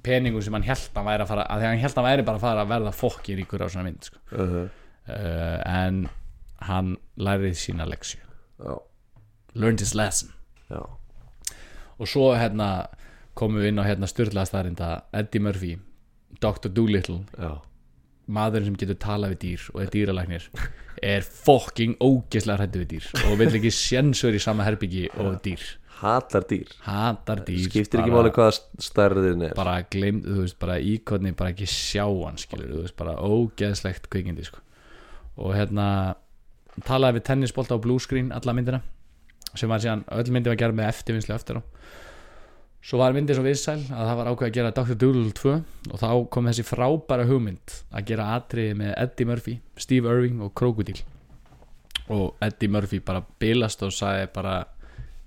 Speaker 1: peningum sem hann held hann væri að fara að því hann held hann væri bara að fara að verða fokki ríkur á svona mynd sko.
Speaker 2: uh -huh.
Speaker 1: uh, en hann lærið sína leksju
Speaker 2: Já,
Speaker 1: learned his lesson
Speaker 2: já
Speaker 1: og svo hérna komum við inn á hérna styrlaða staðarinda Eddie Murphy, Dr. Doolittle
Speaker 2: Já
Speaker 1: maðurinn sem getur talað við dýr og er dýralæknir er fokking ógeðslega hrættu við dýr og vill ekki sjensur í sama herbyggi og dýr
Speaker 2: Hattar dýr
Speaker 1: hatar dýr
Speaker 2: Skiptir ekki
Speaker 1: bara-
Speaker 2: máli hvaða stærðin er
Speaker 1: bara gleymd, þú veist, bara íkotni bara ekki sjá hann, skilur, þú veist, bara ógeðslegt kvikindi, sko og hérna, talaði við tennisbolta á bluescreen alla myndina, sem var síðan, öll myndi var gerð með eftirvinnslu eftir á svo var myndið svo vinsæl að það var ákveð að gera Dr. Doolittle 2 og þá kom þessi frábæra hugmynd að gera atriði með Eddie Murphy, Steve Irving og Krokodil og Eddie Murphy bara bilast og sagði bara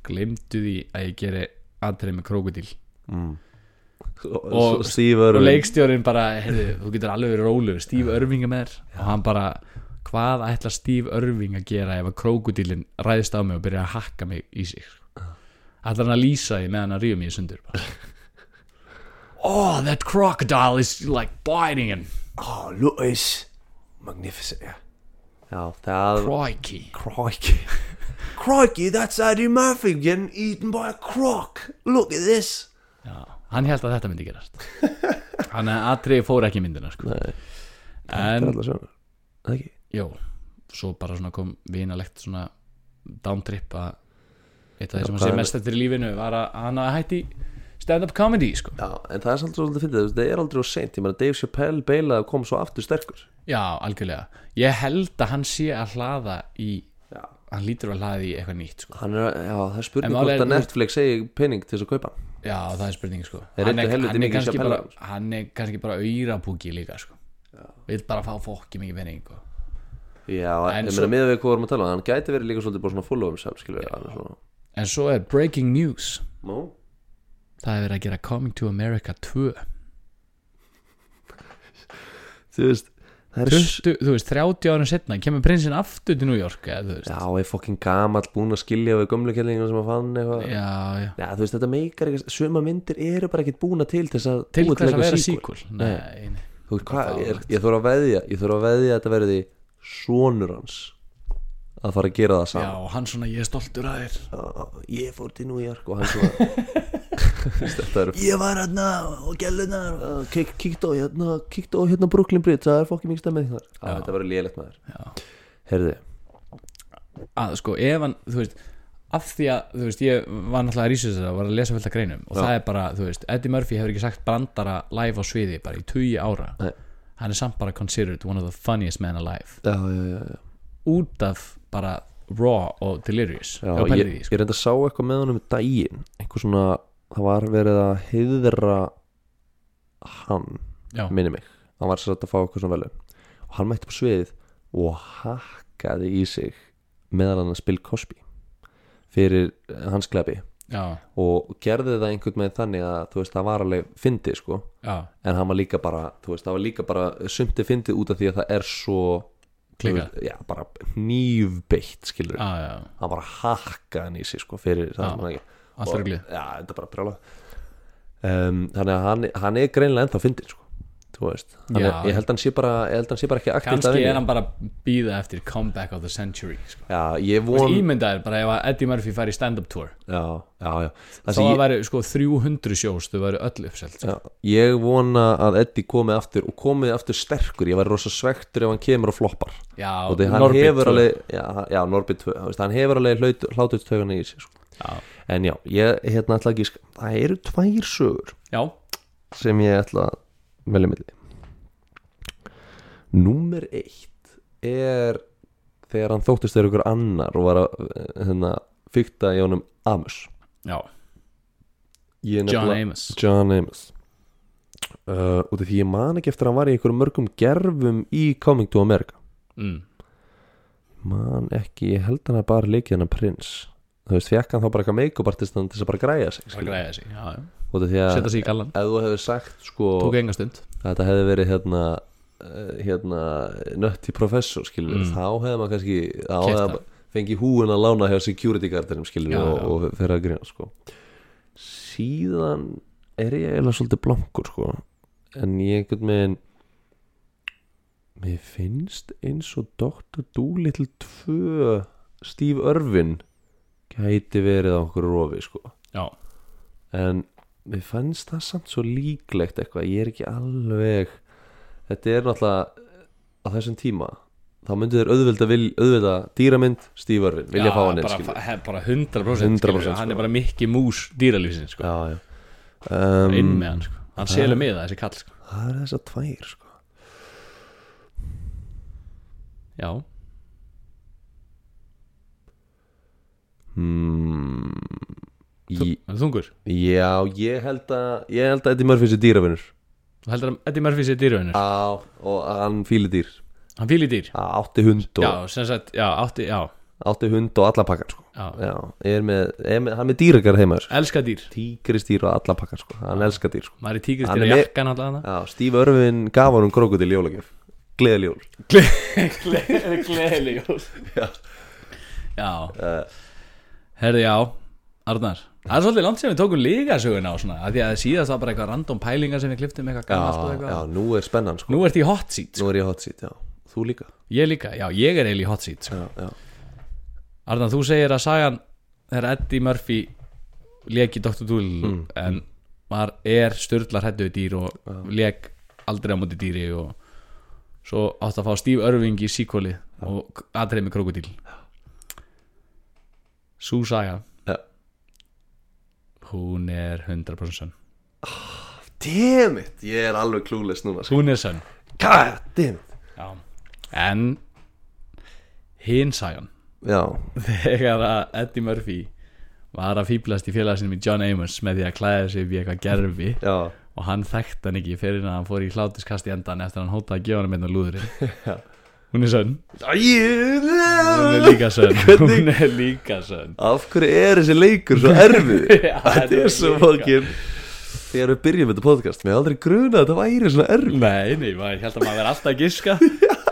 Speaker 1: glimtu því að ég geri atriði með Krokodil
Speaker 2: mm.
Speaker 1: Og-
Speaker 2: og Steve
Speaker 1: og
Speaker 2: Irwin
Speaker 1: leikstjórin bara, heyrðu, þú getur alveg verið rólegur Steve Irving er með þér og hann bara, hvað ætlar Steve Irving að gera ef að krókudílinn ræðist á mig og byrja að hakka mig í sig sko? ætlar hann að lýsa því meðan hann ríða mig í sundur bara. oh, that crocodile is like biting and
Speaker 2: oh, Louis Magnificent já, já það
Speaker 1: crikey
Speaker 2: Crikey Crikey, that's Eddie Murphy getting eaten by a croc Look at this
Speaker 1: Já, hann held að þetta myndi gerast hann að atriði fór ekki í myndina sko.
Speaker 2: Nei,
Speaker 1: en,
Speaker 2: alltaf sjónar Það ekki
Speaker 1: já, svo bara svona kom vinalegt svona downtrip að eitt af því
Speaker 2: Já,
Speaker 1: sem hann
Speaker 2: hvað
Speaker 1: sé
Speaker 2: er-
Speaker 1: mest eftir í lífinu var að hann að hætti stand-up comedy sko.
Speaker 2: Já, en það er samt svolítið fyrir það Það er aldrei of seint Ég meina Dave Chappelle beilaði að koma svo aftur sterkur
Speaker 1: já, algjörlega, ég held að hann sé að hlaða í
Speaker 2: Já
Speaker 1: hann lítur að hlaða í eitthvað nýtt sko.
Speaker 2: Hann er, að- já, það er
Speaker 1: En
Speaker 2: spurning
Speaker 1: málið
Speaker 2: hvort
Speaker 1: er-
Speaker 2: að Netflix segi pening til þess að kaupa hann.
Speaker 1: já, það er spurning sko.
Speaker 2: Er
Speaker 1: hann,
Speaker 2: þetta
Speaker 1: er,
Speaker 2: helviti
Speaker 1: hann, er
Speaker 2: mikið
Speaker 1: kannski
Speaker 2: Chappelle sko.
Speaker 1: bara, hann er kannski bara auðrapúki líka sko. vil bara fá fólki mikið penning sko.
Speaker 2: Já,
Speaker 1: En
Speaker 2: en ég
Speaker 1: svo-
Speaker 2: meina miðað við hvað við vorum að tala um, Hann gæti verið líka svolítið bara svona full of himself Skilur við, hann er svona
Speaker 1: en svo er breaking news
Speaker 2: Nú
Speaker 1: það hefur verið að gera Coming to America 2
Speaker 2: Þú veist Það er
Speaker 1: 20, þú veist, 30 árum setna kemur prinsinn aftur til New York eða, þú veist,
Speaker 2: Já, ég er fokkin gamall búin að skilja við gömlukellingum sem að fann eitthvað
Speaker 1: já, já,
Speaker 2: Já, þú veist, þetta meikar ekki, suma myndir eru bara ekkert búna til til þess að
Speaker 1: til
Speaker 2: búa
Speaker 1: hvers að
Speaker 2: eitthvað
Speaker 1: vera
Speaker 2: sequel.
Speaker 1: síkul nei, nei,
Speaker 2: Þú veist, hvað,
Speaker 1: Það er
Speaker 2: ég, ég þarf að veðja, ég þarf að veðja að þetta verði sonur hans að fara að gera það
Speaker 1: já,
Speaker 2: saman.
Speaker 1: hann svona, ég er stoltur að þér
Speaker 2: Já. Ég fór til New York og Sko, hann svona, Þú veist, þetta eru,
Speaker 1: ég var hérna og gælunar
Speaker 2: uh, kík, kíkt á hérna, kíkt á hérna Brooklyn Bridge, það er fokkið mikið stemmið þar. Já, þetta verður lélegt maður.
Speaker 1: Já.
Speaker 2: Herði,
Speaker 1: að, sko, ef hann, þú veist af því að, þú veist, ég var náttúrulega að rísa þess að var að lesa fullt af greinum og
Speaker 2: Já.
Speaker 1: það er bara, þú veist, Eddie Murphy hefur ekki sagt brandara live á sviði bara í 20 ára
Speaker 2: Nei.
Speaker 1: hann er samt bara considered one of the funniest men alive
Speaker 2: já, já, já, já.
Speaker 1: út af bara raw og delirious
Speaker 2: Já,
Speaker 1: og
Speaker 2: ég,
Speaker 1: pælir því, sko.
Speaker 2: ég reynda að sá eitthvað með honum um daginn, einhver svona, það var verið að heiðra hann
Speaker 1: sko. já,
Speaker 2: minni mig hann var sér að fá eitthvað svona velum og hann mætti upp á sviðið og hakkaði í sig meðal hann að spil Cosby fyrir eh, hans glebi
Speaker 1: já,
Speaker 2: og gerði það einhvern veginn þannig að þú veist það var alveg fyndið sko
Speaker 1: já
Speaker 2: en hann var líka bara, þú veist það var líka bara sumti fyndið út af því að það er svo þú
Speaker 1: Klikkað.
Speaker 2: veist, já, bara nýfbeitt skilur
Speaker 1: já, já, já,
Speaker 2: hann var að hakka hann í sig sko fyrir það
Speaker 1: Já.
Speaker 2: sem hann ekki
Speaker 1: allt
Speaker 2: og,
Speaker 1: reglið
Speaker 2: já, þetta er bara brjála um, þannig að hann, hann er greinlega ennþá fyndin sko. þú veist Hann
Speaker 1: Já.
Speaker 2: er, ég, held hann sé bara, ég held hann sé bara ekki aktivt að
Speaker 1: kannski er
Speaker 2: vinna
Speaker 1: hann bara að býða eftir comeback of the century sko.
Speaker 2: já, ég
Speaker 1: Þú veist,
Speaker 2: von
Speaker 1: ímyndaðir bara ef að Eddie Murphy fær í stand-up tour
Speaker 2: já, já, já.
Speaker 1: þá
Speaker 2: Þessi,
Speaker 1: ég...
Speaker 2: ég,
Speaker 1: væri sko 300 sjós þau væri öll uppselt
Speaker 2: já, ég vona að Eddie komi aftur og komið aftur sterkur ég væri rosa svektur ef hann kemur og floppar
Speaker 1: já,
Speaker 2: og því hann
Speaker 1: Norbit
Speaker 2: hefur
Speaker 1: tour.
Speaker 2: alveg já, já Norbit 2, þú veist, hann hefur alveg hlaut, hlátur tökana í sig sko.
Speaker 1: já,
Speaker 2: en já, ég hérna ætla ekki það eru tvær sögur
Speaker 1: já,
Speaker 2: sem ég ætla að velja milli Númer eitt er þegar hann þóttist þegar ykkur annar og var að eh, hérna, fykta í honum Amos
Speaker 1: já.
Speaker 2: Ég er
Speaker 1: John
Speaker 2: nefnilega-
Speaker 1: Amos
Speaker 2: John Amos uh, út af því ég man ekki eftir að hann var í ykkur mörgum gerfum í Coming to America
Speaker 1: mm.
Speaker 2: man ekki, ég held hann að bara leikið hann að prins þú veist, fekk hann þá bara eitthvað make-up artist til þess að bara græja sig
Speaker 1: bara græða sig, já, já.
Speaker 2: út af því að
Speaker 1: setja sig í gallan
Speaker 2: ef þú hefur sagt sko
Speaker 1: tók enga stund
Speaker 2: að þetta hefði verið hérna eh, hérna nötti professor skilur
Speaker 1: Mm.
Speaker 2: þá hefði maður kannski þá
Speaker 1: Keypt
Speaker 2: hefði
Speaker 1: það.
Speaker 2: maður fengið húin að lána hjá security guardinum skilur
Speaker 1: Já,
Speaker 2: og,
Speaker 1: já.
Speaker 2: og fyrir að grina sko síðan er ég eiginlega svolítið blankur sko en ég einhvern veginn mér finnst eins og Dr. Doolittle 2 Steve Irvin gæti verið á okkur rofi sko
Speaker 1: já,
Speaker 2: en mér fannst það samt svo líklegt eitthvað, ég er ekki alveg þetta er náttúrulega á þessum tíma þá myndu þeir auðvelda, vil, auðvelda dýramynd stífarvin, vilja
Speaker 1: já,
Speaker 2: fá hann einn
Speaker 1: bara,
Speaker 2: skilur
Speaker 1: fa- he- bara 100%,
Speaker 2: 100%
Speaker 1: skilur, hann
Speaker 2: sko.
Speaker 1: er bara mikki mús dýralífsinn sko.
Speaker 2: já, já. Um,
Speaker 1: inn með hann, sko. hann selur með það þessi kall sko.
Speaker 2: það er þess að tvær sko.
Speaker 1: já,
Speaker 2: hmm,
Speaker 1: Þú-
Speaker 2: Í-
Speaker 1: hann er þungur
Speaker 2: Já, ég held að Ég held að Eddie Murphy sé dýrafinnur
Speaker 1: Þú heldur að Eddie Murphy sé dýröðunir
Speaker 2: Já, og að hann fíli dýr
Speaker 1: Hann fíli dýr
Speaker 2: Að Átti hund og
Speaker 1: Já, sem sagt, já, átti, já,
Speaker 2: Átti hund og alla pakkar sko.
Speaker 1: já
Speaker 2: Já, er með, er með, hann er með dýrakar heima sko.
Speaker 1: Elska dýr
Speaker 2: Tígristýr og alla pakkar sko. Hann elskar dýr sko.
Speaker 1: Maður er tíkist
Speaker 2: Hann
Speaker 1: dýr að
Speaker 2: er með-
Speaker 1: jakka náttúrulega
Speaker 2: Já, Steve Irvin gaf hann um krokodil jólagjöf Gleðiljól
Speaker 1: hana Gleðileg jól
Speaker 2: Já. Eh.
Speaker 1: Já Herði, já, Arnar Það er svolítið langt sem við tókum lígasöguna á svona af Því að síðast var bara eitthvað random pælingar sem við kliftum eitthvað
Speaker 2: já,
Speaker 1: gammalt og
Speaker 2: já,
Speaker 1: eitthvað
Speaker 2: nú er spennan sko.
Speaker 1: Nú ert í hot seat sko.
Speaker 2: Nú er ég hot seat, já Þú líka
Speaker 1: Ég líka, já, ég er eiginlega í hot seat sko.
Speaker 2: Já, já,
Speaker 1: Arnar, þú segir að sagan þegar Eddie Murphy lék í Dr. Doolittle en maður er störtlar hættu við dýr og lék aldrei á móti dýri og svo átt að fá Steve Irving í síkvölið og aðreið með krokodil Sú saga
Speaker 2: Já.
Speaker 1: hún er 100% sönn
Speaker 2: Damn it, ég er alveg klúles núna sko.
Speaker 1: hún er sönn
Speaker 2: God damn it
Speaker 1: Já. en hinn sagan
Speaker 2: Já,
Speaker 1: þegar að Eddie Murphy var að fýblast í félagsinum í John Amos með því að klæða sig í eitthvað gerfi
Speaker 2: já,
Speaker 1: og hann þekkt hann ekki fyrir en að hann fór í hlátuskast í endan eftir að hann hótaði að gefa hann með lúðurinn hún er sönn hún er
Speaker 2: Æ,
Speaker 1: líka sönn hún er líka sönn
Speaker 2: Af hverju er þessi leikur svo erfið
Speaker 1: Já,
Speaker 2: Þetta er svo
Speaker 1: líka-
Speaker 2: fokkin Þegar við byrjum þetta podcast Mér aldrei gruna að þetta væri svona erfið
Speaker 1: nei, nei, maður held að maður verði alltaf að giska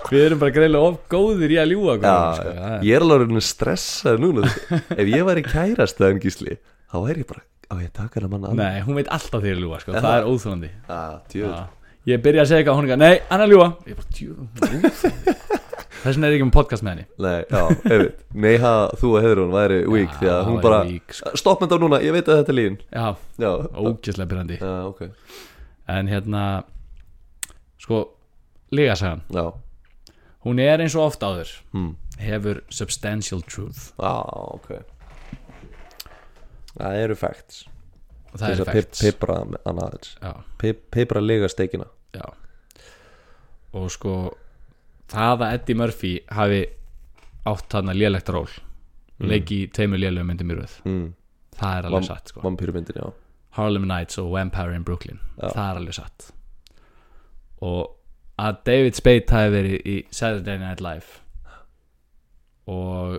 Speaker 1: við erum bara greiðlega of góðir í að ljúa
Speaker 2: Já,
Speaker 1: sko. Það er-
Speaker 2: ég er alveg orðinn stressað núna sko. Ef ég væri kærast það en gísli Þá væri ég bara, á ég að taka hana manna
Speaker 1: nei, hún veit alltaf því að ljúa sko. það er óþólandi
Speaker 2: Já,
Speaker 1: Ah.
Speaker 2: djöfull.
Speaker 1: ég byrja að segja eitthvað og hún er eitthvað, nei, hann er að ljúa ég bara, djú, þess vegna er ég ekki með podcast með henni
Speaker 2: Nei, já, einmitt Nei, ha, þú og Heðrún væri weak Því að
Speaker 1: það
Speaker 2: hún
Speaker 1: væri
Speaker 2: bara,
Speaker 1: weak, sko.
Speaker 2: stopp með þá núna Ég veit að þetta er lífin
Speaker 1: já,
Speaker 2: Já,
Speaker 1: ógæslega byrjandi
Speaker 2: já, ok
Speaker 1: en hérna sko, lígasagan
Speaker 2: Já,
Speaker 1: hún er eins og oft áður
Speaker 2: Mm.
Speaker 1: hefur substantial truth
Speaker 2: já, Ah, ok Það eru facts
Speaker 1: og það er facts
Speaker 2: Pipra annað aðeins
Speaker 1: já,
Speaker 2: Pip- Pipra lega steikina
Speaker 1: já. og sko það að Eddie Murphy hafi átt hann að lélegt ról leiki í tveimur lélegum myndum í röð
Speaker 2: Mm.
Speaker 1: það er alveg satt sko
Speaker 2: Vampýrmyndin, já
Speaker 1: Harlem Nights og Vampire in Brooklyn það er alveg satt og að David Spade hafi verið í Saturday Night Live og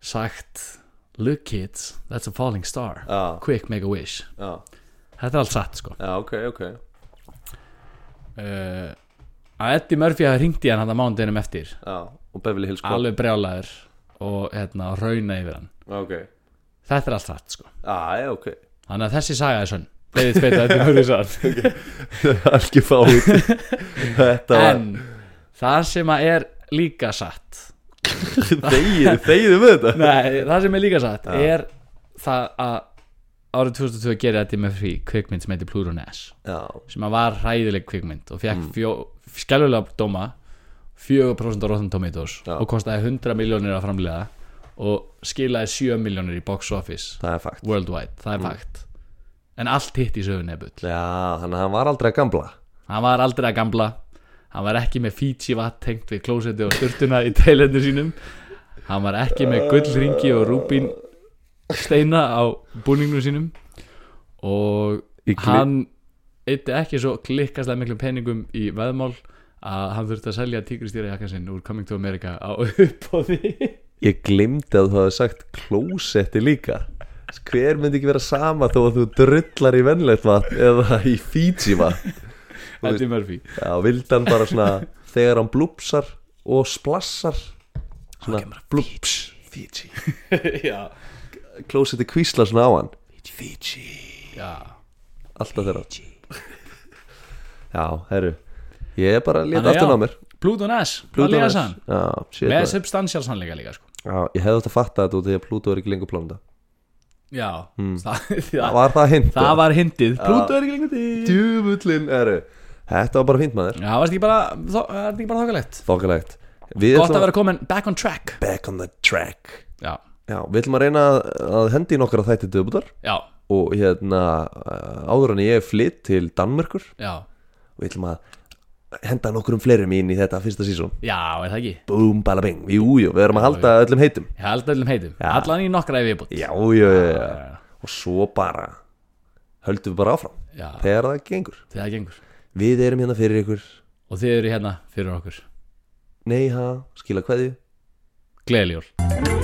Speaker 1: sagt look kids, that's a falling star
Speaker 2: Já,
Speaker 1: quick make a wish
Speaker 2: Ah, já,
Speaker 1: þetta er allt satt sko
Speaker 2: já, ok, ok
Speaker 1: uh, að Eddie Murphy hafi ringt í hann hann að mánudeginum eftir
Speaker 2: Já, Ah, og Beverly Hills Cop
Speaker 1: alveg brjálæður og hérna, rauna yfir hann
Speaker 2: Ok, Ah,
Speaker 1: þetta er allt satt sko
Speaker 2: já, já, ok
Speaker 1: þannig að þessi saga er sönn David Spade og Eddie Murphy satt
Speaker 2: algjör fáið þetta var
Speaker 1: en það sem að er líka satt
Speaker 2: þegið, þegið með þetta
Speaker 1: Nei, það sem er líka satt er það að árið 2002 gerir þetta með frí kvikmynd sem heitir Pluto Nash
Speaker 2: já,
Speaker 1: sem að var hræðileg kvikmynd og fekk mm. skjálfulega dóma 4% á Rotten Tomatoes
Speaker 2: Já.
Speaker 1: og kostaði 100 miljónir að framlega og skilaði 7 miljónir í box office
Speaker 2: það er fakt
Speaker 1: worldwide,
Speaker 2: Mm.
Speaker 1: það er fakt en allt hitt í sögunni er bull
Speaker 2: já, þannig að hann var aldrei að gamla
Speaker 1: hann var aldrei að gamla hann var ekki með Fiji vatn tengt við klósetti og styrtuna í teilendur sínum hann var ekki með gullringi og rúbín steina á búningnum sínum og
Speaker 2: Í gli-
Speaker 1: hann eitti ekki svo klikkastlega miklu peningum í veðmál að hann þurfti að selja tígristýra jakkan sinn úr Coming to America á uppóði
Speaker 2: ég glimti að þú hafði sagt klósetti líka hver myndi ekki vera sama þó að þú drullar í vennlegt vatn eða í Fiji vatn
Speaker 1: Eddie Murphy
Speaker 2: já, vildi hann bara svona þegar hann blúpsar og splassar svona blúps Fiji
Speaker 1: já,
Speaker 2: klósetti kvíslar svona á hann Fiji
Speaker 1: já,
Speaker 2: alltaf þeirra já, herru ég er bara að leta
Speaker 1: Þannig
Speaker 2: aftur
Speaker 1: já.
Speaker 2: á mér
Speaker 1: Pluto Nash Pluto
Speaker 2: Pluto
Speaker 1: Nash
Speaker 2: er- já, shit,
Speaker 1: með
Speaker 2: maður.
Speaker 1: substantial sannleika líka sko.
Speaker 2: já, ég hefði átt að fatta þetta út því að Pluto er ekki lengur plánda
Speaker 1: já, það,
Speaker 2: Hmm. það
Speaker 1: það,
Speaker 2: var það hint
Speaker 1: það var hindið Pluto er ekki lengur til
Speaker 2: djúvullin eru þetta var bara fint maður
Speaker 1: Já, það var ekki bara, þó, það var ekki bara þokkalegt
Speaker 2: þokkalegt við
Speaker 1: Gott að
Speaker 2: ætlum
Speaker 1: vera komin back on track
Speaker 2: back on the track
Speaker 1: Já,
Speaker 2: já, við ætlum að reyna að- að hendi í nokkra þætti döbutar
Speaker 1: já,
Speaker 2: og hérna eh, áður en ég flytt til Danmörkur
Speaker 1: já
Speaker 2: og við ætlum að henda nokkrum fleirum inn í þetta fyrsta sísón
Speaker 1: Já, er það ekki?
Speaker 2: boom bala bing, jújú, við erum að halda öllum heitum
Speaker 1: Ég held öllum heitum, allan í nokkra ef ég bútt
Speaker 2: já, já, já, já. og svo bara höldum við bara áfram
Speaker 1: já,
Speaker 2: þegar það gengur
Speaker 1: þegar það gengur
Speaker 2: við erum hérna fyrir ykkur
Speaker 1: og þið eru hérna fyrir okkur
Speaker 2: nei ha, skila kveðju
Speaker 1: Gleðileg jól